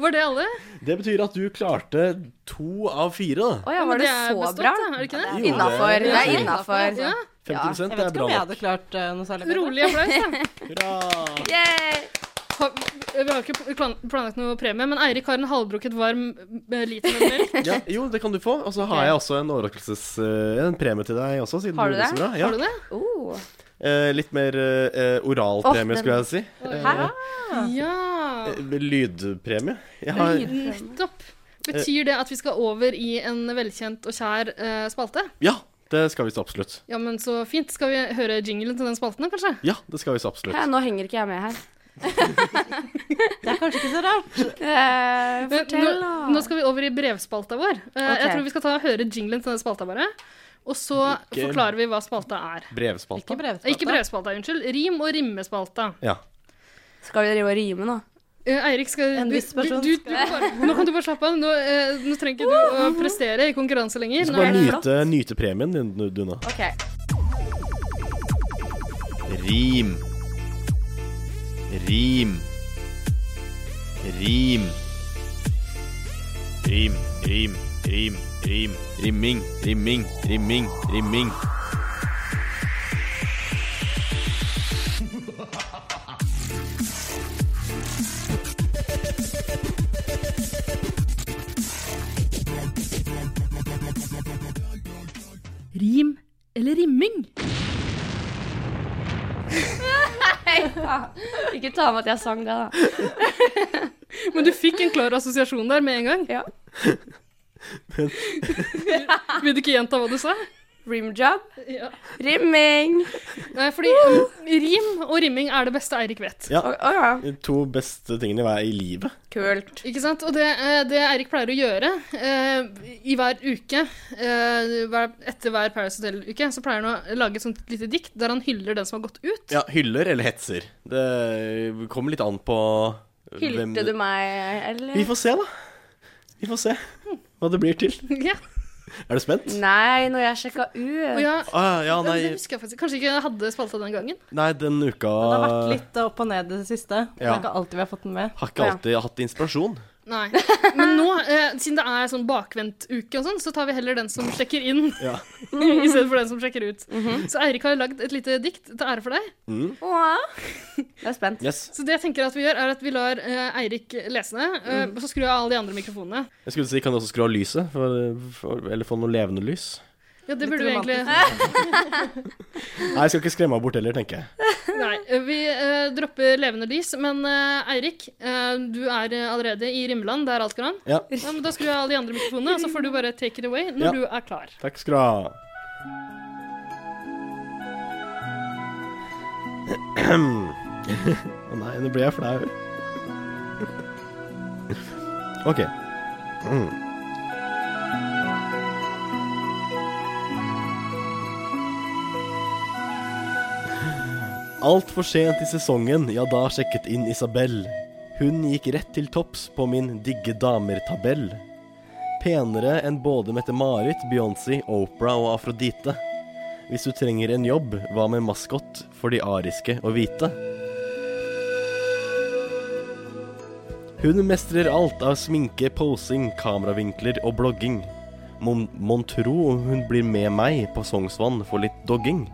S2: Var det alle?
S1: Det betyr at du klarte to av fire, da.
S14: Å ja,
S2: Men
S14: var det,
S2: er
S14: så
S2: bestått,
S14: bra?
S2: da, Er det ikke det?
S1: Jo,
S14: Innafor. Det er
S1: Ja.
S14: innafor.
S2: Ja,
S1: 50 det
S4: Jeg vet
S1: er
S4: ikke om
S1: bra nok.
S4: jeg hadde klart eh, noe særlig bedre.
S2: Rolig applaus, da.
S1: Hurra!
S14: Yay!
S2: Har- Vi har ikke plan- planlagt noe premie, men Eirik har en halvbrukket varm eh, liter med melk.
S1: Ja, jo, det kan du få. Og så har jeg også en overraskelses... eh, En premie til deg også, siden
S14: Har du
S1: gjorde så
S14: det?
S1: bra. Ja.
S2: Har du det?
S14: Oh.
S1: Eh, litt mer eh,
S14: Åh,
S1: oralpremie,
S14: den-
S1: skulle jeg si.
S14: Hæ?
S2: Ja.
S1: Eh, lydpremie. Jeg har,
S2: Nettopp. Betyr det at vi skal over i en velkjent og kjær eh, spalte?
S1: ja, det skal vi så absolutt.
S2: Ja, men så fint. Skal vi høre jinglen til den spalten, da, kanskje?
S1: Ja, det skal vi så
S14: Hæ,
S1: absolutt.
S14: nå henger ikke jeg med her.
S4: Det er kanskje ikke så rart.
S14: Eh,
S2: Men
S14: fortell,
S2: nå,
S14: da.
S2: nå skal vi over i brevspalta vår. Eh,
S14: Ok.
S2: Jeg tror vi skal ta og høre jinglen til den spalta bare. Og så
S1: Ikke-
S2: forklarer vi hva spalta er.
S1: Brevspalta.
S4: Ikke
S2: Eh, Ikke
S4: brevspalta.
S2: brevspalta, unnschild. Rim- og rimmespalta.
S1: Ja.
S14: Skal vi drive og rime nå?
S2: Eh, Eirik, skal
S4: En
S2: du,
S4: viss
S2: du,
S4: person
S2: du, du kan bare, Nå kan du bare slappe av. Nå, eh, nå trenger ikke du å prestere i konkurranse
S1: Du
S2: lenger.
S1: skal
S2: Nå
S1: bare
S2: er det
S1: nyte, nyte premien din, du- du nå.
S14: Ok.
S17: Rim. Rim. Rim. Rim, rim, rim, rim. Rimming, rimming, rimming, rimming.
S2: Rim eller rimming?
S14: Ikke ta med at jeg sang det, da.
S2: Men du fikk en klar assosiasjon der med en gang.
S14: Ja.
S2: Vil du ikke gjenta hva du sa?
S14: Rimjob.
S2: Ja.
S14: Rimming.
S2: Nei, fordi um, rim og rimming er det beste Eirik vet.
S1: Ja,
S14: Å å ja.
S1: de to beste tingene i hver- i livet.
S14: Kult.
S2: Ikke sant? Og det, eh, det Eirik pleier å gjøre eh, i hver uke, eh, hver, etter hver Paris Hotel-uke, så pleier han å lage et sånt lite dikt der han hyller den som har gått ut.
S1: Ja, hyller eller hetser. Det kommer litt an på hvem-
S14: Hylte du meg,
S1: Vi
S14: eller?
S1: får se, da. Vi får se hva det blir til.
S2: Ja.
S1: Er du spent?
S14: Nei, når jeg sjekka ut.
S2: Og ja,
S1: Ah, ja,
S2: det
S1: nei,
S2: husker jeg faktisk. Kanskje ikke jeg hadde spalta den gangen.
S1: nei, den uka
S4: Det har vært litt opp og ned i det siste. Det
S1: Ja.
S4: er ikke alltid vi har fått den med.
S1: har ikke alltid hatt inspirasjon.
S2: Nei. Men nå, eh, siden det er sånn bakvendt uke og sånn, så tar vi heller den som sjekker inn,
S1: Ja.
S2: i stedet for den som sjekker ut. Så Eirik har lagd et lite dikt til ære for deg.
S1: Mm.
S14: Jeg er spent.
S1: Yes.
S2: Så det jeg tenker at vi gjør, er at vi lar eh, Eirik lese det, eh, og så skrur jeg av alle de andre mikrofonene.
S1: Jeg skulle si, kan du også skru av lyset? For, for, eller få noe levende lys?
S2: Ja, det
S4: Litt
S2: burde vi egentlig
S1: Nei, jeg skal ikke skremme henne bort heller, tenker jeg.
S2: Nei, eh, vi eh, dropper levende lys, men eh, Eirik, eh, du er eh, allerede i Rimland, der alt går an.
S1: Ja.
S2: men da skrur jeg av alle de andre mikrofonene, og så får du bare take it away når
S1: Ja.
S2: du er klar.
S1: Takk skal du ha. Å nei, nå blir jeg flau. OK. Mm. Altfor sent i sesongen, ja da sjekket inn Isabel. Hun gikk rett til topps på min digge damer-tabell. Penere enn både Mette-Marit, Beyoncé, Opera og Afrodite. Hvis du trenger en jobb, hva med maskott for de ariske og hvite? Hun mestrer alt av sminke, posing, kameravinkler og blogging. Mon, mon tro hun blir med meg på Sognsvann for litt dogging.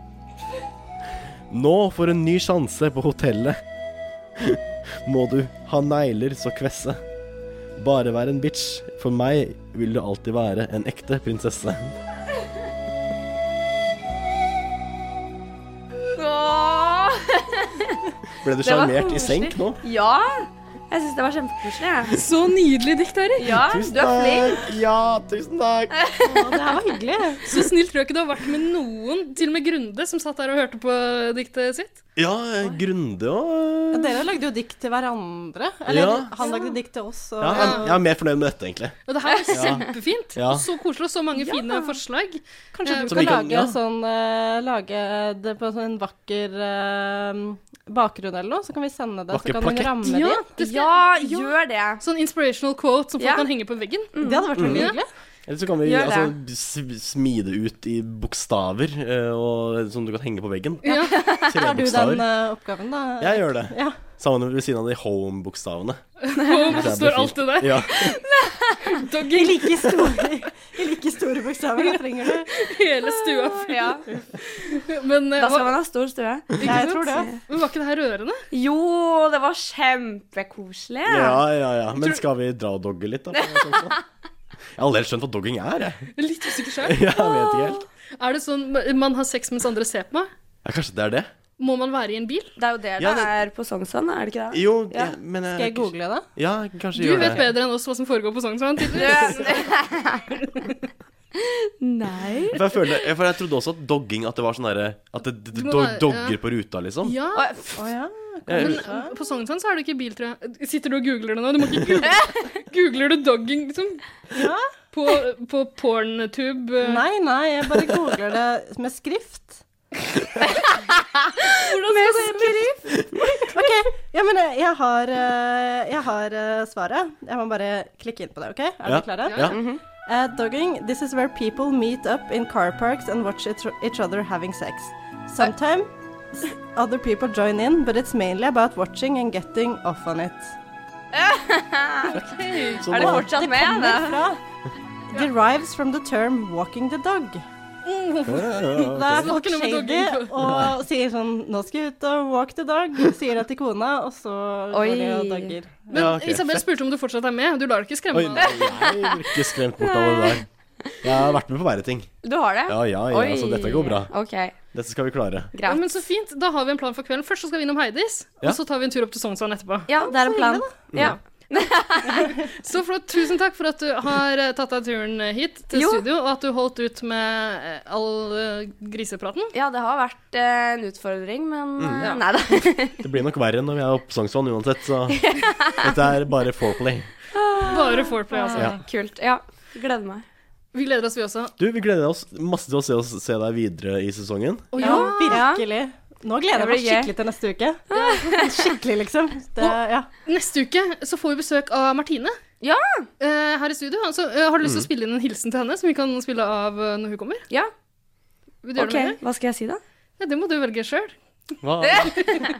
S1: Nå får en ny sjanse på hotellet. Må du ha negler så kvesse. Bare vær en bitch. For meg vil du alltid være en ekte prinsesse. Ble du
S14: Det var
S1: sjarmert i senk nå?
S14: koselig. Ja. Jeg syns det var kjempekoselig. jeg.
S2: Så nydelig dikt, Eirik.
S14: Ja, du er flink.
S1: Ja, tusen takk.
S4: det her var hyggelig.
S2: Så snill tror jeg ikke du har vært med noen, til og med Grunde, som satt der og hørte på eh, diktet sitt.
S1: Ja, Grunde og
S4: Dere lagde jo dikt til hverandre. Eller
S1: Ja.
S4: han lagde dikt til oss. Og,
S1: ja, jeg, jeg er mer fornøyd med dette, egentlig.
S2: Og det her var
S1: Ja.
S2: kjempefint.
S1: Ja.
S2: Og så koselig, og så mange fine forslag.
S4: Kanskje
S2: Eh,
S4: du
S1: Som
S4: kan,
S1: vi kan-
S4: lage,
S1: ja.
S4: sånn, eh, lage det på en sånn vakker eh, bakgrunn eller noe, så kan vi sende det.
S1: Vakker
S4: så kan
S1: plakett.
S4: den ramme det
S2: Ja,
S4: inn.
S2: det skal,
S14: Ja, gjør det.
S2: Sånn inspirational quote som folk
S14: Ja.
S2: kan henge på veggen.
S4: Det hadde vært
S1: Mm.
S4: veldig
S2: Ja.
S4: hyggelig.
S1: Eller så kan vi
S14: Gjør det.
S1: altså, s- smide ut i bokstaver eh, og, som du kan henge på veggen.
S2: Ja.
S4: Tar du den
S1: Trebokstaver.
S4: eh, oppgaven, da?
S1: Jeg gjør det.
S4: Ja.
S1: Sammen ved siden av de home-bokstavene.
S2: Og så står alt det der.
S1: Ja.
S4: I
S2: Dogging
S4: like store, i like store bokstaver. Da trenger du
S2: hele stua.
S14: Ja.
S2: Men, eh,
S14: Da skal
S2: hva-
S14: man ha stor stue.
S2: ikke
S4: Jeg
S2: sant?
S4: tror det.
S2: men var ikke det her rørende?
S14: Jo, det var kjempekoselig.
S1: ja, ja, ja. Men skal vi dra og dogge litt, da? på en sånn måte? Jeg har aldri helt skjønt hva dogging er, jeg.
S2: Litt usikker
S1: Jeg
S2: sjøl.
S1: vet ikke helt.
S2: Er det sånn man har sex mens andre ser på meg?
S1: Ja, kanskje det er det?
S2: Må man være i en bil?
S14: Det er jo det
S1: Ja,
S14: det
S1: det-
S14: er på Sognsvann, er det ikke det?
S1: Jo,
S14: Ja.
S1: jeg- men
S4: Skal jeg google det?
S1: Ja, kanskje
S2: Du
S1: gjør
S2: vet
S1: det.
S2: bedre enn oss hva som foregår på Sognsvann. tydeligvis.
S14: Nei.
S1: For jeg, føler, for jeg trodde også at dogging At det var sånn derre At det d-
S2: Du
S1: d-
S2: må
S1: dog-
S2: være-
S1: dogger på ruta, liksom.
S2: Ja,
S14: Å, pff,
S4: Å ja.
S1: Jeg-
S2: men eh, på Sognsvann så er det ikke bil, tror jeg. Sitter du og googler det nå? Du må ikke google. Googler du dogging, liksom?
S4: Ja.
S2: På, på porntube? eh,
S4: Mm. Nei, nei, jeg bare googler det med skrift.
S2: Hvordan skal det
S4: OK. Ja, men eh, jeg har, eh, jeg har eh, svaret. Jeg må bare klikke inn på det, OK? Er dere
S1: Ja.
S4: klare?
S1: Ja.
S4: Uh, dogging, this is where people meet up in car parks and watch each, each other having sex. Sometimes other people join in, but it's mainly about watching and getting off on it.
S1: Sånn
S14: er det
S1: da.
S14: fortsatt med? Det?
S4: Fra derives from the term 'walking the dog'.
S1: Ja,
S4: Det
S1: ja,
S4: er
S1: ok.
S2: Så det har
S4: folk
S2: ikke noe med
S4: shady
S2: dogging
S4: og sier sånn 'nå skal jeg ut og walk the dog', sier det til kona, og så går de og
S14: Oi.
S4: dogger.
S2: Men
S1: Ja, ok.
S2: Isabel spurte om du fortsatt er med. Du lar deg ikke
S1: Oi,
S2: skremme.
S1: nei,
S2: av det.
S1: jeg blir ikke skremt bort av det der. Jeg har vært med på verre ting.
S14: Du har det?
S1: Ja, ja, ja,
S14: Oi.
S1: så altså, dette går bra.
S14: OK,
S1: Dette skal vi klare.
S2: Ja,
S14: greit.
S2: men så fint. Da har vi en plan for kvelden. Først så skal vi innom Heidis,
S1: Ja.
S2: og så tar vi en tur opp til Sognsvann etterpå.
S14: Ja, det er en plan. Ja.
S2: Så flott. Tusen takk for at du har eh, tatt deg turen hit til
S14: Jo.
S2: studio, og at du holdt ut med eh, all eh, grisepraten.
S14: ja, det har vært eh, en utfordring, men
S1: Mm,
S14: eh, Nei da.
S1: Det blir nok verre når vi er oppe Sognsvann uansett, så dette er bare foreplay.
S2: Bare foreplay, altså.
S1: Ja.
S14: Kult. Ja. Gleder meg.
S2: Vi gleder oss, vi også.
S1: Du, vi gleder oss masse til å se, oss, se deg videre i sesongen.
S2: Og
S4: Ja,
S2: ja,
S4: virkelig. Nå gleder jeg
S14: Det
S4: meg
S14: blir gøy.
S4: skikkelig til neste uke. Skikkelig, liksom. Det, ja.
S2: neste uke så får vi besøk av Martine.
S14: Ja.
S2: Eh, her i studio. Altså, eh, har du lyst til å spille inn en hilsen til henne, som vi kan spille av eh, når hun kommer?
S14: Ja.
S2: Vil du gjøre
S14: OK,
S2: det med det?
S14: hva skal jeg si, da?
S2: Ja, det må du velge sjøl.
S1: Hva,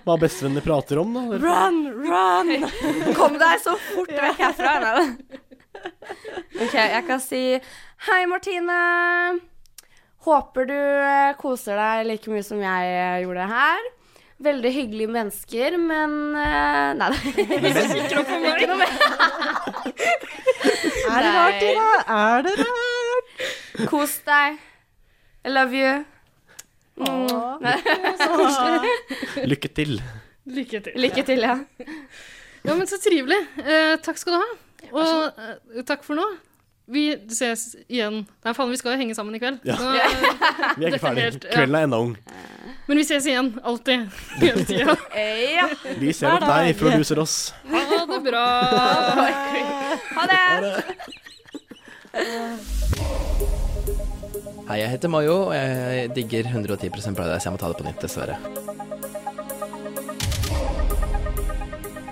S1: hva bestevennene prater om, da?
S14: Run, run! Kom deg så fort vekk herfra. Nei, da. OK, jeg kan si Hei, Martine. Håper du eh, koser deg like mye som jeg eh, gjorde her. Veldig hyggelige mennesker, men eh, Nei da. Ikke noe mer.
S4: Er det rart, Tina? Er det rart?
S14: Kos deg. I love you. Mm.
S1: Lykke til.
S2: Lykke til.
S14: Lykke til, ja.
S2: Ja, men så trivelig. Eh, takk skal du ha. Og eh, takk for nå. Vi ses igjen. Nei, faen, vi skal jo henge sammen i kveld.
S1: Ja.
S2: Så,
S1: Vi er
S2: dette
S1: ikke ferdige.
S2: helt- ja.
S1: Kvelden er ennå ung.
S2: Men vi ses igjen. Alltid. Hele tida.
S14: Ja.
S1: Vi ser opp deg før du ser oss.
S2: Ha det bra.
S14: Ha det.
S18: Hei, jeg heter Mayo, og jeg digger 110 Paradise. Jeg må ta det på nytt, dessverre.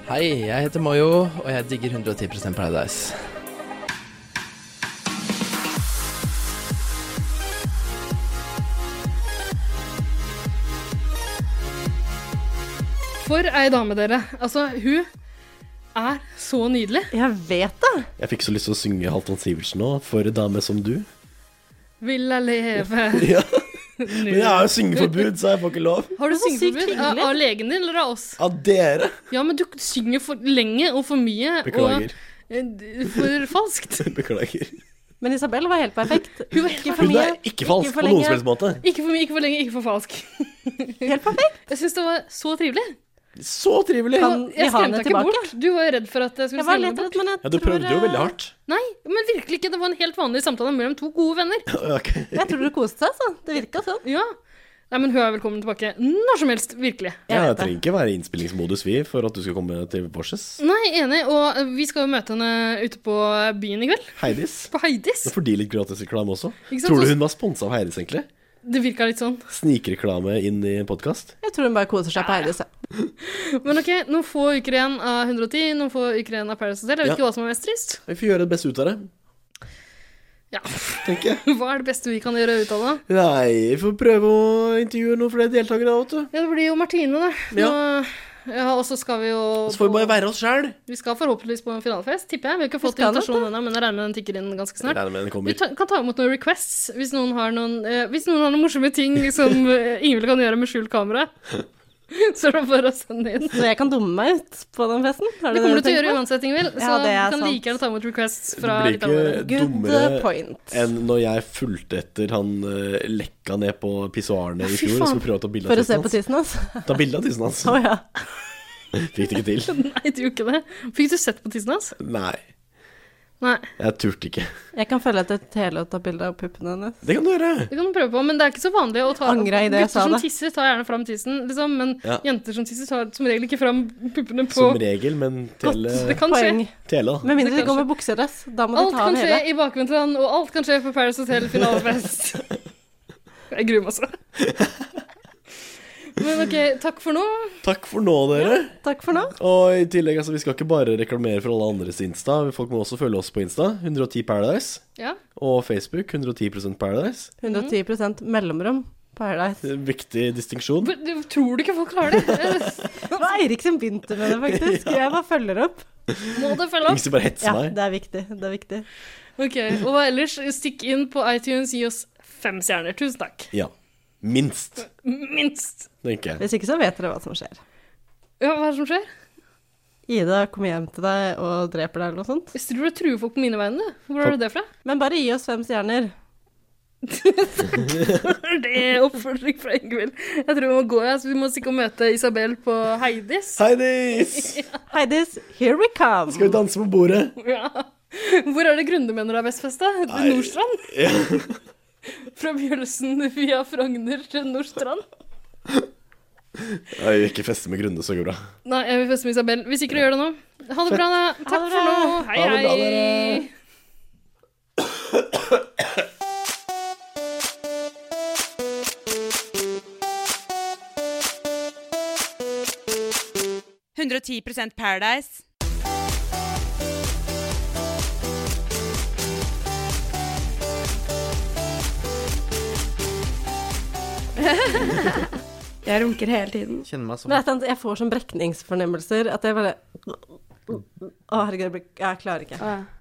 S18: Hei, jeg heter Mayo, og jeg digger 110 Paradise.
S2: For ei dame, dere. Altså, hun er så nydelig.
S4: Jeg vet det.
S1: Jeg fikk så lyst til å synge Halvdan Sivertsen nå, for en dame som du.
S2: Vil jeg leve
S1: Ja.
S2: nå?
S1: Men jeg har jo syngeforbud, så jeg får ikke lov.
S2: Har du
S1: så sykt
S2: syngeforbud av,
S1: hyggelig.
S2: av legen din eller av oss?
S1: Av dere.
S2: Ja, men du synger for lenge og for mye.
S1: Beklager.
S2: Og eh, d- for falskt.
S1: Beklager.
S4: Men Isabel var helt perfekt.
S2: Hun var helt
S4: Ikke for
S1: Hun
S4: mye.
S1: er ikke falsk
S4: for
S1: på noen
S4: lenge.
S1: som helst måte.
S2: Ikke for mye, ikke for lenge, ikke for falsk.
S4: Helt perfekt.
S2: Jeg syns det var så trivelig.
S1: Så trivelig.
S4: Kan vi
S2: jeg
S4: ha
S2: skremte
S4: henne
S2: deg ikke
S4: tilbake?
S2: bort. Du var jo redd for at jeg skulle
S4: Jeg var
S2: skremme
S4: litt
S2: deg bort.
S4: redd, men jeg
S1: Ja, du prøvde jo
S4: tror, eh,
S1: veldig hardt.
S2: Nei, men virkelig ikke. Det var en helt vanlig samtale mellom to gode venner.
S1: Ok.
S4: Jeg tror du koste deg, så. Det virka sånn.
S2: Ja. Nei, men hun er velkommen tilbake når som helst. Virkelig.
S1: Ja, jeg trenger ikke være i innspillingsmodus, vi, for at du skal komme til Porses.
S2: Nei, enig. Og eh, vi skal jo møte henne ute på byen i kveld.
S1: Heidis.
S2: På Heidis.
S1: Nå får de litt gratis reklame også.
S2: Ikke sant,
S1: Tror du
S2: så-
S1: hun var sponsa av Heidis, egentlig?
S2: Det virka litt sånn.
S1: Snikreklame inn i en podkast?
S4: Jeg tror hun bare koser seg på Heidis. ja.
S2: Men ok, noen få uker igjen av 110, noen få uker igjen av Paradise Hotel. Jeg vet
S1: Ja.
S2: ikke hva som er mest trist.
S1: Vi får gjøre det beste ut av det.
S2: Ja.
S1: Tenker jeg.
S2: Hva er det beste vi kan gjøre ut av det?
S1: Nei, vi får prøve å intervjue noen flere deltakere, da, vet du.
S2: Ja, det blir jo Martine, da. Nå, ja, og så skal vi jo
S1: Og så får vi bare være oss sjæl.
S2: Vi skal forhåpentligvis på en finalefest, tipper jeg. Vi har ikke fått
S4: skal nok
S2: invitasjon ennå, men jeg regner med den tikker inn ganske snart.
S1: Regner med den
S2: Vi
S1: kommer.
S2: ta, kan ta imot noen requests hvis noen har noen, eh, hvis noen har noen morsomme ting som eh, Ingvild kan gjøre med skjult kamera. Så er det bare å sende inn.
S4: Så jeg kan dumme meg ut på den festen? Er
S2: Det kommer du til å
S4: tenker
S2: gjøre
S4: på?
S2: uansett, Ingvild, så
S4: Ja, det er
S2: du kan
S4: sant.
S2: like gjerne ta imot requests
S1: Det
S2: fra
S1: blir
S2: litt av dere.
S1: ikke
S4: Good eh,
S1: dummere
S4: point.
S1: enn når jeg fulgte etter han eh, lekka ned på pissoarene i
S4: Fy
S1: fjor og
S4: faen.
S1: skulle prøve å ta bilde av
S4: For å se
S1: tissen
S4: på
S1: hans.
S4: tissen altså. hans?
S1: Ta bilde av tissen hans.
S4: Å ja.
S1: Fikk det ikke til.
S2: Nei, du gjorde ikke det. Fikk du sett på tissen hans?
S1: Nei,
S2: Nei.
S1: jeg turte ikke.
S4: Jeg kan følge etter Tele og ta bilde av puppene hennes.
S1: Det kan du gjøre.
S2: Det kan du prøve på, men det er ikke så vanlig å ta
S4: Angra i det jeg
S2: Gutter
S4: sa
S2: som
S4: det.
S2: tisser, tar gjerne fram tissen, liksom, men
S1: Ja.
S2: jenter som tisser, tar som regel ikke fram puppene på
S1: Som regel, eh, men
S2: Det
S1: tele,
S2: kan skje.
S4: Poeng.
S1: tele da.
S4: Med mindre
S2: Det
S4: de
S2: kan
S4: går med buksedress. Da må de
S2: Alt
S4: ta
S2: kan
S4: av
S2: skje
S4: hele.
S2: i bakvendtland, og alt kan skje på Paris Hotel finalefest. Jeg gruer meg så. Men OK, takk for nå.
S1: Takk for nå, dere.
S4: Takk for
S2: Mhm.
S4: nå.
S1: Og i tillegg, altså, vi skal ikke bare reklamere for alle andres Insta. Folk må også følge oss på Insta. 110 Paradise.
S2: Ja.
S1: Og Facebook. 110 Paradise.
S4: 110 mellomrom. Paradise.
S1: En viktig distinksjon.
S2: Men du- Tror du ikke folk klarer det?
S4: Det var Eirik som begynte med det, faktisk. Jeg bare følger opp.
S2: Må det følge opp?
S1: Hvis du bare hetser
S4: Ja,
S1: meg.
S4: det er viktig. Det er viktig.
S2: OK. Og hva ellers? Stikk inn på iTunes, gi oss fem stjerner. Tusen takk.
S1: Ja. Minst,
S2: Minst.
S1: tenker jeg.
S4: Hvis ikke så vet dere hva som skjer.
S2: Ja, hva er det som skjer?
S4: Ida kommer hjem til deg og dreper deg eller noe sånt.
S2: Jeg tror du truer folk på mine vegne, du. Hvor har du det fra?
S4: Men bare gi oss fem stjerner.
S2: Det er oppfordring fra Ingvild. Jeg tror vi må gå, jeg. Så vi må stikke og møte Isabel på Heidis.
S1: Heidis!
S4: Heidis, here we come!
S1: Skal vi danse på bordet?
S2: Ja. Hvor er det Grunde mener det er best fest, da?
S1: Nei.
S2: Nordstrand?
S1: Ja.
S2: Fra Bjølsen via Frogner til Nordstrand?
S1: Nei, ikke feste med grunne, så går det bra.
S2: Nei, jeg vil feste med Isabel. Hvis ikke du gjør det nå. Ha det bra, da. Takk for nå. Hei,
S1: Ha det bra,
S2: hei.
S3: Paradise. 110 Paradise.
S14: Jeg runker hele tiden.
S18: Kjenner meg
S4: Men et eller annet, jeg får sånn brekningsfornemmelser at jeg bare Å, herregud, jeg blir- jeg klarer ikke.